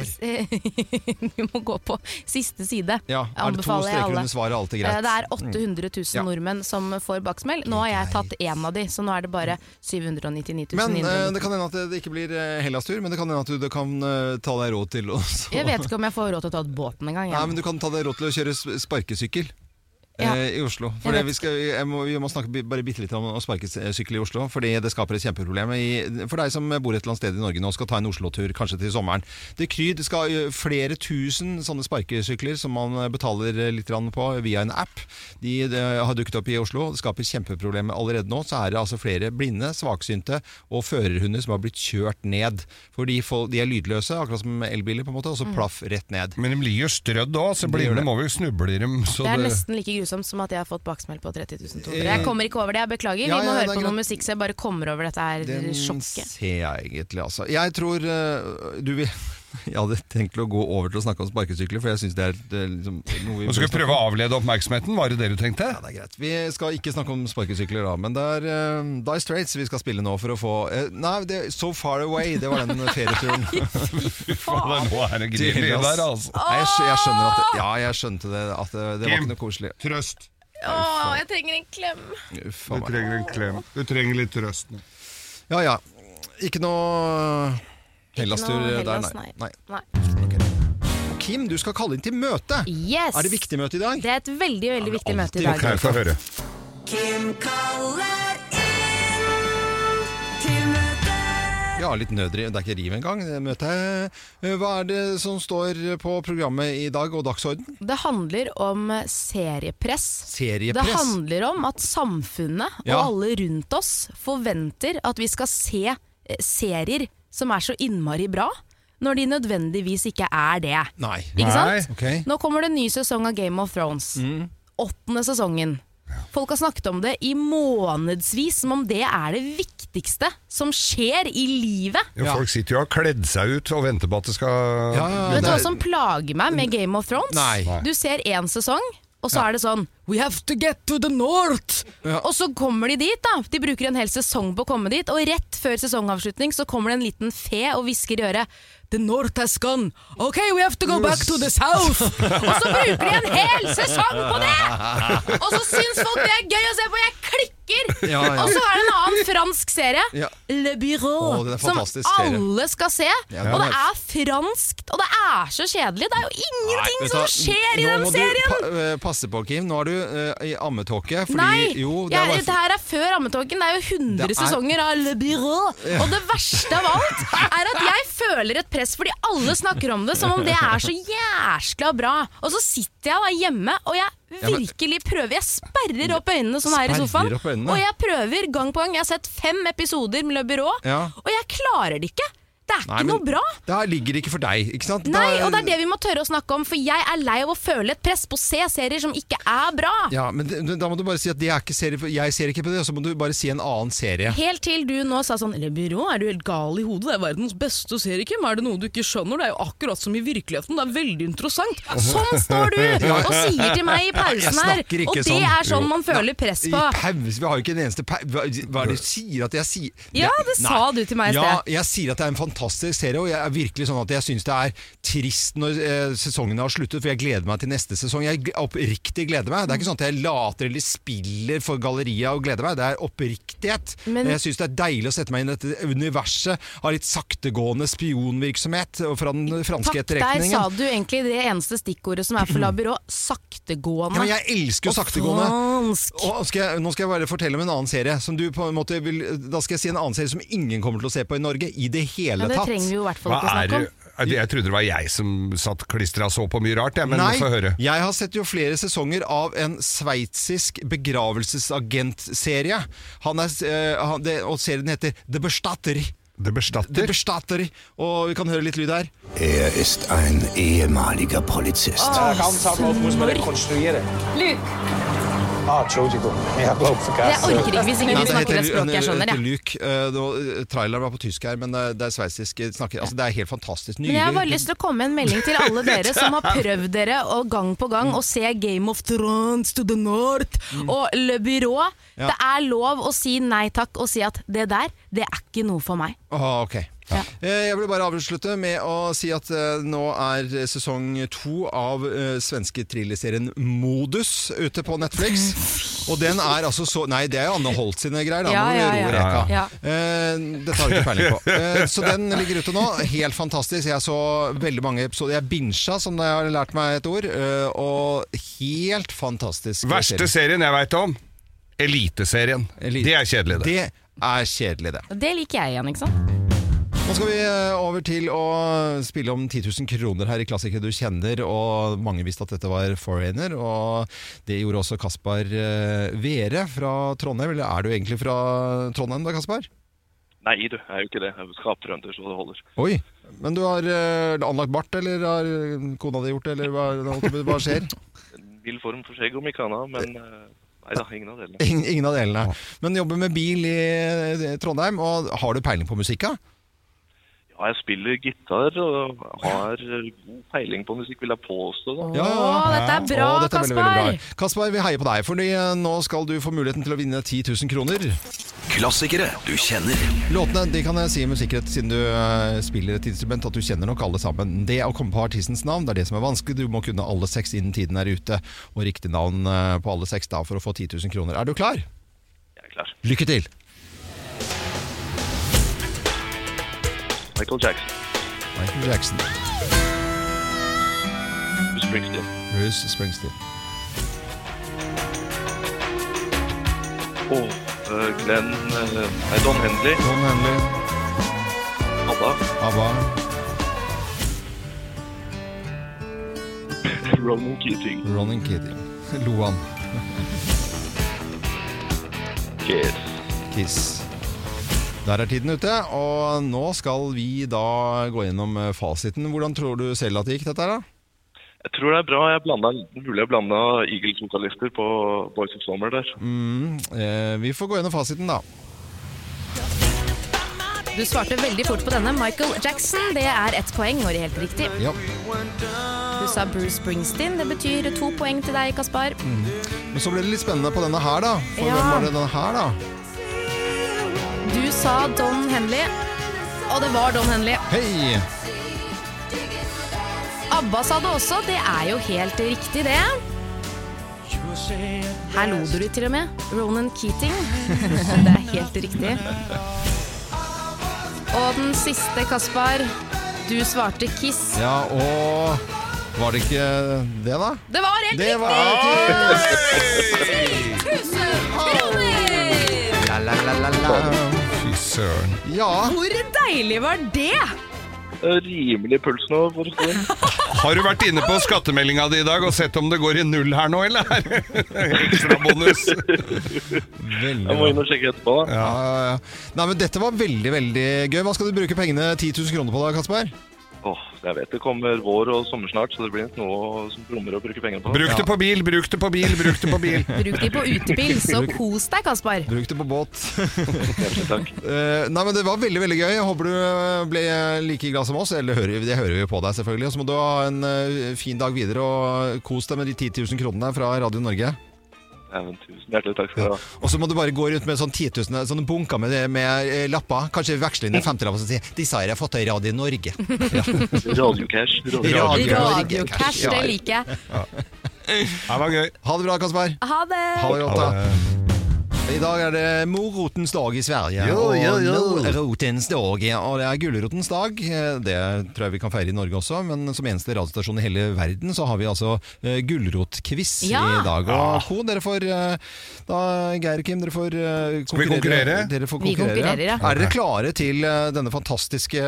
S2: Du må gå på siste side.
S1: ja, Er det to
S2: Anbefaler jeg
S1: streker
S2: alle.
S1: under svaret, er alltid
S2: Eh,
S1: greit? Mm.
S2: Det er 800 000
S1: Ja.
S2: nordmenn som får baksmell. Nå har jeg tatt én av de, så nå er det bare 799 000
S1: Men eh, det
S2: innbyggere.
S1: kan hende at det- det ikke blir eh, Hellas-tur, men det kan hende at du det kan eh, ta deg råd til å [laughs] så-
S2: Jeg vet ikke om jeg får råd til å ta ut båten engang.
S1: Nei, men du kan ta deg råd til å kjøre sp- sparkesykkel.
S2: Ja.
S1: eh, I Oslo.
S2: Jeg
S1: For det,
S2: vet.
S1: vi, skal, jeg må, vi må snakke bi- bare bitte litt om å sparkesykle i Oslo, fordi det skaper et kjempeproblem i, for deg som bor et eller annet sted i Norge nå og skal ta en Oslo-tur, kanskje til sommeren. Det kryr, det skal eh, flere tusen sånne sparkesykler som man eh, betaler eh, litt grann på via en app. De, eh, har dukket opp i Oslo, det skaper kjempeproblemer allerede nå. Så er det altså flere blinde, svaksynte og førerhunder som har blitt kjørt ned. For de, får- de er lydløse, akkurat som elbiler, på en måte, og
S2: Mm.
S1: så plaff rett ned.
S3: Men de blir jo strødd òg, så blinde må vi jo snuble i dem. Så
S2: Det er
S3: det,
S2: nesten like grusomt som at jeg har fått baksmell på 30 200. Jeg kommer ikke over det, jeg beklager. Vi
S1: eh, Ja,
S2: må
S1: ja, det
S2: høre
S1: er
S2: på noe
S1: greit.
S2: musikk så jeg bare kommer over dette her
S1: Den
S2: sjokket.
S1: ser jeg egentlig, altså. Jeg tror øh, du vil [laughs] Jeg hadde tenkt å gå over til å snakke om sparkesykler, for jeg syns det er eh, liksom, noe vi
S3: Nå skal vi
S1: bør snakke
S3: prøve
S1: om.
S3: å avlede oppmerksomheten, var det det du tenkte?
S1: Ja, det er greit. Vi skal ikke snakke om sparkesykler da, men det er uh, Die Straits vi skal spille nå for å få eh, Nei, det, So Far Away, det var den
S3: [laughs]
S1: ferieturen.
S3: faen, nå er det grill i
S1: Til, ass.
S3: der, altså.
S1: Nei, jeg, skj- jeg skjønner at det, Ja, jeg skjønte det. At det, det var ikke noe koselig.
S3: Trøst.
S2: Åh, jeg trenger en klem.
S3: Du trenger en klem. Du trenger litt trøst nå.
S1: Ja ja. Ikke noe Hellas-tur
S2: noe
S1: der,
S2: Hellas,
S1: nei.
S2: nei.
S1: nei. Og Kim, du skal kalle inn til møte.
S2: Yes.
S1: Er det viktig møte i dag?
S2: Det er et veldig, veldig viktig møte i dag.
S3: få høre.
S6: Kim kaller inn til møte.
S1: Ja, litt nødriv. Det er ikke riv engang. det Møtet. Eh, Hva er det som står på programmet i dag, og dagsorden?
S2: Det handler om seriepress.
S1: Seriepress.
S2: Det handler om at samfunnet og
S1: Ja.
S2: alle rundt oss forventer at vi skal se eh, serier som er så innmari bra, når de nødvendigvis ikke er det.
S1: Nei.
S2: Ikke sant?
S1: Ok. Mm.
S2: Nå kommer det en ny sesong av Game of Thrones. Åttende sesongen. Folk har snakket om det i månedsvis, som om det er det viktigste som skjer i livet.
S3: Ja, folk sitter jo og har kledd seg ut og venter på at det skal
S2: Vet du hva som plager meg med Game of Thrones?
S3: Nei. Nei.
S2: Du ser én sesong, og så er det sånn We have to get to the north! Og så kommer de dit, da. De bruker en hel sesong på å komme dit, og rett før sesongavslutning så kommer det en liten fe og hvisker i øret The north has gone. Ok, we have to go back to the south! Og så bruker de en hel sesong på det! Og så syns folk det er gøy å se på! Jeg klikker!
S6: Ja, ja.
S2: Og så er det en annen fransk serie,
S6: Ja.
S2: Le
S6: Å,
S2: Bureau,
S6: det er en
S2: som
S6: fantastisk serie.
S2: alle skal se.
S1: Ja, den
S2: og det
S1: er-
S2: er franskt, og det er så kjedelig. Det er jo ingenting
S1: Nei, vet du
S2: som
S1: hva,
S2: skjer i
S1: nå
S2: den
S1: må du
S2: serien!
S1: Pa eh, passe på, Kim. Nå er du eh, i ammetåke. Fordi,
S2: Nei!
S1: Jo, det
S2: det,
S1: er bare-
S2: dette her er før Ammetåken. Det er jo 100
S1: Det er-
S2: sesonger av Le Bureau.
S1: Ja.
S2: Og det verste av alt er at jeg føler et press fordi alle snakker om det som om det er så jæskla bra. Og så sitter jeg da hjemme og jeg
S1: Ja, men-
S2: virkelig prøver. Jeg sperrer opp øynene sånn her i sofaen.
S1: Sperrer opp øynene?
S2: Og jeg prøver gang på gang. Jeg har sett fem episoder med Le Bureau,
S1: Ja.
S2: og jeg klarer det ikke. Det er
S1: Nei,
S2: ikke
S1: men
S2: noe bra.
S1: Det her ligger ikke for deg, ikke sant?
S2: Nei,
S1: Da-
S2: og det er det vi må tørre å snakke om, for jeg er lei av å føle et press på å se serier som ikke er bra.
S1: Ja, men det, da må du bare si at det er ikke serie, for jeg ser ikke på det, og så må du bare si en annen serie.
S2: Helt til du nå sa sånn Le Byrå, er du helt gal i hodet? Det er verdens beste serie, Kim. Er det noe du ikke skjønner? Det er jo akkurat som i virkeligheten. Det er veldig interessant. Sånn står
S1: [laughs]
S2: du og sier til meg i pausen her.
S1: Jeg snakker ikke
S2: Og det
S1: sånn.
S2: er sånn man
S1: Jo.
S2: føler press
S1: Nei,
S2: på.
S1: I pause, vi har jo ikke en eneste pau... Hva, hva er det du sier at jeg sier?
S2: Ja, det sa
S1: Nei.
S2: du til meg i
S1: Ja,
S2: sted.
S1: jeg sier at det er en fantastisk serie, og jeg er virkelig sånn at jeg syns det er trist når eh, sesongen har sluttet, for jeg gleder meg til neste sesong. Jeg gl- oppriktig gleder meg. Det er ikke sånn at jeg later eller spiller for galleriet og gleder meg, det er oppriktighet.
S2: Men-
S1: jeg syns det er deilig å sette meg inn i dette universet av litt saktegående spionvirksomhet og fra den franske
S2: Takk, der
S1: etterretningen.
S2: sa du egentlig det eneste stikkordet som er for La Byrå. Saktegående.
S1: Ja, men jeg elsker jo
S2: Og
S1: saktegående.
S2: fransk.
S1: Og skal jeg, nå skal jeg bare fortelle om en annen serie. Som du på en måte vil, da skal jeg si en annen serie som ingen kommer til å se på i Norge i det hele
S2: Ja, det
S1: tatt.
S2: trenger vi jo i hvert fall ikke å snakke om.
S3: det? Jeg trodde det var jeg som satt klistra og så på mye rart, jeg, men
S1: Nei,
S3: få høre.
S1: jeg har sett jo flere sesonger av en sveitsisk begravelsesagentserie. Han er, eh, han, det, og serien heter The Bestatter.
S3: The Bestatter?
S1: Og vi kan høre litt lyd her.
S10: Er ist ein ehemaliger Polizist.
S6: Luke.
S10: Ah, Entschuldigung, ich habe auch
S6: Jeg orker ikke hvis ikke
S1: Nei,
S6: du
S1: det
S6: snakker
S1: heter
S6: et
S1: Lu-
S6: språk jeg
S1: det
S6: skjønner.
S1: heter
S6: jeg.
S1: Luke. Eh, det var- Traileren var på tysk her, men det, det er sveitsisk. eh, Snakker, altså, det er helt fantastisk.
S2: Men jeg har bare lyst til å komme med en melding til
S1: [laughs]
S2: alle dere som har prøvd dere å gang på gang å se Game of Thrones to the North og Le Bureau.
S1: Mm. Ja.
S2: Det er lov å si nei takk og si at det der, det er ikke noe for meg.
S1: Ah, ok. Eh, Jeg vil bare avslutte med å si at eh, nå er sesong to av eh, svenske thrillerserien Modus ute på Netflix. Og den er altså så Nei, det er jo Anne Holt sine greier, da.
S6: Ja,
S1: må du
S6: ja,
S1: roe
S6: ja.
S1: reka.
S6: Ja.
S1: Eh, Dette har du ikke peiling på. Eh, Så den ligger ute nå. Helt fantastisk. Jeg så veldig mange episoder. Jeg binsja, som jeg har lært meg et ord. eh, Og helt fantastisk.
S3: Verste
S1: serie.
S3: serien jeg veit om? Eliteserien. Det er kjedelig, det.
S1: Det er kjedelig, det.
S2: Det liker jeg igjen, ikke sant?
S1: Nå skal vi eh, over til å spille om 10 000 kroner her i Klassikere du kjenner, og mange visste at dette var Foreigner, og det gjorde også Kaspar eh, Vere fra Trondheim. Eller er du egentlig fra Trondheim da, Kaspar?
S14: Nei, du, jeg er jo ikke det. Jeg er skaptrønder, så det holder.
S1: Oi, men du har eh, anlagt bart, eller har eh, kona di gjort det, eller hva, hva skjer?
S14: En vill form for skjegg om ikke annet, men eh, nei da, ingen av delene.
S1: Ingen, ingen av delene. Men jobber med bil i eh, Trondheim, og har du peiling på musikka?
S14: Ja, jeg spiller gitar og har eh, god peiling på musikk, vil jeg påstå. Da.
S2: dette er bra,
S1: Å, dette er veldig,
S2: Kaspar.
S1: veldig bra. Kaspar, vi heier på deg, for nå skal du få muligheten til å vinne 10 000 kroner.
S5: Klassikere du kjenner.
S1: Låtene de kan jeg si med sikkerhet, siden du eh, spiller et instrument, at du kjenner nok alle sammen. Det å komme på artistens navn det er det som er vanskelig. Du må kunne alle seks innen tiden er ute, og riktig navn eh, på alle seks da for å få 10 000 kroner. Er du klar? Jeg
S14: er klar.
S1: Lykke til!
S14: Michael Jackson,
S1: Michael Jackson.
S14: Bruce Springsteen,
S1: Bruce Springsteen.
S14: oh, Glenn eh, Nei, Don Henley.
S1: Don Henley.
S14: Abba.
S1: ABBA.
S14: Ronan Keating.
S1: Ronan Keating. Loan.
S14: Kiss.
S1: Kiss. Der er tiden ute, og nå skal vi da gå gjennom eh, fasiten. Hvordan tror du selv at det gikk, dette her, da?
S14: Jeg tror det er bra. Jeg blanda, mulig jeg blanda Eagles-vokalister på Boys of Summer der.
S1: Mm, eh, vi får gå gjennom fasiten, da.
S2: Du svarte veldig fort på denne. Michael Jackson, det er ett poeng, og det er helt riktig.
S1: Ja.
S2: Du sa Bruce Springsteen. Det betyr to poeng til deg, Kaspar.
S1: Mm. Men så ble det litt spennende på denne her, da. For
S2: Ja.
S1: hvem var det denne her, da?
S2: Du sa Don Henley, og det var Don Henley.
S1: Hei!
S2: ABBA sa det også. Det er jo helt riktig, det. Her lo du til og med. Ronan Keating. [laughs] Det er helt riktig. Og den siste, Kaspar. Du svarte Kiss.
S1: Ja, og var det ikke det, da?
S2: Det var helt
S1: Det
S2: riktig!
S1: var
S2: Ti tusen kroner!
S1: La, la, la, la, la.
S3: Fy søren.
S2: Hvor deilig var det?
S14: Eh, Rimelig puls nå, for å si det.
S3: Har du vært inne på skattemeldinga di i dag og sett om det går i null her nå, eller? [laughs] Ekstra bonus.
S14: Jeg må inn og sjekke etterpå. da.
S1: Ja, ja, ja. Nei, men dette var veldig, veldig gøy. Hva skal du bruke pengene 10 000 kroner på da, Kasper?
S14: Åh, jeg vet det kommer vår og sommer snart, så det blir ikke noe som brummer å bruke penger på.
S3: Bruk det på bil, bruk det på bil, bruk det på bil.
S2: Bruk de på utepils, så kos deg, Kaspar.
S1: Bruk det på båt. [laughs] Eh, nei, men Det var veldig veldig gøy. Jeg håper du eh, ble like glad som oss. Eller hører, det hører vi jo på deg, selvfølgelig. Og så må du ha en eh, fin dag videre, og kos deg med de 10 000 kronene fra Radio Norge.
S14: Ja, men tusen hjertelig takk skal du ha.
S1: Og så må du bare gå rundt med sånn 10 000, sånne bunker med, med eh, lapper. Kanskje veksle inn en femtilapp og si 'Disse har jeg fått av Radio Norge'.
S14: Radio Cash.
S2: Radio Cash, det liker jeg.
S1: Det var gøy. Ha det bra, Kasper.
S2: Ha det!
S1: Ha det godt, da. I dag er det morotens dag i Sverige,
S8: Jo, jo, jo.
S1: og morotens dag, ja, og det er gulrotens dag. Eh, Det tror jeg vi kan feire i Norge også, men som eneste radiostasjon i hele verden så har vi altså eh, gulrotkviss
S8: Ja.
S1: i dag.
S8: Ja.
S1: Og Co, dere får, eh, da, Geir og Kim, dere får eh, konkurrere.
S3: Skal vi konkurrere?
S1: Dere får
S3: Vi
S1: konkurrere.
S3: konkurrerer, ja.
S1: Er dere klare til eh, denne fantastiske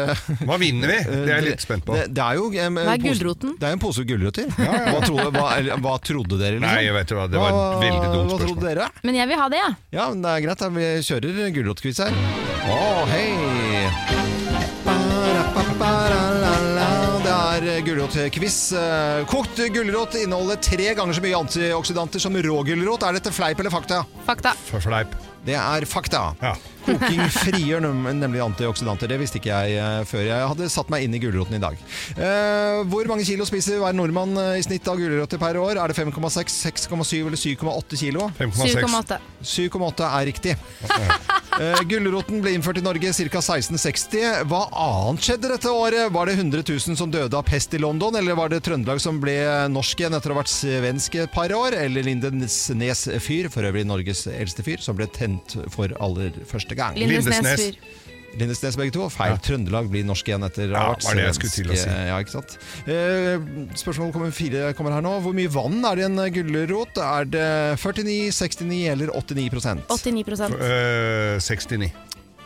S3: Hva vinner vi? Det er jeg litt spent på.
S1: Eh, Det, det er jo eh,
S2: Hva er
S1: pose-
S2: gulroten?
S1: Det er jo en pose gulrøtter. Hva, trodde, hva, eller, hva trodde dere? Liksom?
S3: Nei, jeg vet hva, det var et veldig dumt
S1: Hva trodde dere?
S2: Men jeg vil ha det, ja.
S1: Ja, men det er greit. da. Vi kjører gulrotkviss her. Å, hei! Det er gulrotkviss. Eh, Kokt gulrot inneholder tre ganger så mye antioksidanter som rå gulrot. Er dette fleip eller fakta?
S2: Fakta.
S1: Fleip. Det er fakta. Koking frigjør nem- nemlig antioksidanter. Det visste ikke jeg eh, før jeg hadde satt meg inn i gulroten i dag. Eh, hvor mange kilo spiser hver nordmann eh, i snitt av gulrøtter per år? Er det 5,6, 6,7 eller 7,8 kilo?
S2: 7,8.
S1: 7,8 er riktig. Eh, gulroten ble innført i Norge ca. 1660. Hva annet skjedde dette året? Var det 100 000 som døde av pest i London, eller var det Trøndelag som ble eh, norsk igjen etter å ha vært svensk et par år? Eller Lindesnes fyr, for øvrig Norges eldste fyr, som ble tent for aller første gang?
S3: Lindesnes Lindesnes. fyr.
S1: Lindesnes begge to. Feil. Trøndelag blir norsk igjen etter å ha
S3: Ja,
S1: vært
S3: var det jeg skulle til å si.
S1: eh, Ja, ikke sant? Eh, Spørsmål kommer fire kommer her nå. Hvor mye vann er det i en gulrot? Er det 49, 69 eller 89 prosent?
S2: 89
S1: 69.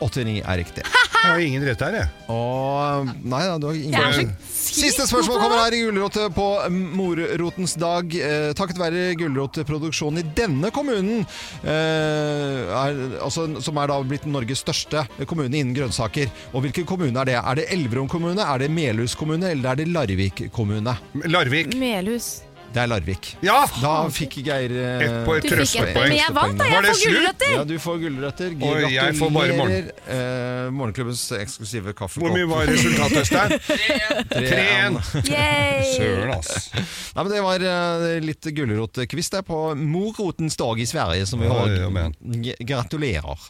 S1: 89 er riktig.
S3: eh, Jeg har ingen rett her, jeg.
S1: Og Nei da, du har ingen
S3: Jeg er så
S1: Eh, Siste spørsmål kommer her i Gulrotet på morotens dag. Eh, takket være gulrotproduksjonen i denne kommunen, eh, er, altså, som er da blitt Norges største kommune innen grønnsaker. Og hvilken kommune er det? Er det Elverum kommune, er det Melhus kommune, eller er det Larvik kommune?
S3: Larvik.
S2: Melhus.
S1: Det er Larvik. Da fikk Geir eh,
S3: Ett på et Du fikk trøstepoeng. ett, men jeg vant, da. Jeg
S1: Var det
S3: får gullrøtter.
S1: slutt? Ja, du får gullrøtter.
S3: Og
S1: Geir,
S3: jeg får bare morgen.
S1: gratulerer. Eh, morgenklubbens eksklusive kaffekopp.
S3: Hvor mye var
S1: [laughs]
S3: resultatet, Øystein? 3-1.
S1: 3-1. [laughs]
S3: Yay! [laughs] Søren, ass.
S1: Nei, men det var eh, litt gulrotkvist der på morotens dag i Sverige, som vi har.
S3: Oi, amen.
S1: G- Gratulerer.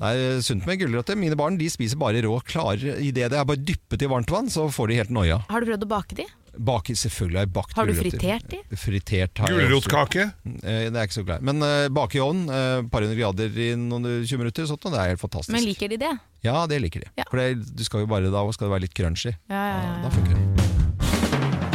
S1: Det er sunt med gulrøtter. Mine barn de spiser bare rå, klarer i det det er bare dyppet i varmt vann, så får de helt noia.
S2: Har du prøvd å bake de?
S1: Bake, selvfølgelig har jeg bakt
S2: Har du
S1: gulrøtter.
S2: fritert de?
S1: Fritert har jeg
S3: Gulrotkake?
S1: også. Eh, Det er jeg ikke så glad i. Men eh, bake i ovnen, eh, par hundre grader i noen 20 minutter, sånt, og det er helt fantastisk.
S2: Men liker de det?
S1: Ja, det liker de. For det, du skal jo bare da skal det være litt crunchy.
S2: Ja, ja, ja.
S1: Da funker det.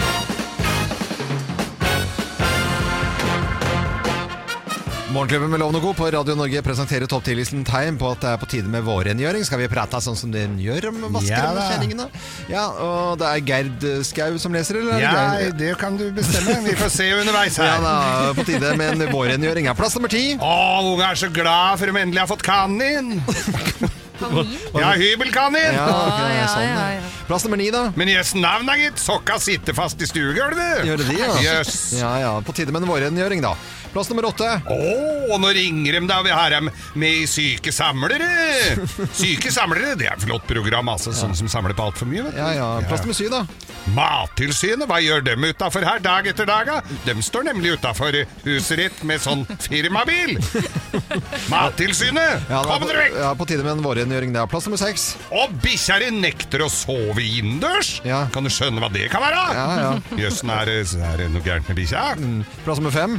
S1: Morgenklubben med Lovende Co. på Radio Norge presenterer topp 10-listen tegn på at det er på tide med vårrengjøring. Skal vi prate sånn som den gjør om
S3: Ja,
S1: vasker og
S3: da.
S1: skjæringene? Ja, og det er Gerd Skau som leser, eller? er det
S3: Ja,
S1: Geir?
S3: det kan du bestemme. Vi får se underveis her.
S1: Ja da, på tide med en vårrengjøring. her. Plass nummer ti.
S3: Å, unge er så glad for de endelig har fått kanin. Ja, hybelkanin.
S1: Ja, ok, Ja, sånn, ja, ja. Plass nummer ni, da.
S3: Men jøss navn, da, gitt. Sokka sitter fast i stuegulvet.
S1: Gjør det det, ja?
S3: Jøss.
S1: Ja, ja. På tide med en vårrengjøring, da. Plass nummer åtte.
S3: Å, og nå ringer de da vi har dem med i Syke samlere. Syke samlere, det er et flott program, altså. Sånne som samler på altfor mye. vet du.
S1: Ja, ja. Plass nummer syv, da.
S3: Mattilsynet, hva gjør dem utafor her dag etter dag? da? De står nemlig utafor huset ditt med sånn firmabil. Mattilsynet,
S1: Ja, det er
S3: kom
S1: på-
S3: dere vekk!
S1: Ja, på tide med en vårrengjøring, det. Plass nummer seks.
S3: Og bikkja di nekter å sove innendørs! Kan du skjønne hva det kan være?
S1: [laughs] ja. Mm.
S3: Jøssen, er, det- er det noe gærent med bikkja?
S1: Plass nummer fem.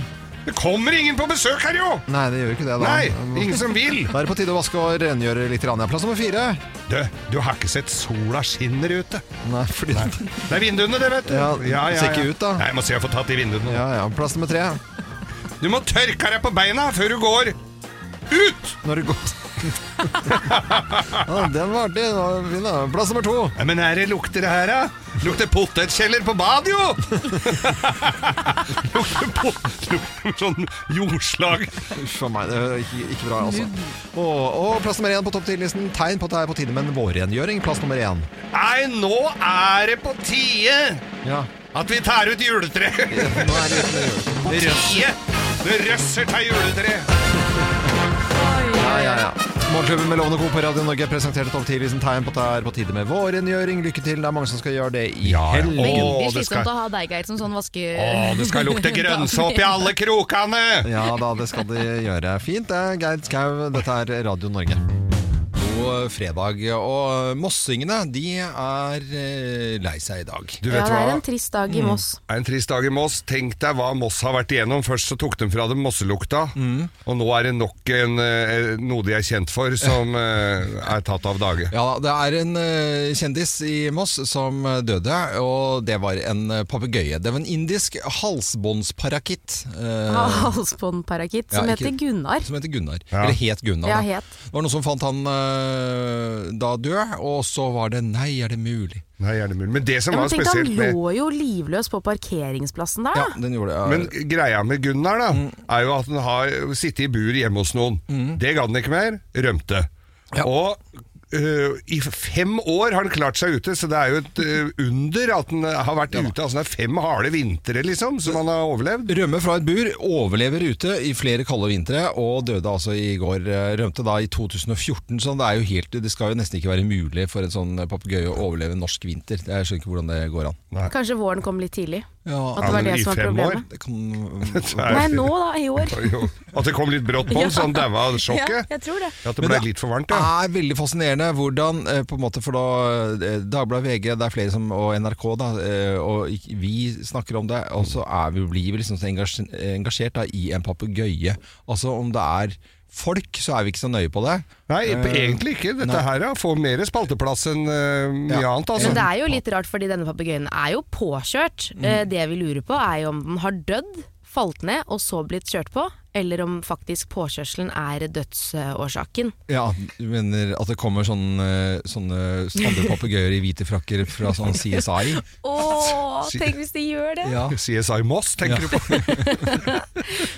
S3: Det kommer ingen på besøk her, jo!
S1: Nei, det gjør ikke det. da
S3: Nei, ingen som vil.
S1: Da er det på tide å vaske og rengjøre litt. grann. Ja, Plass nummer fire.
S3: Du, du har ikke sett sola skinner ute.
S1: Nei, fordi
S3: Det er vinduene, det, vet du.
S1: Ja, ser ikke ut, da.
S3: Nei, jeg må se jeg får tatt de vinduene.
S1: [laughs] Ja, ja. Plass nummer tre.
S3: Du må tørke deg på beina før du går ut!
S1: Når du [laughs] går ja, Den var artig. Den var fin, da. Plass nummer to.
S3: Ja, men er det lukter det her, da? Lukter potetkjeller på badet, jo! [laughs] lukter pot... Lukter sånn jordslag.
S1: Uff a meg, det er ikke, ikke bra, altså. Og, og plass nummer én på topp 10-listen. Tegn på at det er på tide med en vårrengjøring. Plass nummer én.
S3: Nei, nå er det på tide
S1: Ja.
S3: at vi tar ut juletreet! på tide! Det røsser til juletreet!
S1: Ja, ja, ja. Morgenklubben med Lovende Co. på Radio Norge presenterte topp 10-listen tegn på at det er på tide med vårrengjøring. Lykke til, det er mange som skal gjøre det i
S3: ja.
S1: helgen.
S3: Veldig Å,
S18: Litt slitsomt å ha deg, Geir, som sånn vaske...
S1: Å, det skal lukte
S3: grønnsåpe i alle krokene!
S1: Ja da, det skal de gjøre. Fint det, er Geir Skau. Dette er Radio Norge. God fredag. Og mossingene, de er eh, lei seg i dag.
S2: ja,
S3: Du vet
S2: det er
S3: hva?
S2: en trist dag i
S3: Mm.
S2: Moss.
S3: Det er en trist dag i Moss. Tenk deg hva Moss har vært igjennom. Først så tok de fra dem mosselukta, og nå er det nok en, eh, noe de er kjent for, som eh, er tatt av dage.
S1: Ja, det er en eh, kjendis i Moss som eh, døde, og det var en eh, papegøye. Det var en indisk halsbåndsparakitt. eh,
S2: Halsbåndparakitt, som
S1: ja,
S2: heter
S1: ikke-
S2: Gunnar.
S1: Som heter Gunnar. Eller het Gunnar.
S2: Ja,
S1: da.
S2: het.
S1: Det var noen som fant han eh, da død, og så var det Nei, er det mulig?
S3: Nei, er det mulig? Men det som
S2: Ja, men
S3: var
S2: tenk, han
S3: spesielt med
S2: lå jo livløs på parkeringsplassen der,
S1: Ja,
S2: da.
S1: den gjorde det.
S3: Men greia med Gunnar da er jo at han har sittet i bur hjemme hos noen. Det ga han ikke mer. Rømte. Og øh, i fem år har han klart seg ute, så det er jo et øh, under at han har vært ute. Altså det er fem harde vintre, liksom, som han har overlevd.
S1: Rømme fra et bur, overlever ute i flere kalde vintre, og døde altså i går. Rømte da i 2014, så det, er jo helt, det skal jo nesten ikke være mulig for en sånn papegøye å overleve en norsk vinter. Jeg skjønner ikke hvordan det går an.
S2: Kanskje våren kom litt tidlig.
S1: Ja,
S2: at det var det som var problemet.
S1: Det kan...
S2: Nei, nå da, i år.
S3: Jo, At det kom litt brått på ham, så han daua av sjokket.
S2: Ja, jeg tror det.
S3: At det ble litt for varmt,
S1: Det Ah.
S3: ja.
S1: er veldig fascinerende hvordan eh, på en måte, for da eh, Dagbladet VG, det er flere som, og NRK, da, eh, og ik- vi snakker om det, og så er vi, blir vi liksom så engasj- engasjert da, i en papegøye. Altså om det er folk, så er vi ikke så nøye på det.
S3: Nei,
S1: Eh,
S3: egentlig ikke. Dette
S1: nei.
S3: her ja, får mer spalteplass enn øh, mye
S1: Ja.
S3: annet, altså.
S2: Men det er jo litt rart, fordi denne papegøyen er jo påkjørt. Eh, Det vi lurer på, er jo om den har dødd, falt ned og så blitt kjørt på, eller om faktisk påkjørselen er dødsårsaken.
S1: Ja, du mener at det kommer sånne, sånne andre papegøyer i hvite frakker fra [laughs] sånn CSI?
S2: Åh, tenk hvis de gjør det!
S1: Ja.
S3: CSI Moss, tenker du på?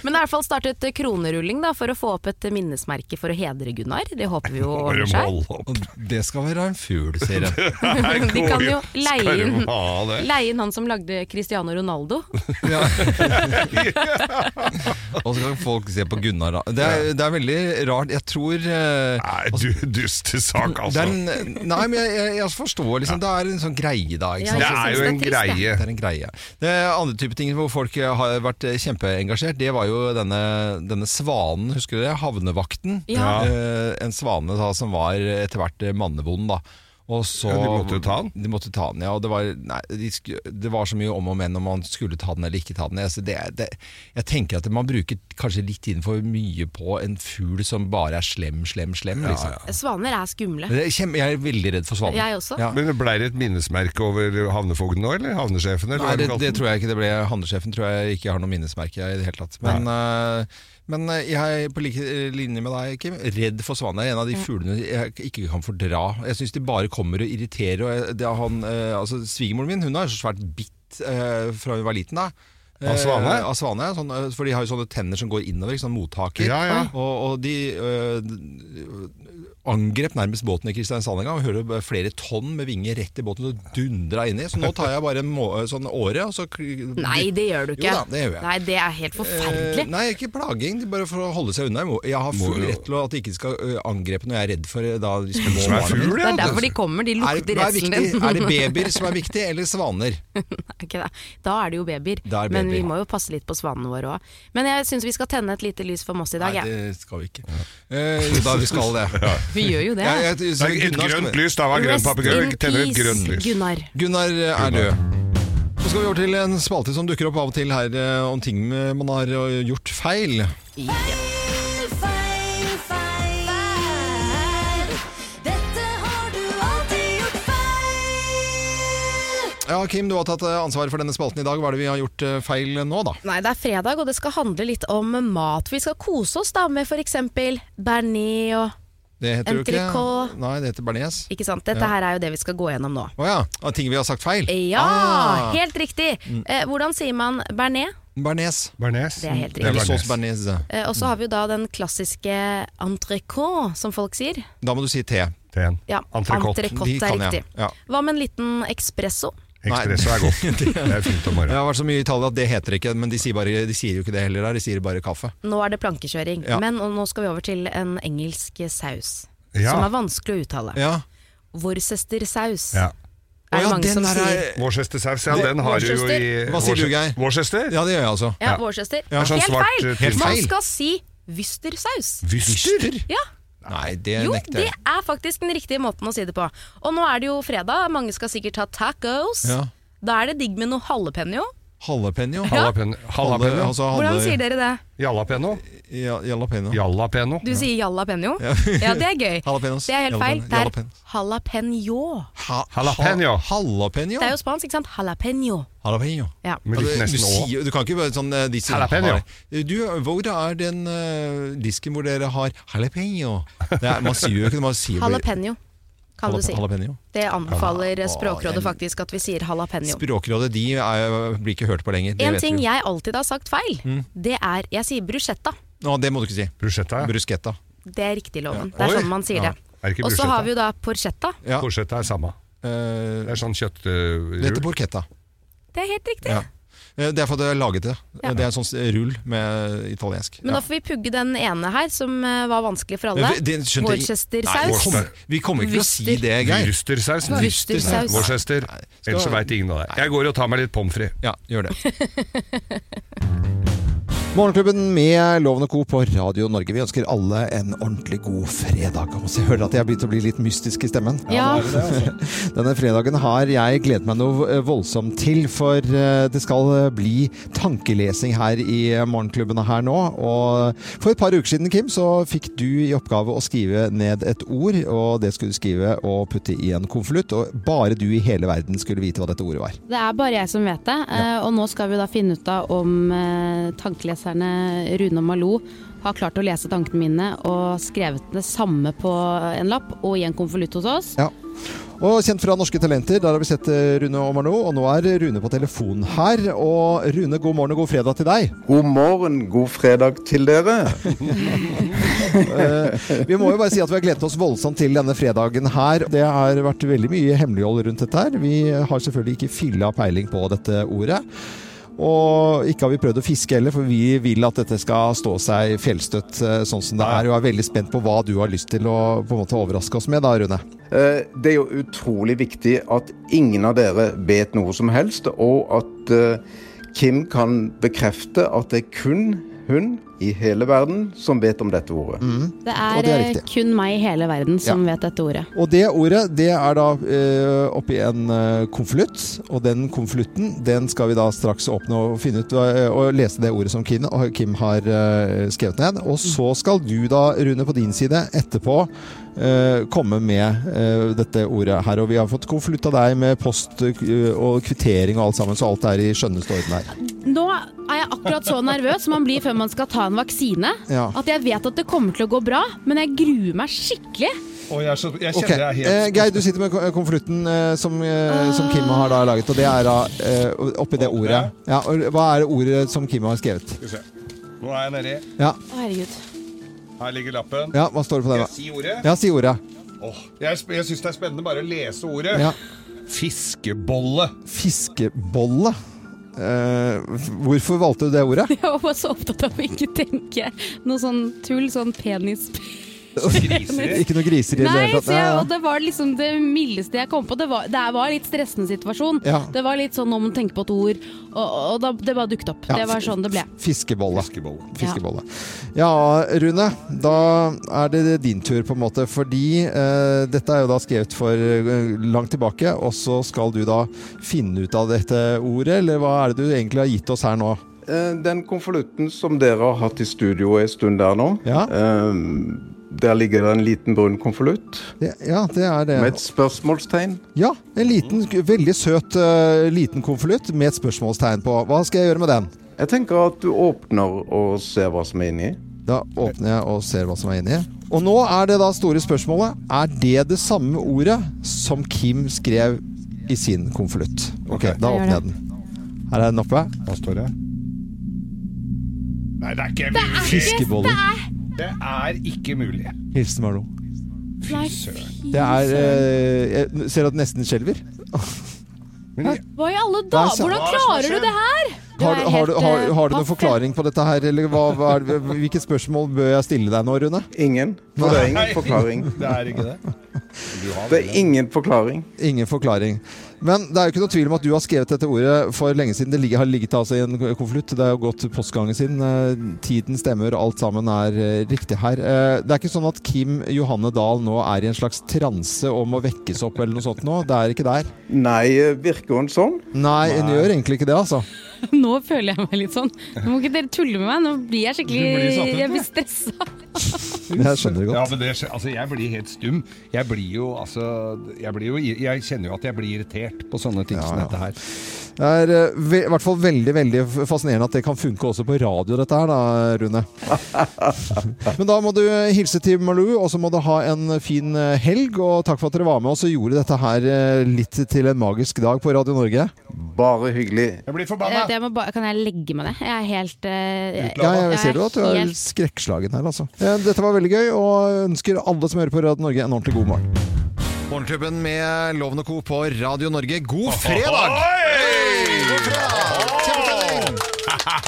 S2: Men det er i hvert fall startet kronerulling da, for å få opp et minnesmerke for å hedre Gunnar. Det håper vi jo
S1: Bare
S2: ordner seg.
S1: mål opp. Og Det skal være en fugl, sier jeg.
S2: De kan jo leie
S1: Skal
S2: inn,
S1: du ha det?
S2: leie inn han som lagde Cristiano Ronaldo.
S3: [laughs]
S1: [laughs] Og så kan folk se på Gunnar, da. Det er, det er veldig rart. Jeg tror eh, Nei,
S3: du duste sak, altså.
S1: nei, men jeg, jeg, jeg forstår liksom. Det er en sånn greie, da. Ikke
S3: Ja,
S1: sant?
S3: jeg Det er synes jo det er en trist, greie.
S1: Det er en greie. Det er andre type ting hvor folk har vært kjempeengasjert, det var jo denne, denne svanen, husker dere? Havnevakten.
S3: Ja.
S1: Eh, En svane da, som var etter hvert mannevond, da. Og så,
S3: Ja, de måtte jo ta den.
S1: De måtte ta den, ja. Og det var, nei, de sku, det var så mye om og men om man skulle ta den eller ikke ta den. Altså, det, det, jeg tenker at man bruker kanskje litt tiden for mye på en fugl som bare er slem, slem, slem.
S3: Ja,
S1: Liksom.
S2: Svaner er skumle.
S1: Det er kjempe, jeg er veldig redd for svaner.
S2: Jeg også.
S3: Men ble det et minnesmerke over havnefogden nå, eller havnesjefen? Eller
S1: Nei, det, det tror jeg ikke det ble. Handelssjefen tror jeg ikke har noe minnesmerke i det hele tatt. Men, eh, men jeg er på like eh, linje med deg, Kim, redd for svaner. En av de fuglene jeg ikke kan fordra. Jeg syns de bare kommer og irriterer. Og jeg- det er han, eh, altså, Svigermoren min hun har så svært bitt eh, fra hun var liten. da
S3: Av svane?
S1: Eh, av svane sånn, eh, for de har jo sånne tenner som går innover, ikke sånn mottaker.
S3: Ja, ja.
S1: Og, og de eh, angrep nærmest båten i Kristiansand en gang. og Hører du flere tonn med vinger rett i båten og dundra inni. Så nå tar jeg bare en må sånn åre, og så kl-
S2: [laughs] Nei, det gjør du ikke.
S1: Jo da, det gjør jeg.
S2: Nei, det er helt forferdelig.
S1: Eh, nei, ikke plaging, bare for å holde seg unna. Jeg må- Jeg har full rett til å- at de ikke skal ø, angrepe når jeg er redd for eh, da de skal
S3: Som er
S1: barnet mitt.
S3: fugl,
S2: det er derfor de kommer, de
S1: altså. Er,
S2: lukter
S1: hva er,
S2: redselen
S1: viktig?
S2: din. [laughs]
S1: er det babyer som er viktig, eller svaner?
S2: Ikke [laughs] det. Da er det jo babyer.
S1: Da er det
S2: Men vi
S1: babyer.
S2: må jo passe litt på svanene våre òg. Men jeg syns vi skal tenne et lite lys for Moss i dag.
S1: Nei,
S2: jeg.
S1: det skal vi ikke. Eh, jo da, vi skal det.
S3: [laughs]
S2: Vi gjør jo det.
S1: Jeg- jeg-
S3: Det er et
S1: Gunnar skal-
S3: grønt lys, da var det grønn
S1: Rest
S3: papegøye.
S1: in
S3: Tenner et
S1: peace,
S3: grønt lys.
S2: Gunnar.
S1: Gunnar er død. Så skal vi over til en spalte som dukker opp av og til her eh, om ting man har eh, gjort feil. Ja, Kim, du har tatt eh, ansvar for denne spalten i dag. Hva er det vi har gjort eh, feil nå, da?
S2: Nei, det er fredag, og det skal handle litt om mat. Vi skal kose oss da med f.eks. bearnés og
S1: Det heter jo
S2: Entrecôte.
S1: ikke Nei, det heter bearnés.
S2: Ikke sant? Dette
S1: Ja.
S2: her er jo det vi skal gå gjennom nå.
S1: Å ja. Av ting vi har sagt feil?
S2: Ja,
S1: Ah.
S2: helt riktig!
S1: Mm.
S2: Eh, hvordan sier man bearnés?
S1: Bearnés.
S2: Det er helt riktig.
S1: Eller sauce bearnés.
S2: Eh, og så har vi jo da den klassiske entrecôte, som folk sier.
S1: Da må du si te. Teen.
S2: Ja, entrecôte er riktig.
S1: Ja.
S2: Hva med en liten espresso?
S1: Espresso er [laughs] godt.
S3: Det er fint om morgenen.
S1: Jeg har vært så mye i Italia at det heter ikke, men de sier, bare, de sier jo ikke det heller der. De sier bare kaffe.
S2: Nå er det plankekjøring,
S1: Ja.
S2: men og nå skal vi over til en engelsk saus.
S1: Ja.
S2: Som er vanskelig å uttale.
S1: Ja.
S2: Worcestersaus.
S3: Ja.
S2: Er det mange som sier.
S3: Worcestersaus, ja, den har du jo i
S1: Hva sier du, Geir?
S3: Worcester?
S1: Ja, det gjør jeg altså.
S2: Ja, Worcester.
S1: Ja.
S2: Helt,
S1: Sånn svart,
S2: feil.
S1: eh, Helt
S2: Man
S1: feil.
S2: skal si Worcestersaus.
S1: Vyster?
S2: Ja.
S1: Nei, det
S2: Jo,
S1: nekter
S2: det
S1: jeg.
S2: er faktisk den riktige måten å si det på. Og nå er det jo fredag, mange skal sikkert ha tacos.
S1: Ja.
S2: Da er det digg med noe jalapeño.
S1: Jalapeño.
S3: Jalapeño. Jalapeño.
S1: Altså-
S2: Hvordan sier dere det?
S3: Jalapeño.
S1: Jalapeño.
S3: Jalapeño.
S2: Du sier jalapeño?
S3: Ja.
S2: Ja, det er gøy.
S3: Jalapenos.
S2: Det er helt feil. Det er
S1: Jalapenos.
S2: jalapeño.
S1: Ha,
S3: Jalapeño.
S1: Jalapeño.
S2: Det er jo spansk, ikke sant? Jalapeño.
S1: Jalapeño.
S2: Ja.
S3: Men litt
S1: Ja, det- Altså, du,
S3: nesten å.
S1: sier, du kan ikke være sånn eh, de sier,
S3: Jalapeño.
S1: har- Du, Hvor er den eh, disken hvor dere har jalapeño? Det er, man sier jo ikke det, man sier bare
S2: Jalapeño, kan du si.
S1: jalapeño.
S2: Det anbefaler
S1: Ja.
S2: Språkrådet faktisk at vi sier jalapeño.
S1: Språkrådet de er, blir ikke hørt på lenger. Det
S2: En
S1: vet
S2: ting
S1: vi.
S2: jeg alltid har sagt feil,
S1: Mm.
S2: det er Jeg sier bruschetta.
S1: Nå, det må du ikke si. Bruschetta. Bruschetta.
S2: Det er riktig loven.
S3: Ja.
S2: Det er
S3: Oi.
S2: sånn man sier
S3: Ja.
S2: det.
S3: Er det ikke
S2: Og så
S3: bruschetta?
S2: har vi jo da porchetta.
S3: Porchetta er samme.
S1: det
S3: er sånn kjøttrull.
S1: Eh, Det heter porchetta.
S2: Det er helt riktig.
S1: Ja. Eh, Det er for at jeg har laget det.
S2: Ja.
S1: Det er en sånn s- rull med italiensk.
S2: Men da får vi pugge den ene her, som eh, var vanskelig for alle.
S1: Det- det skjønte jeg- Nei,
S2: Worcestersaus.
S1: kom- Vi kommer ikke til å si det, Geir.
S3: Worcestersausen.
S2: Worcestersaus.
S3: Worcester. Ellers så veit ingen av det. Jeg går og tar meg litt pommes frites.
S1: Ja, gjør det.
S19: [laughs] Morgenklubben med Lovende Co. på Radio Norge. Vi ønsker alle en ordentlig god fredag. Og så hører jeg at jeg har begynt å bli litt mystisk i stemmen.
S6: Ja, det altså? er
S19: [laughs]
S6: det,
S19: Denne fredagen har jeg gledet meg noe eh, voldsomt til, for eh, det skal eh, bli tankelesing her i morgenklubben her nå. Og for et par uker siden, Kim, så fikk du i oppgave å skrive ned et ord, og det skulle du skrive og putte i en konvolutt, og bare du i hele verden skulle vite hva dette ordet var.
S20: Det er bare jeg som vet det, eh, og nå skal vi da finne ut av om eh, tankeleseren
S2: leserne Rune og Malou har klart å lese tankene mine og skrevet det samme på en lapp og i en konvolutt hos oss.
S1: Ja. Og kjent fra Norske Talenter, der har vi sett eh, Rune og Marno, og nå er Rune på telefon her. Og Rune, god morgen og god fredag til deg.
S16: God morgen, god fredag til dere.
S1: Eh, Vi må jo bare si at vi har gledet oss voldsomt til denne fredagen her. Det har vært veldig mye hemmelighold rundt dette her. Vi har selvfølgelig ikke filla peiling på dette ordet. Og ikke har vi prøvd å fiske heller, for vi vil at dette skal stå seg fjellstøtt eh, sånn som det er. Og er veldig spent på hva du har lyst til å på en måte overraske oss med da, Rune.
S16: Eh, Det er jo utrolig viktig at ingen av dere vet noe som helst, og at eh, Kim kan bekrefte at det er kun hun i hele verden som vet om dette ordet.
S2: Det
S16: Og
S2: er,
S16: det er
S2: eh,
S16: riktig.
S2: kun meg i hele verden som
S1: Ja.
S2: vet dette ordet.
S1: Og det ordet, det er da eh, oppi en eh, konvolutt, og den konvolutten, den skal vi da straks åpne og finne ut eh, og lese det ordet som Kim, og Kim har eh, skrevet ned. Og så skal du da, Rune, på din side etterpå eh, komme med eh, dette ordet her. Og vi har fått konvolutt av deg med post eh, og kvittering og alt sammen, så alt er i skjønneste orden her.
S2: Nå er jeg akkurat så nervøs som man blir før man skal ta en vaksine.
S1: Ja.
S2: At jeg vet at det kommer til å gå bra, men jeg gruer meg skikkelig.
S1: Ok, eh, Geir, du sitter med ko- konvolutten eh, som, eh, som Kim har da laget, og det er da eh, oppi det ordet. Ja, og hva er det ordet som Kim har skrevet?
S3: Skal vi se. Nå er jeg nedi.
S1: Ja,
S2: Herregud.
S3: Her ligger lappen.
S1: ja hva står det på den? da?
S3: Jeg sier ordet.
S1: Ja, si ordet.
S3: Åh, jeg sp- jeg syns det er spennende bare å lese ordet.
S1: Ja.
S2: [laughs]
S3: Fiskebolle.
S1: Fiskebolle. Eh, hvorfor valgte du det ordet?
S2: [laughs] Jeg var bare så opptatt av å ikke tenke noe sånn tull, sånn penis...
S1: Ikke noe griser i det
S2: Nei,
S1: hele tatt.
S2: så jeg,
S1: Nei,
S2: og det var liksom det mildeste jeg kom på. Det var, det var litt stressende situasjon.
S1: Ja.
S2: Det var litt sånn nå må du tenke på et ord, og, og da, det bare dukket opp.
S1: Ja,
S2: Det var sånn det ble.
S1: Fiskebolle. Fiskebolle. Ja, Rune. Da er det din tur, på en måte. Fordi eh, dette er jo da skrevet for eh, langt tilbake, og så skal du da finne ut av dette ordet, eller hva er det du egentlig har gitt oss her nå?
S16: Eh, Den konvolutten som dere har hatt i studio en stund der nå, eh, der ligger det en liten brun konvolutt
S1: Det, ja, det er det.
S16: med et spørsmålstegn.
S1: Ja, en liten, veldig søt eh, liten konvolutt med et spørsmålstegn på. Hva skal jeg gjøre med den?
S16: Jeg tenker at du åpner og ser hva som er inni.
S1: Da åpner jeg og ser hva som er inni. Og nå er det da store spørsmålet Er det det samme ordet som Kim skrev i sin konvolutt? Ok, da
S3: Jeg gjør
S1: åpner jeg
S3: det.
S1: den. Her er den oppe.
S3: Hva står det? Nei, det er
S2: Det
S3: ikke mulig.
S2: er ikke
S1: Fiskeboller.
S3: Det er ikke mulig.
S1: Hilsen Marlo.
S2: Nei,
S1: Det er eh, Jeg ser at den nesten skjelver.
S2: Hva i alle
S1: Hva er
S2: dager?
S1: så-
S2: Hvordan
S1: Hva er det som
S2: klarer du det her?
S1: Har, du- har, du- har, har du noen
S2: paff, ja.
S1: forklaring på dette her, eller hva, hva er, det- hvilket spørsmål bør jeg stille deg nå, Rune?
S16: Ingen. For det er ingen forklaring.
S3: [laughs] Det er ikke det.
S16: Det er ingen forklaring.
S1: Ingen forklaring. Men det er jo ikke noe tvil om at du har skrevet dette ordet for lenge siden. Det ligger, har ligget altså i en konvolutt. Det er jo gått postgangen sin. Eh, Tiden stemmer, alt sammen er eh, riktig her. Eh, Det er ikke sånn at Kim Johanne Dahl nå er i en slags transe om å vekkes opp eller noe sånt nå. Det er ikke der.
S16: Nei, eh, virker hun sånn?
S1: Nei, hun gjør egentlig ikke det, altså.
S2: [laughs] Nå føler jeg meg litt sånn. Nå må ikke dere tulle med meg. Nå blir jeg
S3: Du blir satt
S2: skikkelig
S3: ut,
S2: Jeg
S3: ja.
S2: blir stressa.
S1: Jeg skjønner det godt.
S3: Ja, men det, skj- altså, jeg blir helt stum. Jeg blir jo altså Jeg, blir jo, i- jeg kjenner jo at jeg blir irritert på sånne ting som dette her.
S1: Det er eh, ve i hvert fall veldig veldig fascinerende at det kan funke også på radio, dette her da, Rune. Men da må du eh, hilse til Malou, og så må du ha en fin eh, helg. Og takk for at dere var med oss og gjorde dette her eh, litt til en magisk dag på Radio Norge.
S16: Bare hyggelig.
S3: Jeg blir
S2: Eh, Det må bare, kan jeg legge meg ned? Jeg er helt eh,
S1: Ja, jeg ser
S2: er
S1: jo at du er
S2: helt-
S1: skrekkslagen her, altså. Eh, Dette var veldig gøy, og ønsker alle som hører på Radio Norge, en ordentlig god morgen. Morgenklubben med Loven og Co. på Radio Norge, god fredag! God fredag! Kjempestemning!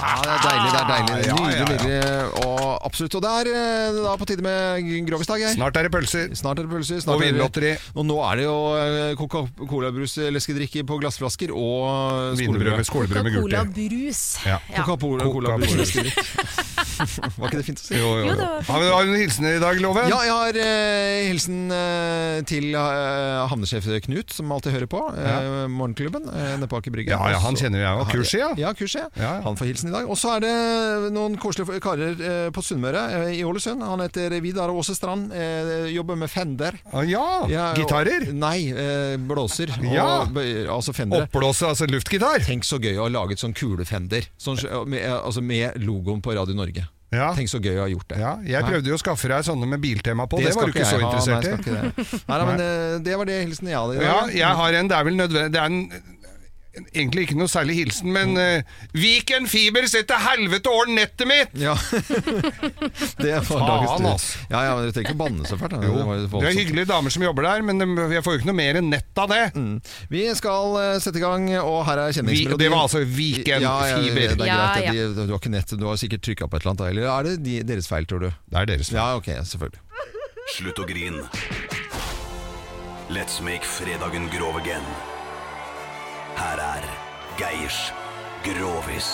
S1: Ja, det er deilig. det er
S3: Ja,
S1: deilig
S3: ja, ja.
S1: Nydelig, nydelig og absolutt. Og det er eh, da på tide med grovisdag.
S3: Snart er det pølser.
S1: Snart er det pølser
S3: Og
S1: snart er det-
S3: vinlotteri.
S1: Og nå er det jo eh, Coca-Cola-brus, eh, leskedrikke på glassflasker og eh,
S3: Vinbrød med skolebrød med gult i.
S21: Cola-brus.
S3: Ja.
S21: Ja.
S1: Coca-Cola-brus, leskedrikk. [laughs] Var ikke det fint å si?
S3: jo. Jo, det var fint. Har vi- har du noen hilsener i dag, Loven?
S1: Ja, jeg har eh, hilsen eh, til eh, havnesjef Knut, som alltid hører på. Eh, morgenklubben eh, nede på Aker Brygge.
S3: Ja, ja, han
S1: Også-
S3: kjenner jo jeg også. Kursi, ja.
S1: Ja, kursi.
S3: Ja, ja.
S1: Han får hilsen i dag. Og så er det eh, noen koselige karer eh, på Sunnmøre, eh, i Ålesund. Han heter Vidar Åse Strand. Eh, jobber med Fender.
S3: Ah, ja.
S1: og-
S3: Gitarer?
S1: Nei, eh, blåser.
S3: Ja.
S1: Og, bøyer, altså fendere.
S3: Oppblåse, altså luftgitar?
S1: Tenk så gøy å ha laget sånn kulefender, sånn, med, altså med logoen på Radio Norge.
S3: Ja.
S1: Tenk så gøy å ha gjort det.
S3: Ja, jeg
S1: Nei.
S3: prøvde jo å skaffe deg sånne med biltema på, det,
S1: skal
S3: var du ikke
S1: jeg
S3: så
S1: ha.
S3: interessert
S1: Nei,
S3: i.
S1: jeg skal ikke det. Nei, nei, men det, det var det hilsen jeg hadde i
S3: Ja,
S1: dag.
S3: jeg har en, det er vel nødvendig Det er en, en, egentlig ikke noe særlig hilsen,
S1: Mm.
S3: men eh, Viken Fiber setter helvete over nettet mitt! [laughs]
S1: Ja. det var
S3: Faen,
S1: dagens tur.
S3: ass.
S1: Ja, ja, men Du trenger ikke å banne så fælt. da. Det var
S3: Det er
S1: voldsomt.
S3: hyggelige damer som jobber der, men de- jeg får jo ikke noe mer enn nett av det.
S1: Mm, Vi skal eh, sette i gang, og her er
S3: Vi-
S1: kjenningsmelodien.
S3: og det var altså Viken
S1: ja, ja,
S3: Fiber.
S1: Det er
S3: Ja,
S1: greit,
S3: ja.
S1: De, du har ikke nett, du har sikkert trykka på et eller annet. da, Eller er det de, deres feil, tror du?
S3: Det er deres
S1: feil. Ja, ok, selvfølgelig.
S5: Slutt å grine. Let's make fredagen grov again. Her er Geirs Grovis.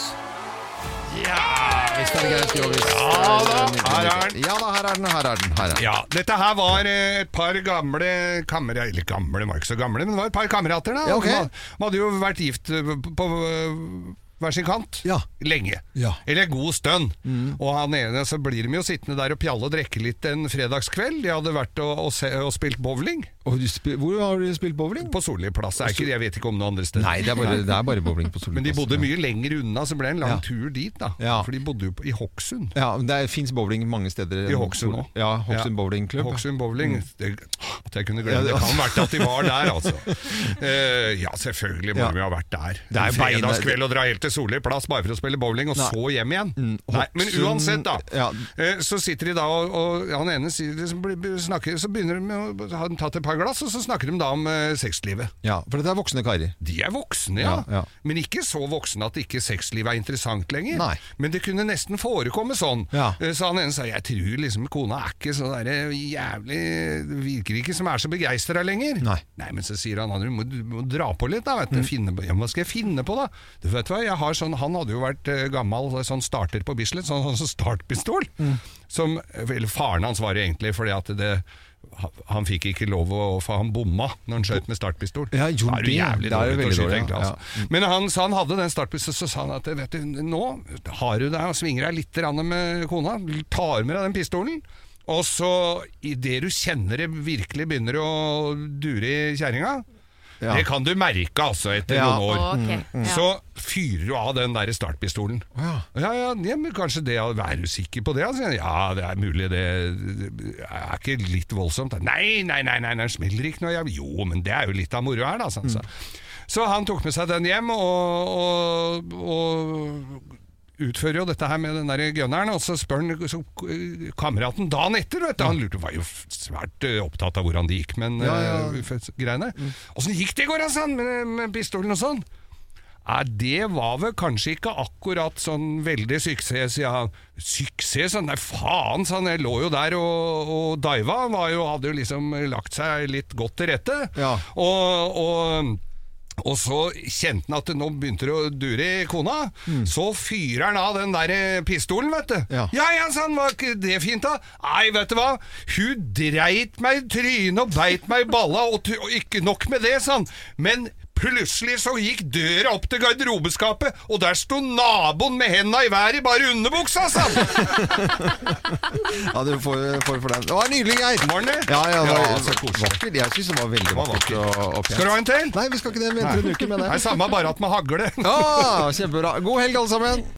S1: Hvis det er greit, Jovis.
S3: Ja da, her er den.
S1: Ja da, her er den, her er den. Her er den.
S3: Ja, dette her var eh, et par gamle kamerater Eller gamle, de var ikke så gamle, men det var et par kamerater. da
S1: Ja, ok.
S3: de, had- de hadde jo vært gift eh, på, på eh, hver sin kant lenge.
S1: Ja. Mm.
S3: Eller en god stund. Og han ene så blir de jo sittende der og pjalle og drikke litt en fredagskveld. De hadde vært og, og, se, og spilt bowling.
S1: Og du spil, hvor har du spilt bowling?
S3: På Solli plass. Det er ikke- Jeg vet ikke om noe andre steder.
S1: Nei, det er bare, det er bare bowling på Solli.
S3: Men de
S1: plass.
S3: bodde mye lenger unna, så det ble en lang
S1: Ja.
S3: tur dit, da.
S1: Ja.
S3: For de bodde jo på- i Hokksund.
S1: Ja, men Det fins bowling mange steder.
S3: I Hokksund også.
S1: Ja, Hokksund
S3: Ja.
S1: bowlingklubb.
S3: Hokksund bowling. Det, at jeg kunne glemme det.
S1: Mm. Ja, det var-
S3: kan vært at de var der, altså.
S1: [laughs]
S3: Eh, ja, selvfølgelig må
S1: Ja.
S3: vi ha vært der.
S1: Det er
S3: En
S1: beina-
S3: Fredagskveld og dra helt til Solli plass bare for å spille bowling, og
S1: Nei.
S3: så hjem igjen. Nei, men
S1: Hokksund-
S3: uansett, da.
S1: Ja.
S3: Eh, så sitter de da, og, og han ene sier, liksom, blir- blir- snakker, så begynner de med å ha tatt et par glass, og så snakker de da om eh, sexlivet.
S1: ja, For dette er voksne karer.
S3: De er voksne, ja.
S1: Ja, ja.
S3: Men ikke så voksne at ikke sexlivet er interessant lenger.
S1: Nei.
S3: Men det kunne nesten forekomme sånn.
S1: Ja.
S3: Eh, Så han ene sa jeg tror liksom kona er ikke så der jævlig Virker ikke som er så begeistra lenger.
S1: Nei. Mm.
S3: men så sier han du må, du må dra på litt, da. Vet du. Finne på, ja, men hva skal jeg finne på, da? Du vet hva, jeg har sånn, Han hadde jo vært eh, gammel sånn starter på Bislett, sånn, sånn startpistol.
S1: Mm.
S3: Som, eller faren hans var det egentlig, fordi at det han fikk ikke lov å For han bomma når han skjøt med startpistol.
S1: Ja, jo,
S3: Da er du
S1: det-
S3: jævlig
S1: da er
S3: dårlig til å
S1: du veldig
S3: skyte,
S1: dårlig,
S3: egentlig.
S1: ja.
S3: Altså. Men han, så han hadde den startpistolen, så sa han at vet du, nå har du deg og svinger deg litt grann med kona, tar med deg den pistolen, og så idet du kjenner det virkelig begynner å dure i kjerringa
S1: Ja.
S3: Det kan du merke altså etter
S1: Ja.
S3: noen år.
S1: Ok, ja.
S3: Så fyrer du av den der startpistolen. Ja, ja, ja, men kanskje det Er du sikker på det? Altså, ja, det er mulig det Er ikke litt voldsomt? da? Nei, nei, nei, nei, nei smeller ikke noe jeg, Jo, men det er jo litt av moro her da sånn, så.
S1: Mm.
S3: så han tok med seg den hjem Og, og, og utfører jo dette her med den der gønneren, og så spør han så, eh, kameraten dagen etter, vet du. Han lurte, var jo f- svært eh, opptatt av hvordan det gikk, men
S1: Ja, ja. Mm.
S3: eh, f- greiene. Åssen gikk det i går, altså, med, med pistolen og sånn? Nei, det var vel kanskje ikke akkurat sånn veldig suksess, ja. Suksess? Sånn, nei, faen, sa han. Jeg lå jo der og, og diva. Han var jo, hadde jo liksom lagt seg litt godt til rette. Og, og, og så kjente han at det nå begynte det å dure i kona.
S1: Mm.
S3: Så fyrer han av den der eh, pistolen, vet du. Ja, ja, sa han. Var ikke det fint, da? Nei, vet du hva. Hun dreit meg i trynet og beit meg i balla, og, tu- og ikke nok med det, sa han. Men Plutselig så gikk døra opp til garderobeskapet, og der sto naboen med henda i været i bare underbuksa, sa han!
S1: [laughs] Ja, du får, får for den. Det var nydelig, Geir!
S3: Morgen, det.
S1: Ja, ja, det var, altså
S3: Ja, så
S1: vakkert. Jeg syns det var veldig vakkert. Og, og pent.
S3: Skal du ha en til?
S1: Nei, vi skal ikke det. Vi venter en uke med det.
S3: Nei, samme, bare at med hagle.
S1: Ja, kjempebra. God helg, alle sammen!